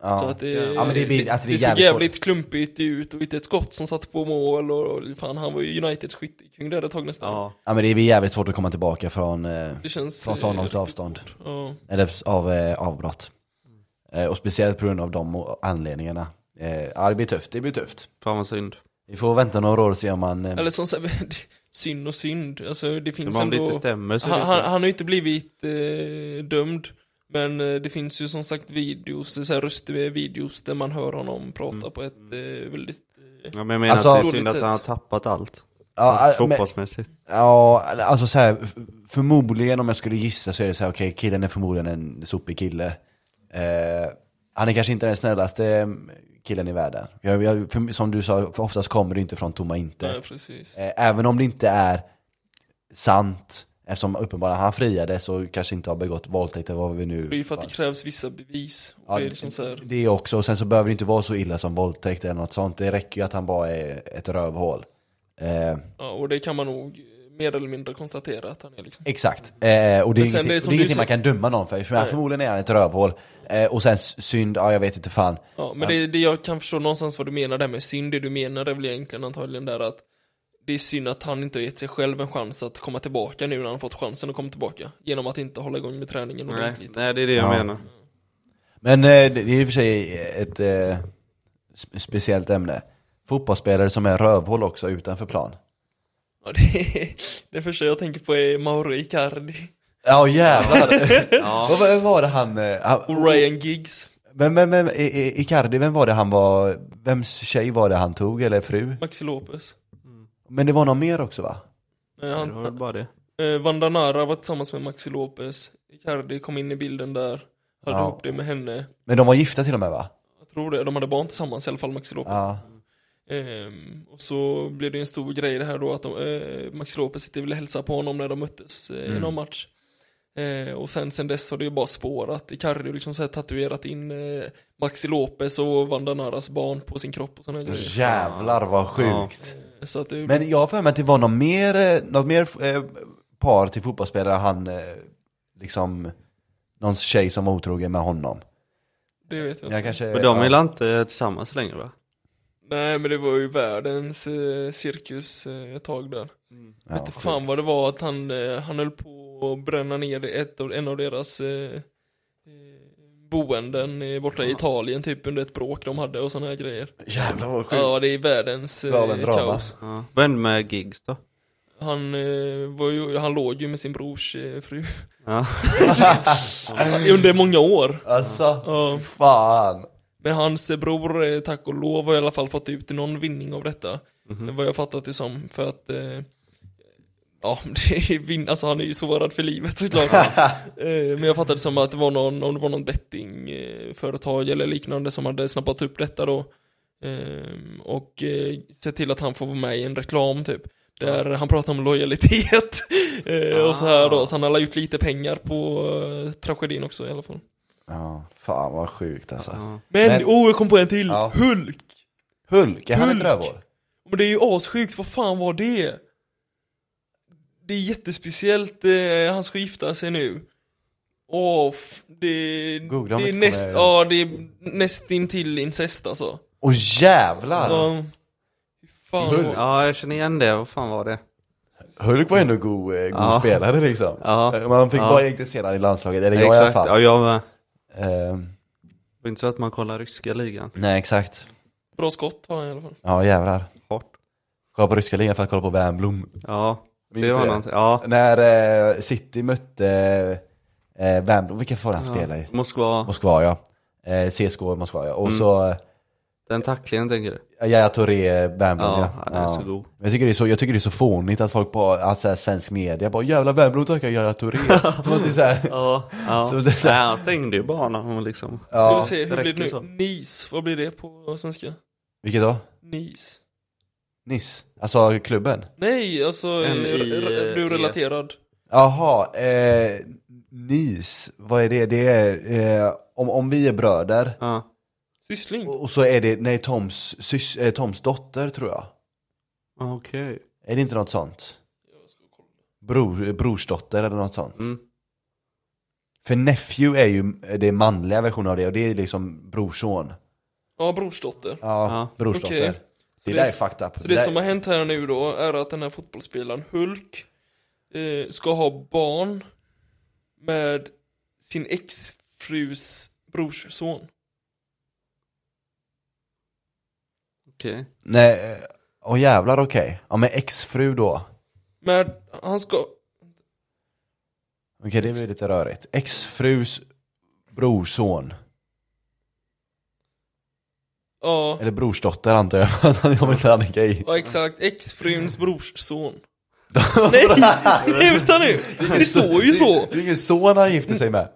A: Ja.
B: Så att det,
C: Ja,
A: men det är bi- alltså det är
B: såg
A: jävligt
B: jävligt klumpigt ut och inte ett skott som satt på mål och, och fan han var ju Uniteds skyttekung där ett tag nästan.
C: Ja,
A: ja men det är jävligt svårt att komma tillbaka från eh,
B: Det känns...
A: Från så
B: eh,
A: långt
B: riktigt-
A: avstånd.
B: Ja.
A: Eller s- av eh, avbrott.
B: Mm.
A: Eh, och speciellt på grund av de o- anledningarna. Eh, ja, det blir tufft, det blir tufft.
C: fan vad synd.
A: Vi får vänta några år och se om man... Eh,
B: Eller som sagt, synd och synd. Alltså det
C: Men
B: finns
C: om det
B: ändå...
C: inte stämmer så är
B: han,
C: det
B: han,
C: synd.
B: han har ju inte blivit eh, dömd. Men eh, det finns ju som sagt videos, så här röster- videos där man hör honom prata på ett eh, väldigt...
C: Ja, men jag menar
A: Alltså-
C: att det är synd
B: Dåligt
C: att han har
B: sätt.
C: tappat allt.
A: ja, eh, men,
C: Fotbollsmässigt.
A: ja, alltså så här, f- förmodligen om jag skulle gissa så är det så här, okej, killen är förmodligen en sopig kille. Eh, han är kanske inte den snällaste mm, killen i världen. Jag, jag, för, som du sa, för oftast kommer det inte från tomma intet.
B: Nej, precis.
A: Eh, Även om det inte är sant, eftersom uppenbarligen han friade så kanske inte har begått våldtäkt eller vad vi nu...
B: Det är ju för att det krävs vissa bevis. Och
A: Ja,
B: det är liksom så här,
A: det är också, och sen så behöver det inte vara så illa som våldtäkt eller något sånt. Det räcker ju att han bara är ett rövhål. Eh,
B: ja, och det kan man nog mer eller mindre konstatera att han är liksom.
A: exakt. Eh, och det är
B: sen
A: ingenting,
B: det är
A: det
B: som
A: är
B: du
A: ingenting man
B: säger-
A: kan döma någon för. för han
B: Nej.
A: förmodligen är han ett rövhål. Eh, och sen s- synd, ja jag vet inte fan.
B: Ja, men
A: Ja.
B: Det, det jag kan förstå någonstans vad du menar där med synd, det du menar är väl egentligen antagligen där att det är synd att han inte har gett sig själv en chans att komma tillbaka nu när han fått chansen att komma tillbaka. Genom att inte hålla igång med träningen
C: Nej,
B: ordentligt.
C: nej, det är det jag
A: Ja.
C: menar.
A: Men eh, det det är i och för sig ett eh, sp- speciellt ämne. Fotbollsspelare som är rövhål också utanför plan.
B: Ja, det, det första jag tänker på är Mauro Icardi
A: Ja jävlar!
C: Ja.
A: Vad var- var det han... eh, han
B: oh, och Ryan Giggs,
A: vem, vem, vem, I- I- Icardi, vem var det han var... Vems tjej var det han tog, eller fru?
B: Maxi Lopez.
A: Men det var någon mer också va?
B: Eh,
C: Det var väl
B: han,
C: bara det.
B: eh, Vandanara var tillsammans med Maxi Lopez. Icardi kom in i bilden där, hade
A: Ja.
B: ihop det med henne.
A: Men de var gifta till och med va?
B: Jag tror det, de hade barn tillsammans i alla fall, Maxi Lopez.
A: Ja.
B: Ehm, och så blev det ju en stor grej det här då att de, eh, Max Lopez inte ville hälsa på honom när de möttes eh,
A: Mm.
B: i någon match. Eh, och sen, sen dess har det ju bara spårat. Icardi har liksom så här tatuerat in eh, Maxi Lopez och Vandanaras barn på sin kropp och sådana grejer.
A: Jävlar vad sjukt!
B: Så att det,
A: Men jag har för mig att det var någon mer, eh, något mer eh, par till fotbollsspelare han eh, liksom... Någon tjej som var otrogen med honom.
B: det vet jag inte.
A: Jag kanske...
C: Men de är
A: ja.
C: väl inte tillsammans längre va?
B: Nej men det var ju världens eh, cirkus eh, ett tag där.
A: Ja,
B: vet inte
A: sjukt.
B: fan vad det var att han, eh, han höll på att bränna ner ett av, en av deras eh, eh, boenden eh, borta i Italien typ under ett bråk de hade och sådana här grejer.
A: Jävlar vad sjukt!
B: Ja det är världens
A: Galen
B: eh,
A: drama.
B: kaos.
C: Ja. Vem med gigs då?
B: Han, eh, var ju, han låg ju med sin brors eh, fru
C: Ja.
B: under många år.
A: Alltså,
B: Ja.
A: fy fan!
B: Men hans eh, bror, eh, tack och lov, har i alla fall fått ut någon vinning av detta. Vad jag fattat det som, för att eh, Ja, det är vin- alltså han är ju sårad för livet såklart. eh, men jag fattade det som att det var någon, om det var någon bettingföretag eh, eller liknande som hade snappat upp detta då. Eh, och eh, sett till att han får vara med i en reklam typ. Där han pratar om lojalitet. eh, och så här då, så han har la ut lite pengar på eh, tragedin också i alla fall.
A: Ja, fan vad sjukt alltså.
C: Ja.
B: Men,
A: Men-
B: oh jag kom på en till!
A: Ja.
B: Hulk!
A: Hulk, är han ett
B: Hulk.
A: rövhål?
B: Men det är ju assjukt, vad fan var det? Det är jättespeciellt, eh, han ska gifta sig nu. Åh, f- det,
A: Googla om
B: det är
A: inte
B: näst,
A: kommer-
B: ja det är nästintill incest alltså.
A: Åh jävlar!
B: Ja. Fy Fan,
A: Hur-
B: vad-
C: ja, jag känner igen det. Vad fan var det?
A: Hulk var ändå god, eh, god
C: Ja.
A: spelare liksom.
C: Ja.
A: Man fick
C: Ja.
A: bara egentligen se honom i landslaget, eller jag i alla
C: Exakt.
A: fall.
C: Ja, jag med.
A: Ehm,
C: Det är inte så att man kollar ryska ligan.
A: Nej, exakt.
B: Bra skott har han i alla fall.
A: Ja, jävlar.
C: Hårt.
A: Kolla på ryska ligan för att kolla på Wernbloom.
C: Ja,
A: Minns
C: det
A: du
C: var
A: det?
C: någonting. Ja.
A: När eh, City mötte eh, Wernbloom, vilka får han spela i?
C: Ja, Moskva.
A: Moskva ja. Eh, CSKA i Moskva ja. Och
C: Mm.
A: så eh,
C: Den tacklingen tänker du?
A: Yahya Touré, Wernbloom
C: Ja,
A: ja.
C: han är så god.
A: Jag tycker, det är så, jag tycker det är så fånigt att folk på alltså, här, svensk media bara jävla Wernbloom tackar Yahya Touré. Som att det är så här,
C: Ja, ja.
A: Så det är så-
C: Nej, han stängde ju banan och liksom.
B: Ja,
A: ja.
B: vi se, hur
C: det
B: blir
C: räcker
B: det
C: så.
B: nu? NIS, vad blir det på svenska?
A: Vilket då?
B: NIS.
A: Niss? Alltså klubben?
B: Nej, alltså
C: N-
B: eh,
C: i,
B: re- du
C: eh,
B: är relaterad.
A: Jaha, eh, NIS, vad är det? Det är, eh, om, om vi är bröder
C: Ja.
B: Syssling.
C: Oh.
A: och och så är det, nej Toms, sys, eh, Toms dotter tror jag.
C: Okej.
A: Är det inte något sånt? Bror, brorsdotter eller något sånt.
C: Mm.
A: För nephew är ju det manliga versionen av det och det är liksom brorson.
B: Ja, brorsdotter.
A: Ja,
C: Ja.
A: brorsdotter.
B: Okej.
A: Det, där
B: Så det-
A: är fucked up.
B: Så det
A: där,
B: som har hänt här nu då är att den här fotbollsspelaren Hulk eh, ska ha barn med sin exfrus brorsson.
C: Okej.
A: Nej, eh, åh jävlar okej. Ja men exfru då.
B: Med, han ska,
A: Okej det blir lite rörigt. Exfrus brorson.
B: ja,
A: Eller brorsdotter antar jag, för att han är inte han är gay.
B: ja exakt, exfruns brorsson. Nej, nej, vänta nu! Det står ju så!
A: Det är ju ingen son han gifte sig med.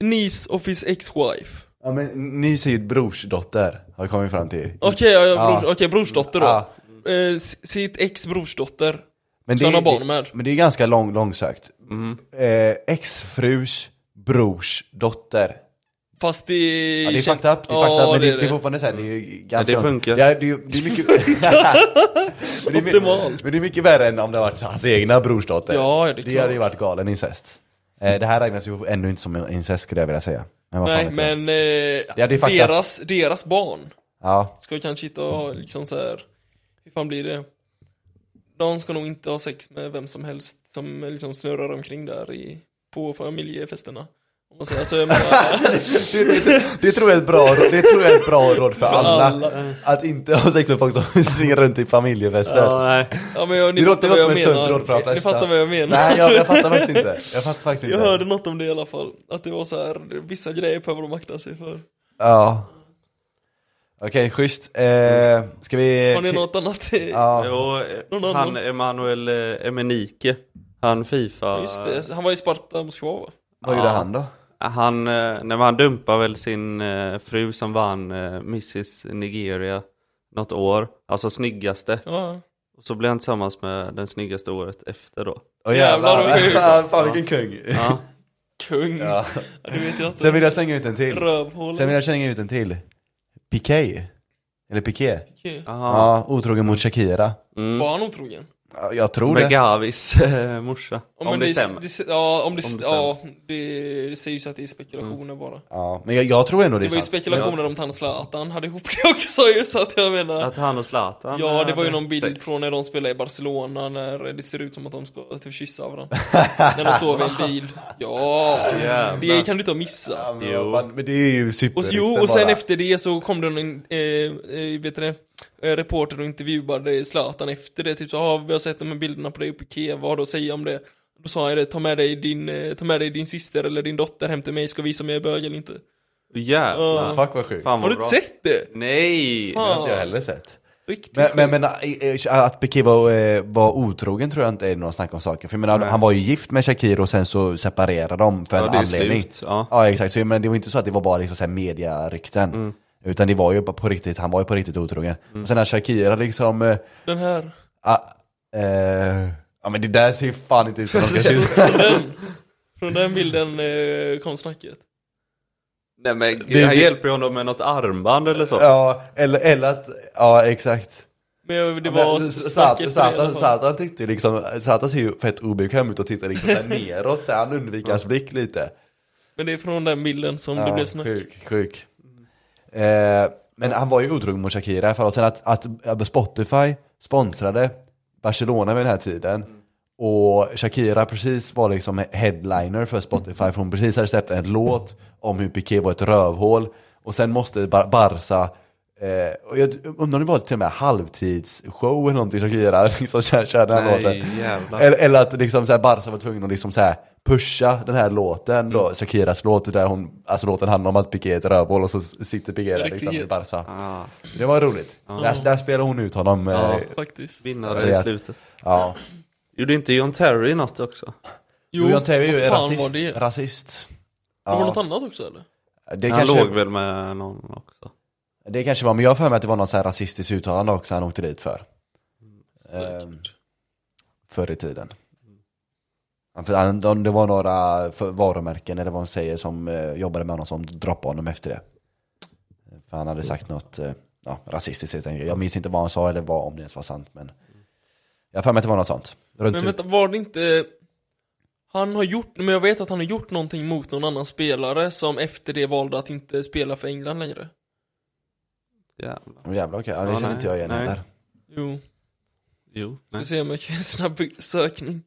B: Niece of his ex-wife.
A: Ja men ni säger brorsdotter, har vi kommit fram till.
B: Okej, ja, ja, brors,
A: Ja.
B: okej, brorsdotter då.
A: Ja.
B: Eh, s- sitt ex brorsdotter.
A: Men
B: Så han har barn med.
A: Det, men det är ganska lång, långsökt.
C: Mm.
A: Eh, exfrus brors dotter.
B: Fast det...
A: Ja, det är
B: känns-
A: fucked up, det är
B: Ja,
A: fucked up, men det, det,
B: är
A: är fortfarande såhär, det är ju ganska...
C: Ja, det funkar.
A: Det är, det är, det är mycket... men, det är, my-
B: Optimalt.
A: men det är mycket värre än om det har varit hans egna brorsdotter.
B: Ja, det är
A: det hade ju
B: klart.
A: varit galen incest. Eh, det här räknas ju ännu inte som incest skulle jag vilja säga. Men vad
B: Nej,
A: fan vet jag.
B: men eh,
A: Ja, det är fucked up.
B: deras, deras barn
A: Ja,
B: ska kanske inte ha liksom så här. hur fan blir det? De ska nog inte ha sex med vem som helst som liksom snurrar omkring där i, på familjefesterna. Om man säger så. Jag menar,
A: det, det, det, tror jag är ett bra, råd- det tror jag är ett bra råd för alla.
B: alla.
A: Att inte ha sex med folk som springer runt i familjefester.
C: Ja, nej.
B: ja, men jag, ni
A: Det
B: fattar
A: låter
B: vad
A: som
B: jag
A: ett sunt råd för de
B: menar. Ni
A: flesta.
B: fattar vad jag menar.
A: Nej, jag, jag fattar faktiskt inte. Jag fattar faktiskt inte.
B: Jag hörde något om det i alla fall, att det var så här, vissa grejer behöver de akta sig för.
A: Ja. Okej, schysst. Eh, ska vi...
B: Har ni något annat?
A: Ja.
C: Jo,
B: Någon
C: eh,
B: annan?
C: han Emanuel eh, Emenike. Han Fifa.
B: Just det, han var i Sparta Moskva va?
A: Vad gjorde
C: Ja.
A: han då?
C: Han, eh, nej, men han dumpade väl sin eh, fru som vann eh, Mrs Nigeria något år, alltså snyggaste.
B: Ja,
C: Och så blev han tillsammans med den snyggaste året efter då.
A: Åh
B: Jävlar, vad sjukt.
A: Fan, Fan vilken kung.
C: Ja,
B: kung. Ja.
A: Ja.
B: Du vet ju att
A: Sen vill jag slänga ut en till.
B: rövhål.
A: Sen vill jag slänga ut en till. Piqué. Eller Piqué.
B: Okej.
C: aha.
A: Ja, otrogen mot Shakira.
C: Mm.
B: Var han otrogen?
A: Ja, Jag tror
C: Med
A: det.
C: Gavis eh, morsa.
B: Ja,
C: Om,
B: men
C: det stämmer.
B: Det, ja, om det,
C: Om det Mm.
B: ja, det, det säger ju att det är spekulationer bara.
A: Ja, men jag, jag tror ändå det
B: Det
A: är
B: var ju
A: sant.
B: spekulationer om att han Zlatan hade ihop det också ju, så att jag menar.
C: Att han och Zlatan
B: Ja, det var ju
C: hade
B: någon bild
C: sex.
B: från när de spelade i Barcelona när det ser ut som att de ska typ kyssa varandra. när de står vid en bil. Ja, det kan du inte ha missat.
A: Ja, men vad fan, Men det är ju
B: Och,
A: superrykten
B: jo, och sen
A: bara.
B: efter det så kom det någon, eh, eh, vet du det, eh, reporter och intervjuade Zlatan efter det, typ så ah, vi har sett de här bilderna på dig uppe i Kiev, vad har du att säga om det? Då sa jag det, ta med dig din, eh, ta med dig din syster eller din dotter hem till mig, ska visa om jag är bög eller inte.
C: Jävlar.
B: Ja.
A: Fuck vad sjukt.
C: Fan
B: har
C: vad
B: du
C: bra.
B: inte sett det?
C: Nej!
A: Det
B: Fan.
A: har inte jag heller sett.
B: Riktigt
A: Men,
B: sjukt.
A: men, men eh, eh, att Piqué var, eh, var otrogen tror jag inte är någon snack om saken. För jag menar,
C: Nej.
A: han var ju gift med Shakira och sen så separerade de för
C: Ja,
A: en
C: det är
A: anledning.
C: slut. Ja.
A: Ja exakt, så, men det var inte så att det var bara liksom så här mediarykten. Utan det var ju på riktigt, han var ju på riktigt otrogen. Och sen när Shakira liksom, eh,
B: Den här.
A: ah, eh, ja men det där ser ju fan inte ut som de ska se ut.
B: Från den, från den bilden eh, kom snacket.
C: Nej men
A: Det-
C: han hjälper ju honom med något armband eller så.
A: Ja, eller, eller att, ja exakt.
B: Men jag- det
A: Men
B: var
A: Zlatan-
B: snacket för det alltså. i alla
A: Zlatan
B: fall.
A: Zlatan tyckte ju liksom, Zlatan ser ju fett obekväm ut och tittar liksom så här neråt, så här, han undviker hans blick lite.
B: Men det är från den bilden som det
A: Ja,
B: blev snack.
A: Sjuk, sjuk. Eh, men han var ju otrogen mot Shakira i alla fall. Och sen att, att Spotify sponsrade Barcelona vid den här tiden. Och Shakira precis var liksom headliner för Spotify, för hon precis hade släppt en låt om hur Piqué var ett rövhål. Och sen måste Bar- Barca, eh, och jag undrar om det var till och med halvtidsshow eller någonting Shakira liksom kör, kör den här låten.
C: Nej jävlar.
A: Eller, eller att liksom så här Barca var tvungen att liksom så här pusha den här
B: Mm.
A: låten då, Shakiras låt, där hon, alltså låten handlar om att Piqué är ett rövhål och så sitter Piqué där
B: Riktigt.
A: liksom i Barca.
C: Ah,
A: Det var roligt. Där, där spelar hon ut honom.
C: Ja.
A: Eh,
B: faktiskt.
C: vinnare i
A: Rejält.
C: slutet.
A: ja.
C: Gjorde inte John Terry något också?
A: Jo, John Terry är ju
B: vad fan
A: rasist.
B: var det? Det
A: rasist.
B: var
A: Ja.
B: något annat också eller?
A: Det,
C: han låg
A: kanske,
C: väl med någon också?
A: det kanske var, men jag har för mig att det var något så här rasistiskt uttalande också han åkte dit för.
B: Säkert.
A: Ehm, förr i tiden. Ja, för han- de- Det var några för- varumärken, eller vad man säger, som eh, jobbade med honom som droppade honom efter det. För han hade sagt något eh, ja, rasistiskt helt enkelt. Jag minns inte vad han sa eller vad, om det ens var sant. Men jag har för mig att det var något sånt. Runt typ-
B: Men vänta, var det inte... Han har gjort, men jag vet att han har gjort någonting mot någon annan spelare som efter det valde att inte spela för England längre.
C: Jävlar.
A: Åh, jävlar, okej. Ja, det
C: Ja,
A: känner
C: nej,
A: inte jag igen
C: nej.
A: heller.
B: Jo,
C: Jo.
B: vi
C: Nej.
B: ser om jag kan göra en snabb sökning.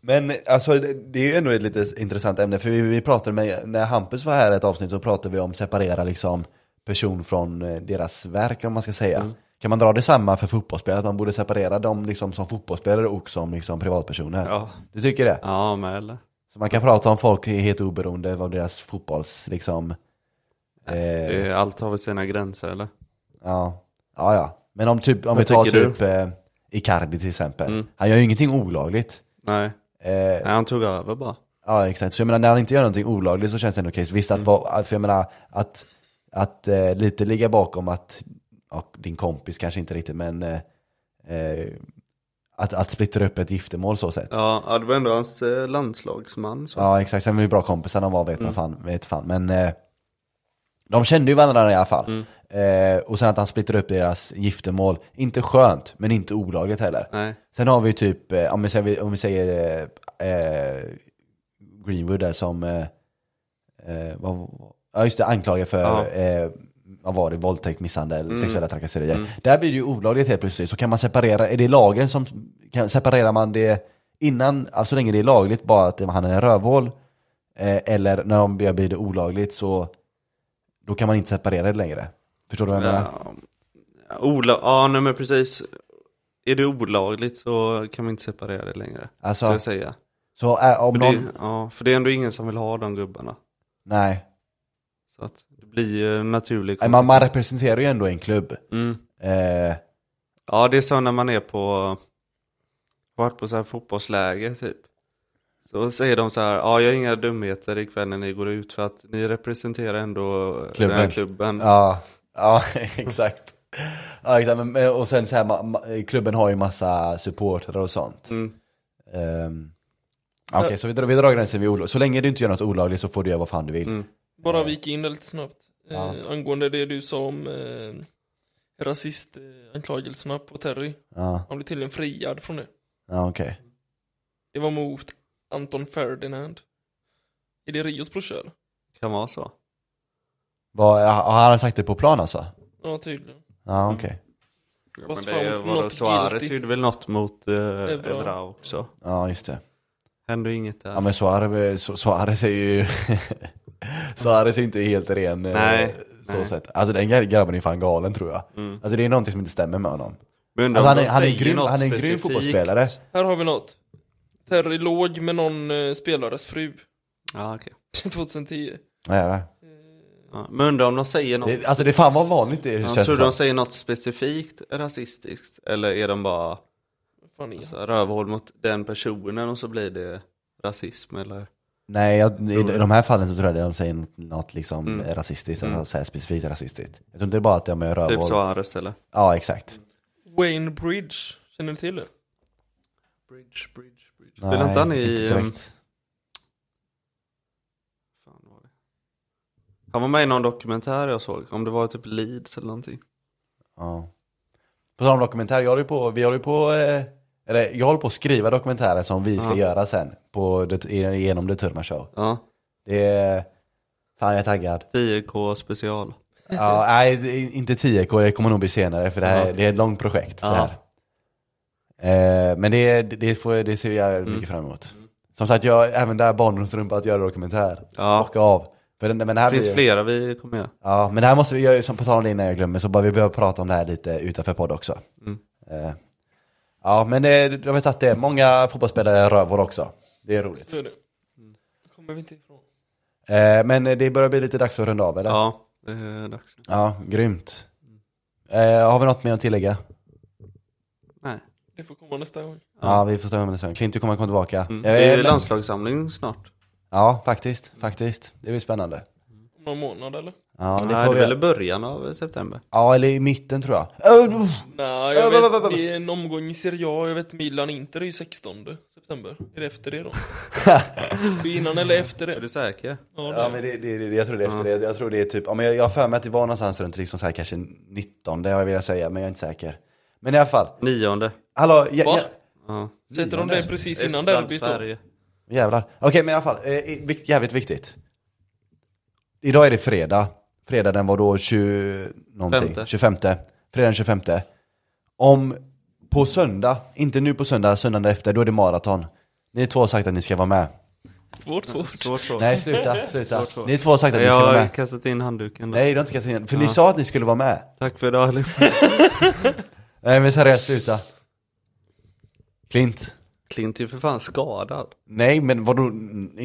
A: Men alltså det- det är ju ändå ett lite intressant ämne för vi, vi pratade med, när Hampus var här i ett avsnitt så pratade vi om separera liksom person från eh, deras verk om man ska säga.
C: Mm.
A: Kan man dra det samma för fotbollsspelare, att man borde separera dem liksom som fotbollsspelare och som liksom privatpersoner?
C: Ja,
A: Du tycker det?
C: ja med eller?
A: Så man kan prata om folk helt oberoende av deras fotbolls liksom... Eh,
C: Eh, Allt har väl sina gränser eller?
A: ja. ja, ja. Men om, typ, om vi
C: Vad
A: tar
C: tycker du?
A: typ eh, Icardi till exempel.
C: Mm.
A: Han gör ju ingenting olagligt.
C: Nej,
A: Eh,
C: Nej han tog över bara.
A: Ja exakt, så jag menar när han inte gör någonting olagligt så känns det ändå okej. Så Visst att, vara- för jag menar att, att eh, lite ligga bakom att, ja, din kompis kanske inte riktigt men, eh, eh, att, att splittra upp ett giftermål så sett. Ja.
C: Ja, ja, det var ändå hans eh, landslagsman. Så.
A: exakt, sen hur bra kompisar de var vet man fan, vet fan. Men eh, de kände ju varandra i alla fall. Eh, och sen att han splittrar upp deras giftermål, inte skönt men inte olagligt heller.
C: Nej,
A: Sen har vi typ, eh, om vi säger, om vi säger eh, eh, Greenwood där som, eh, eh, vad, ja just det, anklagar för,
C: Ja. Mm.
A: eh, vad var det, våldtäkt, misshandel, sexuella trakasserier. Där blir det ju olagligt helt plötsligt, så kan man separera, är det lagen som, kan, separerar man det innan, alltså så länge det är lagligt, bara att det- han är en rövhål, eh, eller när de börjar bli det olagligt så, då kan man inte separera det längre. Förstår du vad jag menar?
C: ja, ola- ja nej, men precis. Är det olagligt så kan vi inte separera det längre.
A: Alltså,
C: Ska jag säga.
A: så eh, om
C: För
A: någon,
C: det, ja, för det är ändå ingen som vill ha de gubbarna.
A: nej.
C: Så att det blir ju naturligt.
A: Nej, Man, man representerar ju ändå en klubb.
C: Mm.
A: Eh,
C: Ja, det är så när man är på, varit på så här fotbollsläger typ. Så säger de så här, ja jag har inga dumheter ikväll när ni går ut för att ni representerar ändå klubben. den här
A: Klubben.
C: klubben.
A: ja, ja exakt. Ja, exakt. Men- Men, och sen så här, ma, ma, klubben har ju massa supportrar och sånt.
C: Mm.
A: Ehm, ja, Okej, så vi drar, vi drar gränsen vid olagligt. Så länge du inte gör något olagligt så får du göra vad fan du vill.
C: Mm.
B: Bara vika in det lite snabbt.
A: Ja.
B: Eh, angående det du sa om eh, rasistanklagelserna på Terry.
A: Ja,
B: Han blev tydligen friad från det.
A: ja okej.
B: Det var mot Anton Ferdinand. Är det Rios brorsa eller?
C: Kan vara så.
A: Vad- ja, Har han sagt det på plan alltså?
B: Ja, tydligen.
C: Mm.
A: Ja, okej.
C: Ja,
B: Fast
C: men det
B: fan,
C: var
B: något
C: Suarez
B: guilty.
C: gjorde väl något mot uh,
B: Evra.
C: Evra också.
A: Ja, just det.
C: Hände ju inget där.
A: Ja, men Suarez, Su- Suarez är ju... Suarez är inte helt ren. eh,
C: Nej,
A: Så
C: nej.
A: Sett. Alltså den gra- grabben är fan galen tror jag.
C: Mm.
A: Alltså det är någonting som inte stämmer med honom.
C: Men undrar
A: Alltså,
C: om
A: han är-
C: de
A: han är
C: säger
A: grym-
C: något
A: han är en grym
C: specifikt.
A: fotbollsspelare.
B: Här har vi något. Terry låg med någon eh, spelares fru.
C: Ja, okej.
B: 2010.
A: Ja, ja.
C: ja, men undrar om de säger något.
A: Det, alltså det är fan vad vanligt det
C: Ja,
A: känns
C: tror
A: det
C: du
A: som.
C: de säger något specifikt rasistiskt? Eller är de bara
B: Vad Fan är han?
C: alltså, rövhål mot den personen och så blir det rasism eller? typ
A: Nej, jag, i de här fallen så tror jag att de säger något, något liksom
C: Mm.
A: rasistiskt,
C: Mm.
A: alltså så här specifikt rasistiskt. Jag tror inte bara att de är
C: Typ
A: rövhål.
C: Suarez eller?
A: Ja, exakt.
B: Wayne Bridge. Känner du till det?
C: Bridge, bridge, bridge. Spelar inte han i... ehm,
A: direkt.
C: fan var det? Han var med i någon dokumentär jag såg, om det var typ Leeds eller någonting.
A: Ja. På tal om dokumentär, jag håller ju på, vi håller ju på, eh, eller jag håller på att skriva dokumentärer som vi ska
C: Ja.
A: göra sen på, det- genom The Turma Show.
C: Ja,
A: Det är, fan jag är taggad.
C: 10K special.
A: Ja, nej, det är inte 10K, det kommer nog bli senare för det, här,
C: Ja.
A: det är ett långt projekt. Det
C: Ja.
A: här. Eh, men det, det, får, det ser jag
C: Mm.
A: mycket fram emot. Som sagt, jag, även där barndomsrumpa att göra dokumentär.
C: Ja,
A: Bocka av. För den, men det här
C: det finns
A: blir-
C: flera vi kommer göra.
A: Ja, men det här måste vi göra, som på tal om det innan jag glömmer, så bara vi behöver prata om det här lite utanför podd också.
C: Mm.
A: Eh, ja, men eh, de har sagt det, många fotbollsspelare är rövhål också. Det är roligt.
B: Så är det.
C: Mm.
B: Det kommer vi inte ifrån.
A: Eh, men det börjar bli lite dags att runda av eller?
C: Ja, det är dags.
A: ja grymt. Eh, har vi något mer att tillägga?
C: Nej.
B: Det får komma nästa gång.
A: Ja, vi får ta med det sen. Klint, du kommer komma tillbaka.
C: Mm.
A: Eh,
C: Det är ju
A: men-
C: landslagssamling snart.
A: Ja, faktiskt. Faktiskt. Det blir spännande.
B: Om någon månad eller?
A: Ja, det
C: Det,
A: får
C: Nej, det
A: vi...
C: är väl i början av september.
A: ja eller i mitten tror jag. Oh, uff.
B: Nej,
C: Äh,
B: jag
C: va, va, va, va.
B: vet, det är en omgång i Serie A, jag vet Milan-Inter är ju 16 september. Är det efter det då? det är innan eller efter
C: Är
B: det?
C: du säker?
B: Ja, det
A: Ja, men det, det, det, jag tror det är efter det. Jag tror det är typ, ja, men jag jag har för mig att det var någonstans runt liksom så här, kanske 19, det har jag velat säga, men jag är inte säker. Men i alla fall,
C: Nionde.
A: hallå, jä,
B: Va?
A: jä,
C: Ja.
B: Sätter de det precis innan
C: Estland,
B: derbyt då?
C: Sverige.
A: jävlar. Okej, men i alla fall, eh, i- vikt- jävligt viktigt. Idag är det fredag. Fredag den var då 20, någonting,
C: Femte.
A: 25. Fredag den 25. Om på söndag, inte nu på söndag, söndagen efter, då är det maraton. Ni två har sagt att ni ska vara med.
B: Svårt, svårt.
C: Mm, Svårt, svårt.
A: Nej, sluta, sluta.
C: Svårt, svårt.
A: Ni två har sagt att ni
C: Jag
A: ska vara med.
C: har kastat in handduken. Då.
A: Nej, du har inte kastat in För ni
C: Ja.
A: sa att ni skulle vara med.
C: Tack för idag allihop.
A: Nej men seriöst, sluta. Klint.
C: Klint är ju för fan skadad.
A: Nej men vadå,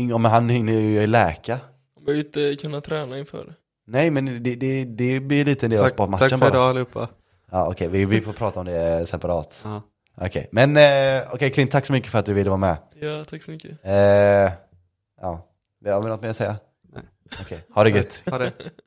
A: ja, men han hinner ju läka.
B: De har ju inte kunnat träna inför det.
A: Nej men det, det, det blir lite en del av
C: Tack, tack
A: sportmatchen
C: för
A: bara.
C: idag allihopa.
A: Ja okej, vi, vi får prata om det eh, separat.
C: Ja.
A: Okej, men eh, okej Klint, tack så mycket för att du ville vara med.
B: Ja, tack så mycket.
A: Eh, ja, har vi något mer att säga?
C: Nej.
A: Okej, ha det gött.
C: Ha det.